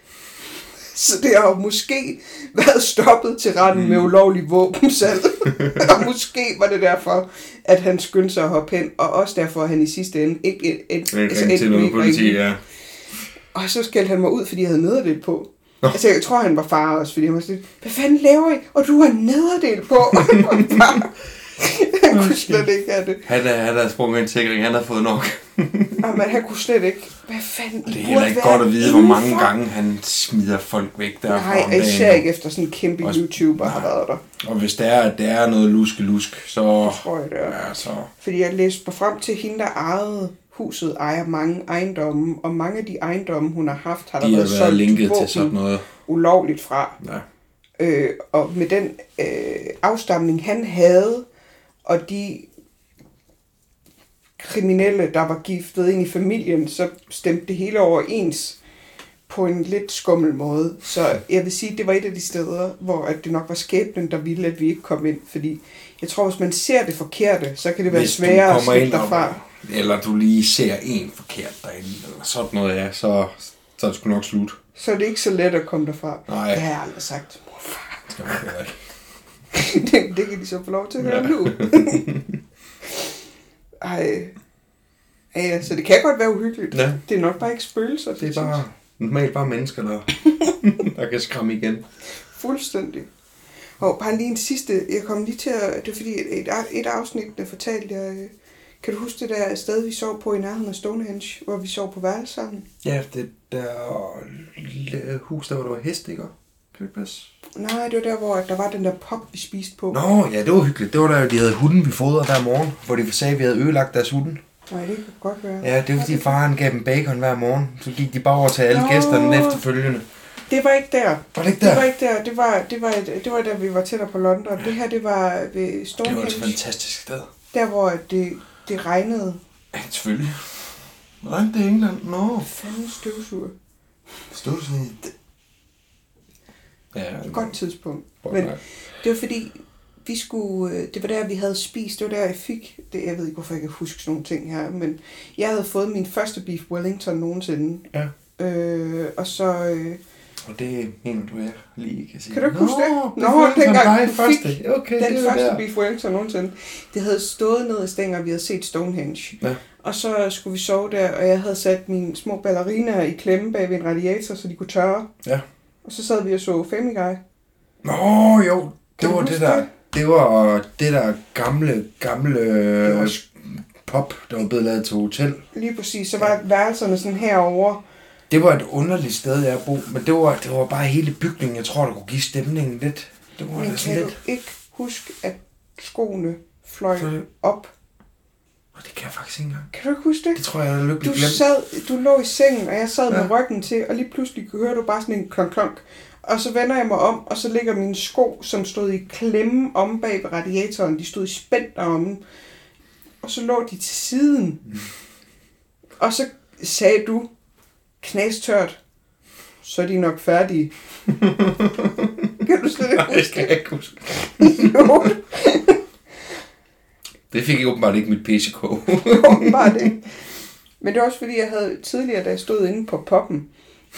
Speaker 3: Så det har jo måske været stoppet til retten mm. med ulovlig våbensalg. og måske var det derfor, at han skyndte sig at hoppe hen, og også derfor, at han i sidste ende ikke, ikke, altså, ikke,
Speaker 7: Ikke ringe til noget politi, ja.
Speaker 3: og så skældte han mig ud, fordi jeg havde nederdel på. Altså, jeg tror, han var far også, fordi han var sådan, lidt, hvad fanden laver I? Og du har nederdel på. Og han var bare- han kunne slet ikke have det.
Speaker 7: Han, er- han havde sprunget en sikring, han havde fået nok.
Speaker 3: Jamen, han kunne slet ikke. Hvad fanden? I
Speaker 7: Det er
Speaker 3: burde
Speaker 7: heller ikke
Speaker 3: være
Speaker 7: godt at vide, hvor mange
Speaker 3: indenfor."
Speaker 7: gange han smider folk væk derfra om
Speaker 3: Nej,
Speaker 7: dagen.
Speaker 3: især ikke efter sådan en kæmpe
Speaker 7: Også-
Speaker 3: YouTuber har
Speaker 7: Nej.
Speaker 3: været der.
Speaker 7: Og hvis der er, at der er noget luske-lusk, så...
Speaker 3: tror jeg, det er.
Speaker 7: Ja, så...
Speaker 3: Fordi jeg læste mig frem til hende, der ejede huset, ejer mange ejendomme, og mange af de ejendomme, hun har haft, har der
Speaker 7: De har
Speaker 3: været
Speaker 7: været
Speaker 3: solgt
Speaker 7: linket
Speaker 3: våben
Speaker 7: til sådan noget.
Speaker 3: ulovligt fra.
Speaker 7: Ja.
Speaker 3: Øh, og med den øh, afstamning, han havde, og de kriminelle, der var giftet ind i familien, så stemte det hele overens på en lidt skummel måde. Så jeg vil sige, at det var et af de steder, hvor at det nok var skæbnen, der ville, at vi ikke kom ind. Fordi jeg tror, hvis man ser det forkerte, så kan det være
Speaker 7: Hvis du
Speaker 3: sværere at
Speaker 7: kommer
Speaker 3: slippe
Speaker 7: ind og-
Speaker 3: derfra.
Speaker 7: Eller du lige ser en forkert derinde, eller sådan noget, ja, så, så er det sgu nok slut.
Speaker 3: Så er det ikke så let at komme derfra.
Speaker 7: Nej.
Speaker 3: Det har jeg aldrig sagt. Morfar.
Speaker 7: Det kan man heller ikke.
Speaker 3: det, det kan de så få lov til at høre
Speaker 7: Ja.
Speaker 3: ja. nu. Ej. Ja, Ja, så det kan godt være uhyggeligt.
Speaker 7: Ja.
Speaker 3: Det er nok bare ikke spøgelser. ligesom.
Speaker 7: Det
Speaker 3: synes
Speaker 7: er
Speaker 3: jeg.
Speaker 7: bare normalt bare mennesker, der, der kan skræmme igen.
Speaker 3: Fuldstændig. Og bare lige en sidste, jeg kom lige til at, det var fordi et, et afsnit, der fortalte jeg, øh, kan du huske det der sted, vi sov på i nærheden af Stonehenge, hvor vi sov på værelse sammen?
Speaker 7: Ja, det der
Speaker 3: øh,
Speaker 7: lille hus, der hvor der var hest, ikke? Kan det passe?
Speaker 3: Nej, det var der, hvor der var den der pop, vi spiste på.
Speaker 7: Nå, ja, det var hyggeligt. Det var der, de havde hunden, vi fodrede hver morgen, hvor de sagde, at vi havde ødelagt deres hunde.
Speaker 3: Nej, det kan godt være.
Speaker 7: Ja, det var fordi faren gav dem bacon hver morgen. Så gik de bare over til alle
Speaker 3: Nå.
Speaker 7: gæsterne efterfølgende.
Speaker 3: Det var ikke der.
Speaker 7: Var det ikke
Speaker 3: Det
Speaker 7: der?
Speaker 3: var ikke der. Det var, det var, det var da vi var tættere på London. Det her, det var ved
Speaker 7: Det var et
Speaker 3: Stonehenge,
Speaker 7: fantastisk sted.
Speaker 3: der hvor det, det regnede.
Speaker 7: Ja, selvfølgelig. Nej, det er England. Nå,
Speaker 3: Fanden støvsuger.
Speaker 7: stod du sådan i det? Ja,
Speaker 3: Godt tidspunkt.
Speaker 7: Godt
Speaker 3: Men
Speaker 7: nok.
Speaker 3: det var fordi, vi skulle, øh, det var der, vi havde spist. Det var der, jeg fik, det, jeg ved ikke, hvorfor jeg kan huske sådan nogle ting her, men jeg havde fået min første beef wellington nogensinde.
Speaker 7: Ja.
Speaker 3: Øh, og så... Øh,
Speaker 7: Og det mener du, jeg lige kan sige.
Speaker 3: Kan du ikke huske det?
Speaker 7: Nå,
Speaker 3: Nå,
Speaker 7: det var
Speaker 3: dengang
Speaker 7: dengang
Speaker 3: du
Speaker 7: dig første.
Speaker 3: fik
Speaker 7: Okay,
Speaker 3: den
Speaker 7: det var
Speaker 3: første
Speaker 7: der.
Speaker 3: der. Beef Wellington nogensinde. Det havde stået ned i stænger, vi havde set Stonehenge.
Speaker 7: Ja.
Speaker 3: Og så skulle vi sove der, og jeg havde sat mine små balleriner i klemme bag ved en radiator, så de kunne tørre.
Speaker 7: Ja.
Speaker 3: Og så sad vi og så Family Guy.
Speaker 7: Nå, jo.
Speaker 3: Kan
Speaker 7: Det
Speaker 3: du
Speaker 7: var
Speaker 3: huske
Speaker 7: det der, det var det der gamle, gamle
Speaker 3: Det var
Speaker 7: øh, pop, der var blevet lavet til hotel.
Speaker 3: Lige præcis, så var værelserne sådan herover.
Speaker 7: Det var et underligt sted, jeg bo, men det var, det var bare hele bygningen, jeg tror, der kunne give stemningen lidt. Det var
Speaker 3: Men
Speaker 7: da
Speaker 3: kan
Speaker 7: sådan
Speaker 3: du
Speaker 7: lidt.
Speaker 3: ikke huske, at skoene fløj
Speaker 7: Fløj.
Speaker 3: op?
Speaker 7: Og det kan jeg faktisk ikke engang.
Speaker 3: Kan du ikke huske
Speaker 7: Det
Speaker 3: det?
Speaker 7: tror jeg, jeg er
Speaker 3: Du,
Speaker 7: lykkelig glemt.
Speaker 3: sad, du lå i sengen, og jeg sad med
Speaker 7: Ja.
Speaker 3: ryggen til, og lige pludselig hører du bare sådan en klonk, klonk. Og så vender jeg mig om, og så ligger mine sko, som stod i klemme om bag ved radiatoren. De stod i spændt om. Og så lå de til siden.
Speaker 7: Mm.
Speaker 3: Og så sagde du, knastørt, så er de nok færdige. kan du slet ikke
Speaker 7: Nej, det
Speaker 3: huske det?
Speaker 7: kan jeg ikke huske.
Speaker 3: Jo,
Speaker 7: Det fik jeg åbenbart ikke mit PCK.
Speaker 3: åbenbart ikke. Men det er også fordi, jeg havde tidligere, da jeg stod inde på poppen,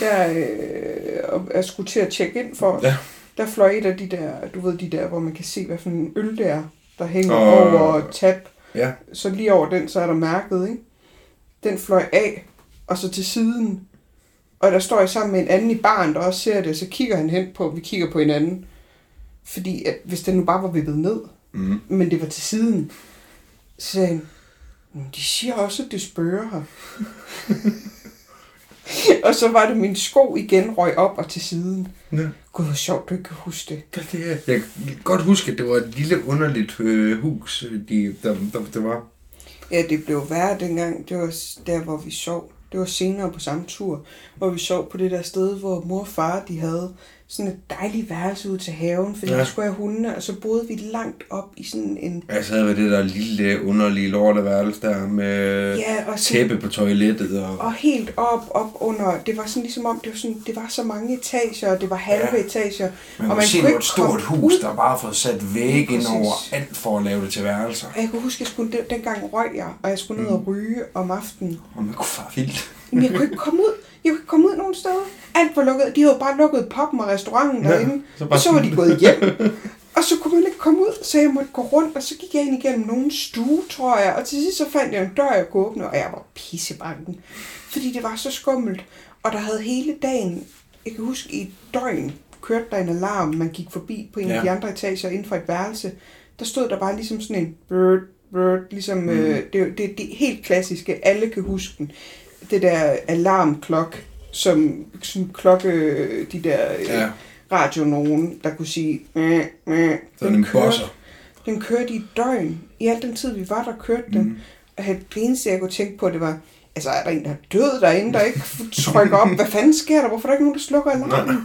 Speaker 3: der øh, og jeg skulle til at tjekke ind for os,
Speaker 7: Ja.
Speaker 3: ja. der fløj et af de der, du ved de der, hvor man kan se, hvad for en øl det er, der hænger
Speaker 7: Åh.
Speaker 3: oh. over tab.
Speaker 7: ja.
Speaker 3: Så lige over den, så er der mærket, ikke? Den fløj af, og så til siden. Og der står jeg sammen med en anden i baren, der også ser det, så kigger han hen på, vi kigger på hinanden. Fordi at, hvis den nu bare var vippet ned,
Speaker 7: Mm.
Speaker 3: men det var til siden. Så sagde han, "Men de siger også, at det spørger her. og så var det min sko igen røg op og til siden.
Speaker 7: Ja.
Speaker 3: Gud, hvor sjovt, du ikke kan huske det.
Speaker 7: Det, det, er- jeg kan godt huske, at det var et lille underligt øh, hus, øh, de, der, der, der var.
Speaker 3: Ja, det blev værre dengang. Det var s- der, hvor vi sov. Det var senere på samme tur, hvor vi sov på det der sted, hvor mor og far de havde sådan et dejligt værelse ud til haven, fordi
Speaker 7: Ja.
Speaker 3: ja. der skulle have hundene, og så boede vi langt op i sådan en...
Speaker 7: Jeg sad ved det der lille, underlige lorteværelse der med ja,
Speaker 3: Ja, og sådan
Speaker 7: tæppe på toilettet. Og,
Speaker 3: Og helt op, op under, det var sådan ligesom om, det var, sådan, det var så mange etager, og det var halve
Speaker 7: Ja.
Speaker 3: ja. etager.
Speaker 7: man
Speaker 3: og
Speaker 7: kunne se, det var et stort
Speaker 3: komme
Speaker 7: hus,
Speaker 3: ud.
Speaker 7: der bare har fået sat væg ind
Speaker 3: Præcis.
Speaker 7: over alt for at lave det til værelser.
Speaker 3: Og jeg kunne huske, at jeg skulle, den- dengang røg jeg, og jeg skulle ned og ryge om aftenen.
Speaker 7: Og man kunne fare vildt.
Speaker 3: Men jeg kunne ikke komme ud. Jeg kunne ikke komme ud nogen steder. Alt var lukket. De havde jo bare lukket poppen og restauranten
Speaker 7: Ja,
Speaker 3: ja, derinde.
Speaker 7: så
Speaker 3: Så
Speaker 7: bare
Speaker 3: og så var de
Speaker 7: sådan-
Speaker 3: gået hjem. Og så kunne man ikke komme ud, så jeg måtte gå rundt, og så gik jeg ind igennem nogen stue, tror jeg. Og til sidst så fandt jeg en dør, jeg kunne åbne, og jeg var pissebanken. Fordi det var så skummelt. Og der havde hele dagen, jeg kan huske i et døgn, kørte der en alarm, man gik forbi på en ja.
Speaker 7: Ja.
Speaker 3: af de andre etager inden for et værelse. Der stod der bare ligesom sådan en bird, bird, ligesom mm. øh, det, det, det er helt klassiske, alle kan huske den. Det der alarmklok, som, som klokke, øh, de der øh,
Speaker 7: Ja,
Speaker 3: radio nogen, der kunne sige, mæh, mæh.
Speaker 7: sådan en bosser.
Speaker 3: den kørte i et døgn. I al den tid, vi var der, kørte den. Mm. Og jeg- det eneste, jeg kunne tænke på, det var, altså er der en, der er død derinde, der ikke trykker op? Hvad fanden sker der? Hvorfor er der ikke nogen, der slukker alarmen?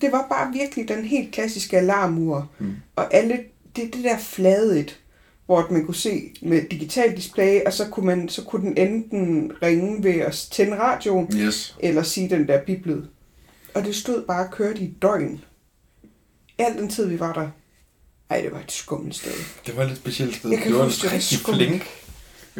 Speaker 3: Det var bare virkelig den helt klassiske alarmur. Mm. Og alle, det, det der flade et, hvor man kunne se med digital display, og så kunne, man, så kunne den enten ringe ved at tænde radioen,
Speaker 7: Yes.
Speaker 3: eller sige den der biblid. Og det stod bare og kørte i et døgn. Al den tid, vi var der. Ej, det var et skummelt sted.
Speaker 7: Det var et lidt specielt sted.
Speaker 3: Jeg kan
Speaker 7: det var
Speaker 3: huske, det var
Speaker 7: rigtig
Speaker 3: skummelt.
Speaker 7: flink.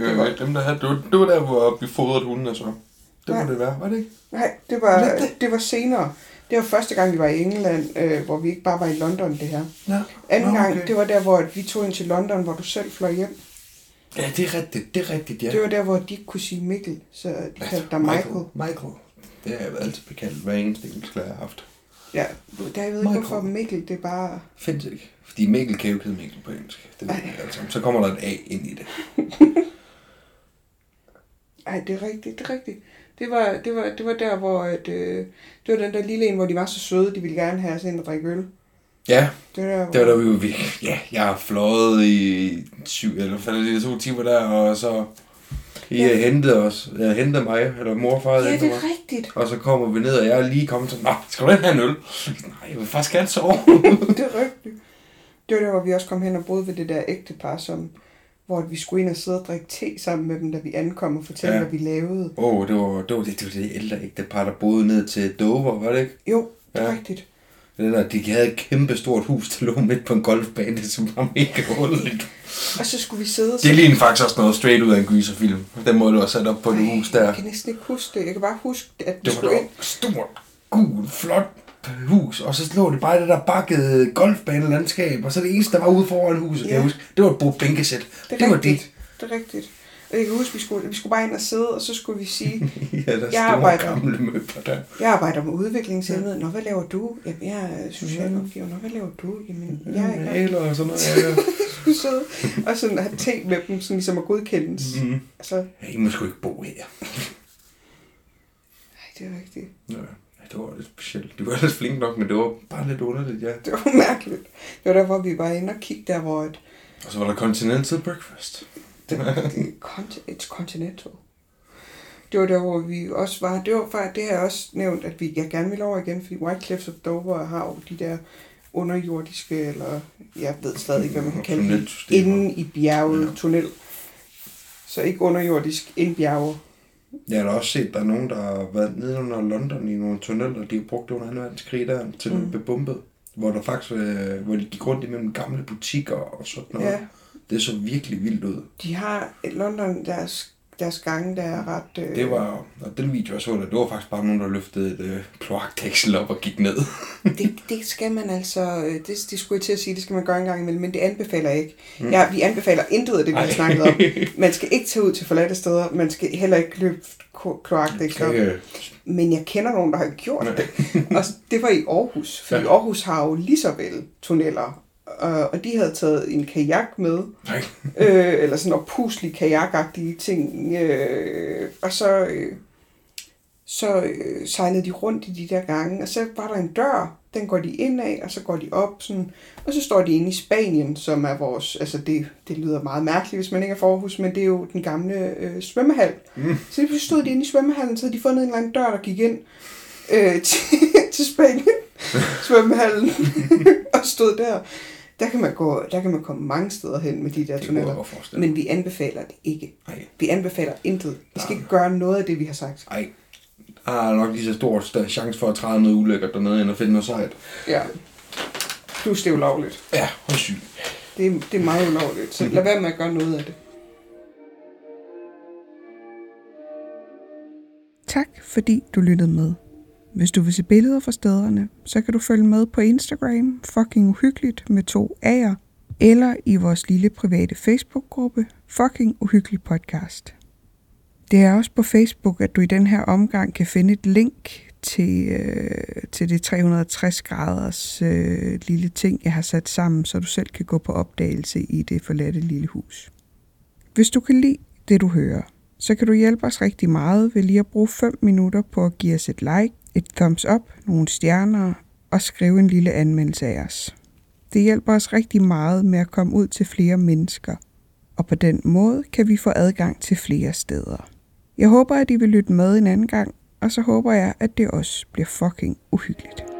Speaker 3: Det var-
Speaker 7: Øh, dem, der havde, det, var, det var der, hvor vi fodrede hunden og så. Det
Speaker 3: Nej.
Speaker 7: må det være, var det ikke?
Speaker 3: Nej, det var,
Speaker 7: Lidt det.
Speaker 3: det var senere. Det var første gang, vi var i England, øh, hvor vi ikke bare var i London, det her.
Speaker 7: Ja.
Speaker 3: Anden
Speaker 7: Nå,
Speaker 3: gang,
Speaker 7: okay.
Speaker 3: det var der, hvor vi tog ind til London, hvor du selv fløj hjem.
Speaker 7: Ja, det er rigtigt, det er rigtigt, ja.
Speaker 3: Det var der, hvor de ikke kunne sige Mikkel, så de kaldte dig Michael.
Speaker 7: Michael. Det har jeg altid bekendt hver eneste engelsk, jeg har haft.
Speaker 3: Ja, der, jeg ved ikke,
Speaker 7: Meget
Speaker 3: hvorfor
Speaker 7: kort.
Speaker 3: Mikkel, det er bare...
Speaker 7: Findes ikke. Fordi Mikkel kan jo ikke hedde Mikkel på engelsk. Det ved jeg altså. Så kommer der et A ind i det.
Speaker 3: Ej, det er rigtigt, det er rigtigt. Det var, det var, det var der, hvor... At, øh, det var den der lille en, hvor de var så søde, de ville gerne have os ind og drikke øl.
Speaker 7: Ja,
Speaker 3: Det var der, hvor...
Speaker 7: det var da vi jo vi, Ja, jeg har fløjet i syv, eller faldet i to timer der, og så... I ja. hentede os, ja, hentede mig, eller mor og far
Speaker 3: Ja,
Speaker 7: hentede
Speaker 3: det
Speaker 7: mig.
Speaker 3: er rigtigt.
Speaker 7: Og så kommer vi ned, og jeg er lige kommet til, Nå, skal du ikke have en øl? Nej, jeg vil faktisk gerne sove.
Speaker 3: Det er rigtigt. Det var der, hvor vi også kom hen og boede ved det der ægtepar, som, hvor vi skulle ind og sidde og drikke te sammen med dem, da vi ankom og fortælle,
Speaker 7: Ja.
Speaker 3: ja. hvad vi lavede.
Speaker 7: Åh, oh, det var det, var det, det, var det ældre ægtepar, der boede ned til Dover, var det ikke?
Speaker 3: Jo, det er
Speaker 7: Ja.
Speaker 3: ja. rigtigt.
Speaker 7: Det der, de havde et kæmpe stort hus, der lå midt på en golfbane, som var mega underligt.
Speaker 3: Og så skulle vi sidde og
Speaker 7: Det ligner faktisk også noget straight ud af en gyserfilm. Den måde, du har sat op på det hus der.
Speaker 3: Jeg kan næsten ikke huske det. Jeg kan bare huske, at vi
Speaker 7: Det var
Speaker 3: skulle
Speaker 7: et
Speaker 3: ind.
Speaker 7: stort, gul, flot hus, og så lå det bare i det der bakkede golfbanelandskab, og så det eneste, der var ude foran huset, ja. kan jeg
Speaker 3: Ja.
Speaker 7: huske, det var et bordbænkesæt. Det, det var
Speaker 3: rigtigt.
Speaker 7: dit.
Speaker 3: Det er rigtigt. Og jeg kan huske, vi skulle, vi skulle bare ind og sidde, og så skulle vi sige,
Speaker 7: ja, der
Speaker 3: Jeg
Speaker 7: store
Speaker 3: arbejder.
Speaker 7: gamle møbler der.
Speaker 3: jeg arbejder med udviklingshemmede. Nå, hvad laver du? Jamen, jeg er socialrådgiver. Nå, hvad laver du? Jamen,
Speaker 7: Mm-hmm.
Speaker 3: jeg er i gang.
Speaker 7: Eller sådan noget. Ja, ja.
Speaker 3: skulle sidde og sådan have ting med dem, sådan ligesom at godkendes.
Speaker 7: Mhm.
Speaker 3: Altså,
Speaker 7: ja, I må sgu ikke bo her.
Speaker 3: nej, det er rigtigt.
Speaker 7: Ja, det var lidt specielt. Du var ellers flink nok, men det var bare lidt underligt, ja.
Speaker 3: Det var mærkeligt. Det var der, hvor vi var inde og kigge der, hvor et,
Speaker 7: Og så var der Continental Breakfast.
Speaker 3: det, det, cont- et continental. Det var der, hvor vi også var. Det var faktisk, det har jeg også nævnt, at vi, jeg gerne vil over igen, fordi White Cliffs of Dover har jo de der underjordiske, eller jeg ved stadig ikke, hvad man kan kalde det,
Speaker 7: Tunnelsystemer.
Speaker 3: inden i bjerget
Speaker 7: Ja.
Speaker 3: tunnel. Så ikke underjordisk, ind bjerget.
Speaker 7: Jeg har da også set, at der er nogen, der har været nede under London i nogle tunneller, de har brugt det under 2. verdenskrig der, til mm.
Speaker 3: Mm.
Speaker 7: blev bombet. Hvor, der faktisk, øh, hvor de gik rundt imellem gamle butikker og sådan noget.
Speaker 3: Ja.
Speaker 7: Det så virkelig vildt ud.
Speaker 3: De har øh, London, deres, deres gange, der er ret... Øh,
Speaker 7: Det var, og den video, jeg så der, det var faktisk bare nogen, der løftede et øh, kloaktæksel op og gik ned.
Speaker 3: Det, det skal man altså, øh, det, det skulle jeg til at sige, det skal man gøre en gang imellem, men det anbefaler jeg ikke. Mm. Ja, vi anbefaler intet af det, vi har
Speaker 7: Ej.
Speaker 3: snakket om. Man skal ikke tage ud til forladte steder, man skal heller ikke løbe ko- kloakdæk op.
Speaker 7: Øh,
Speaker 3: Men jeg kender nogen, der har gjort
Speaker 7: Nej.
Speaker 3: det. Og det var i Aarhus, fordi
Speaker 7: Ja.
Speaker 3: ja. Aarhus har jo lige så vel tunneller. øh, Og de havde taget en kajak med,
Speaker 7: nej.
Speaker 3: øh, eller sådan nogle puslig kajakagtige ting. Øh, og så, øh, så øh, sejlede de rundt i de der gange, og så var der en dør, den går de ind af, og så går de op, sådan, og så står de inde i Spanien, som er vores, altså det, det lyder meget mærkeligt, hvis man ikke er forhus, men det er jo den gamle øh, svømmehal. Mm. Så lige pludselig stod de inde i svømmehallen, så havde de fundet en eller anden dør, der gik ind øh, til, til Spanien, svømmehallen, og stod der. Der kan, man gå, der kan man komme mange steder hen med de der
Speaker 7: Det kunne jeg
Speaker 3: tunneller.
Speaker 7: godt forestille mig.
Speaker 3: Men vi anbefaler det ikke.
Speaker 7: Nej.
Speaker 3: Vi anbefaler intet. Vi skal
Speaker 7: Nej.
Speaker 3: ikke gøre noget af det, vi har sagt.
Speaker 7: Ej, der er nok lige så stor større chance for at træde noget ulækkert dernede, end at finde noget sejt.
Speaker 3: Ja. Plus det er ulovligt.
Speaker 7: Ja, hun er syg.
Speaker 3: Det er, det er meget ulovligt. Så lad være med at gøre noget af det.
Speaker 5: Tak fordi du lyttede med. Hvis du vil se billeder fra stederne, så kan du følge med på Instagram, fucking uhyggeligt med to A'er, eller i vores lille private Facebook-gruppe, fucking uhyggelig podcast. Det er også på Facebook, at du i den her omgang kan finde et link til, øh, til det 360 graders øh, lille ting, jeg har sat sammen, så du selv kan gå på opdagelse i det forladte lille hus. Hvis du kan lide det, du hører, så kan du hjælpe os rigtig meget ved lige at bruge 5 minutter på at give os et like, et thumbs up, nogle stjerner og skrive en lille anmeldelse af os. Det hjælper os rigtig meget med at komme ud til flere mennesker, og på den måde kan vi få adgang til flere steder. Jeg håber, at I vil lytte med en anden gang, og så håber jeg, at det også bliver fucking uhyggeligt.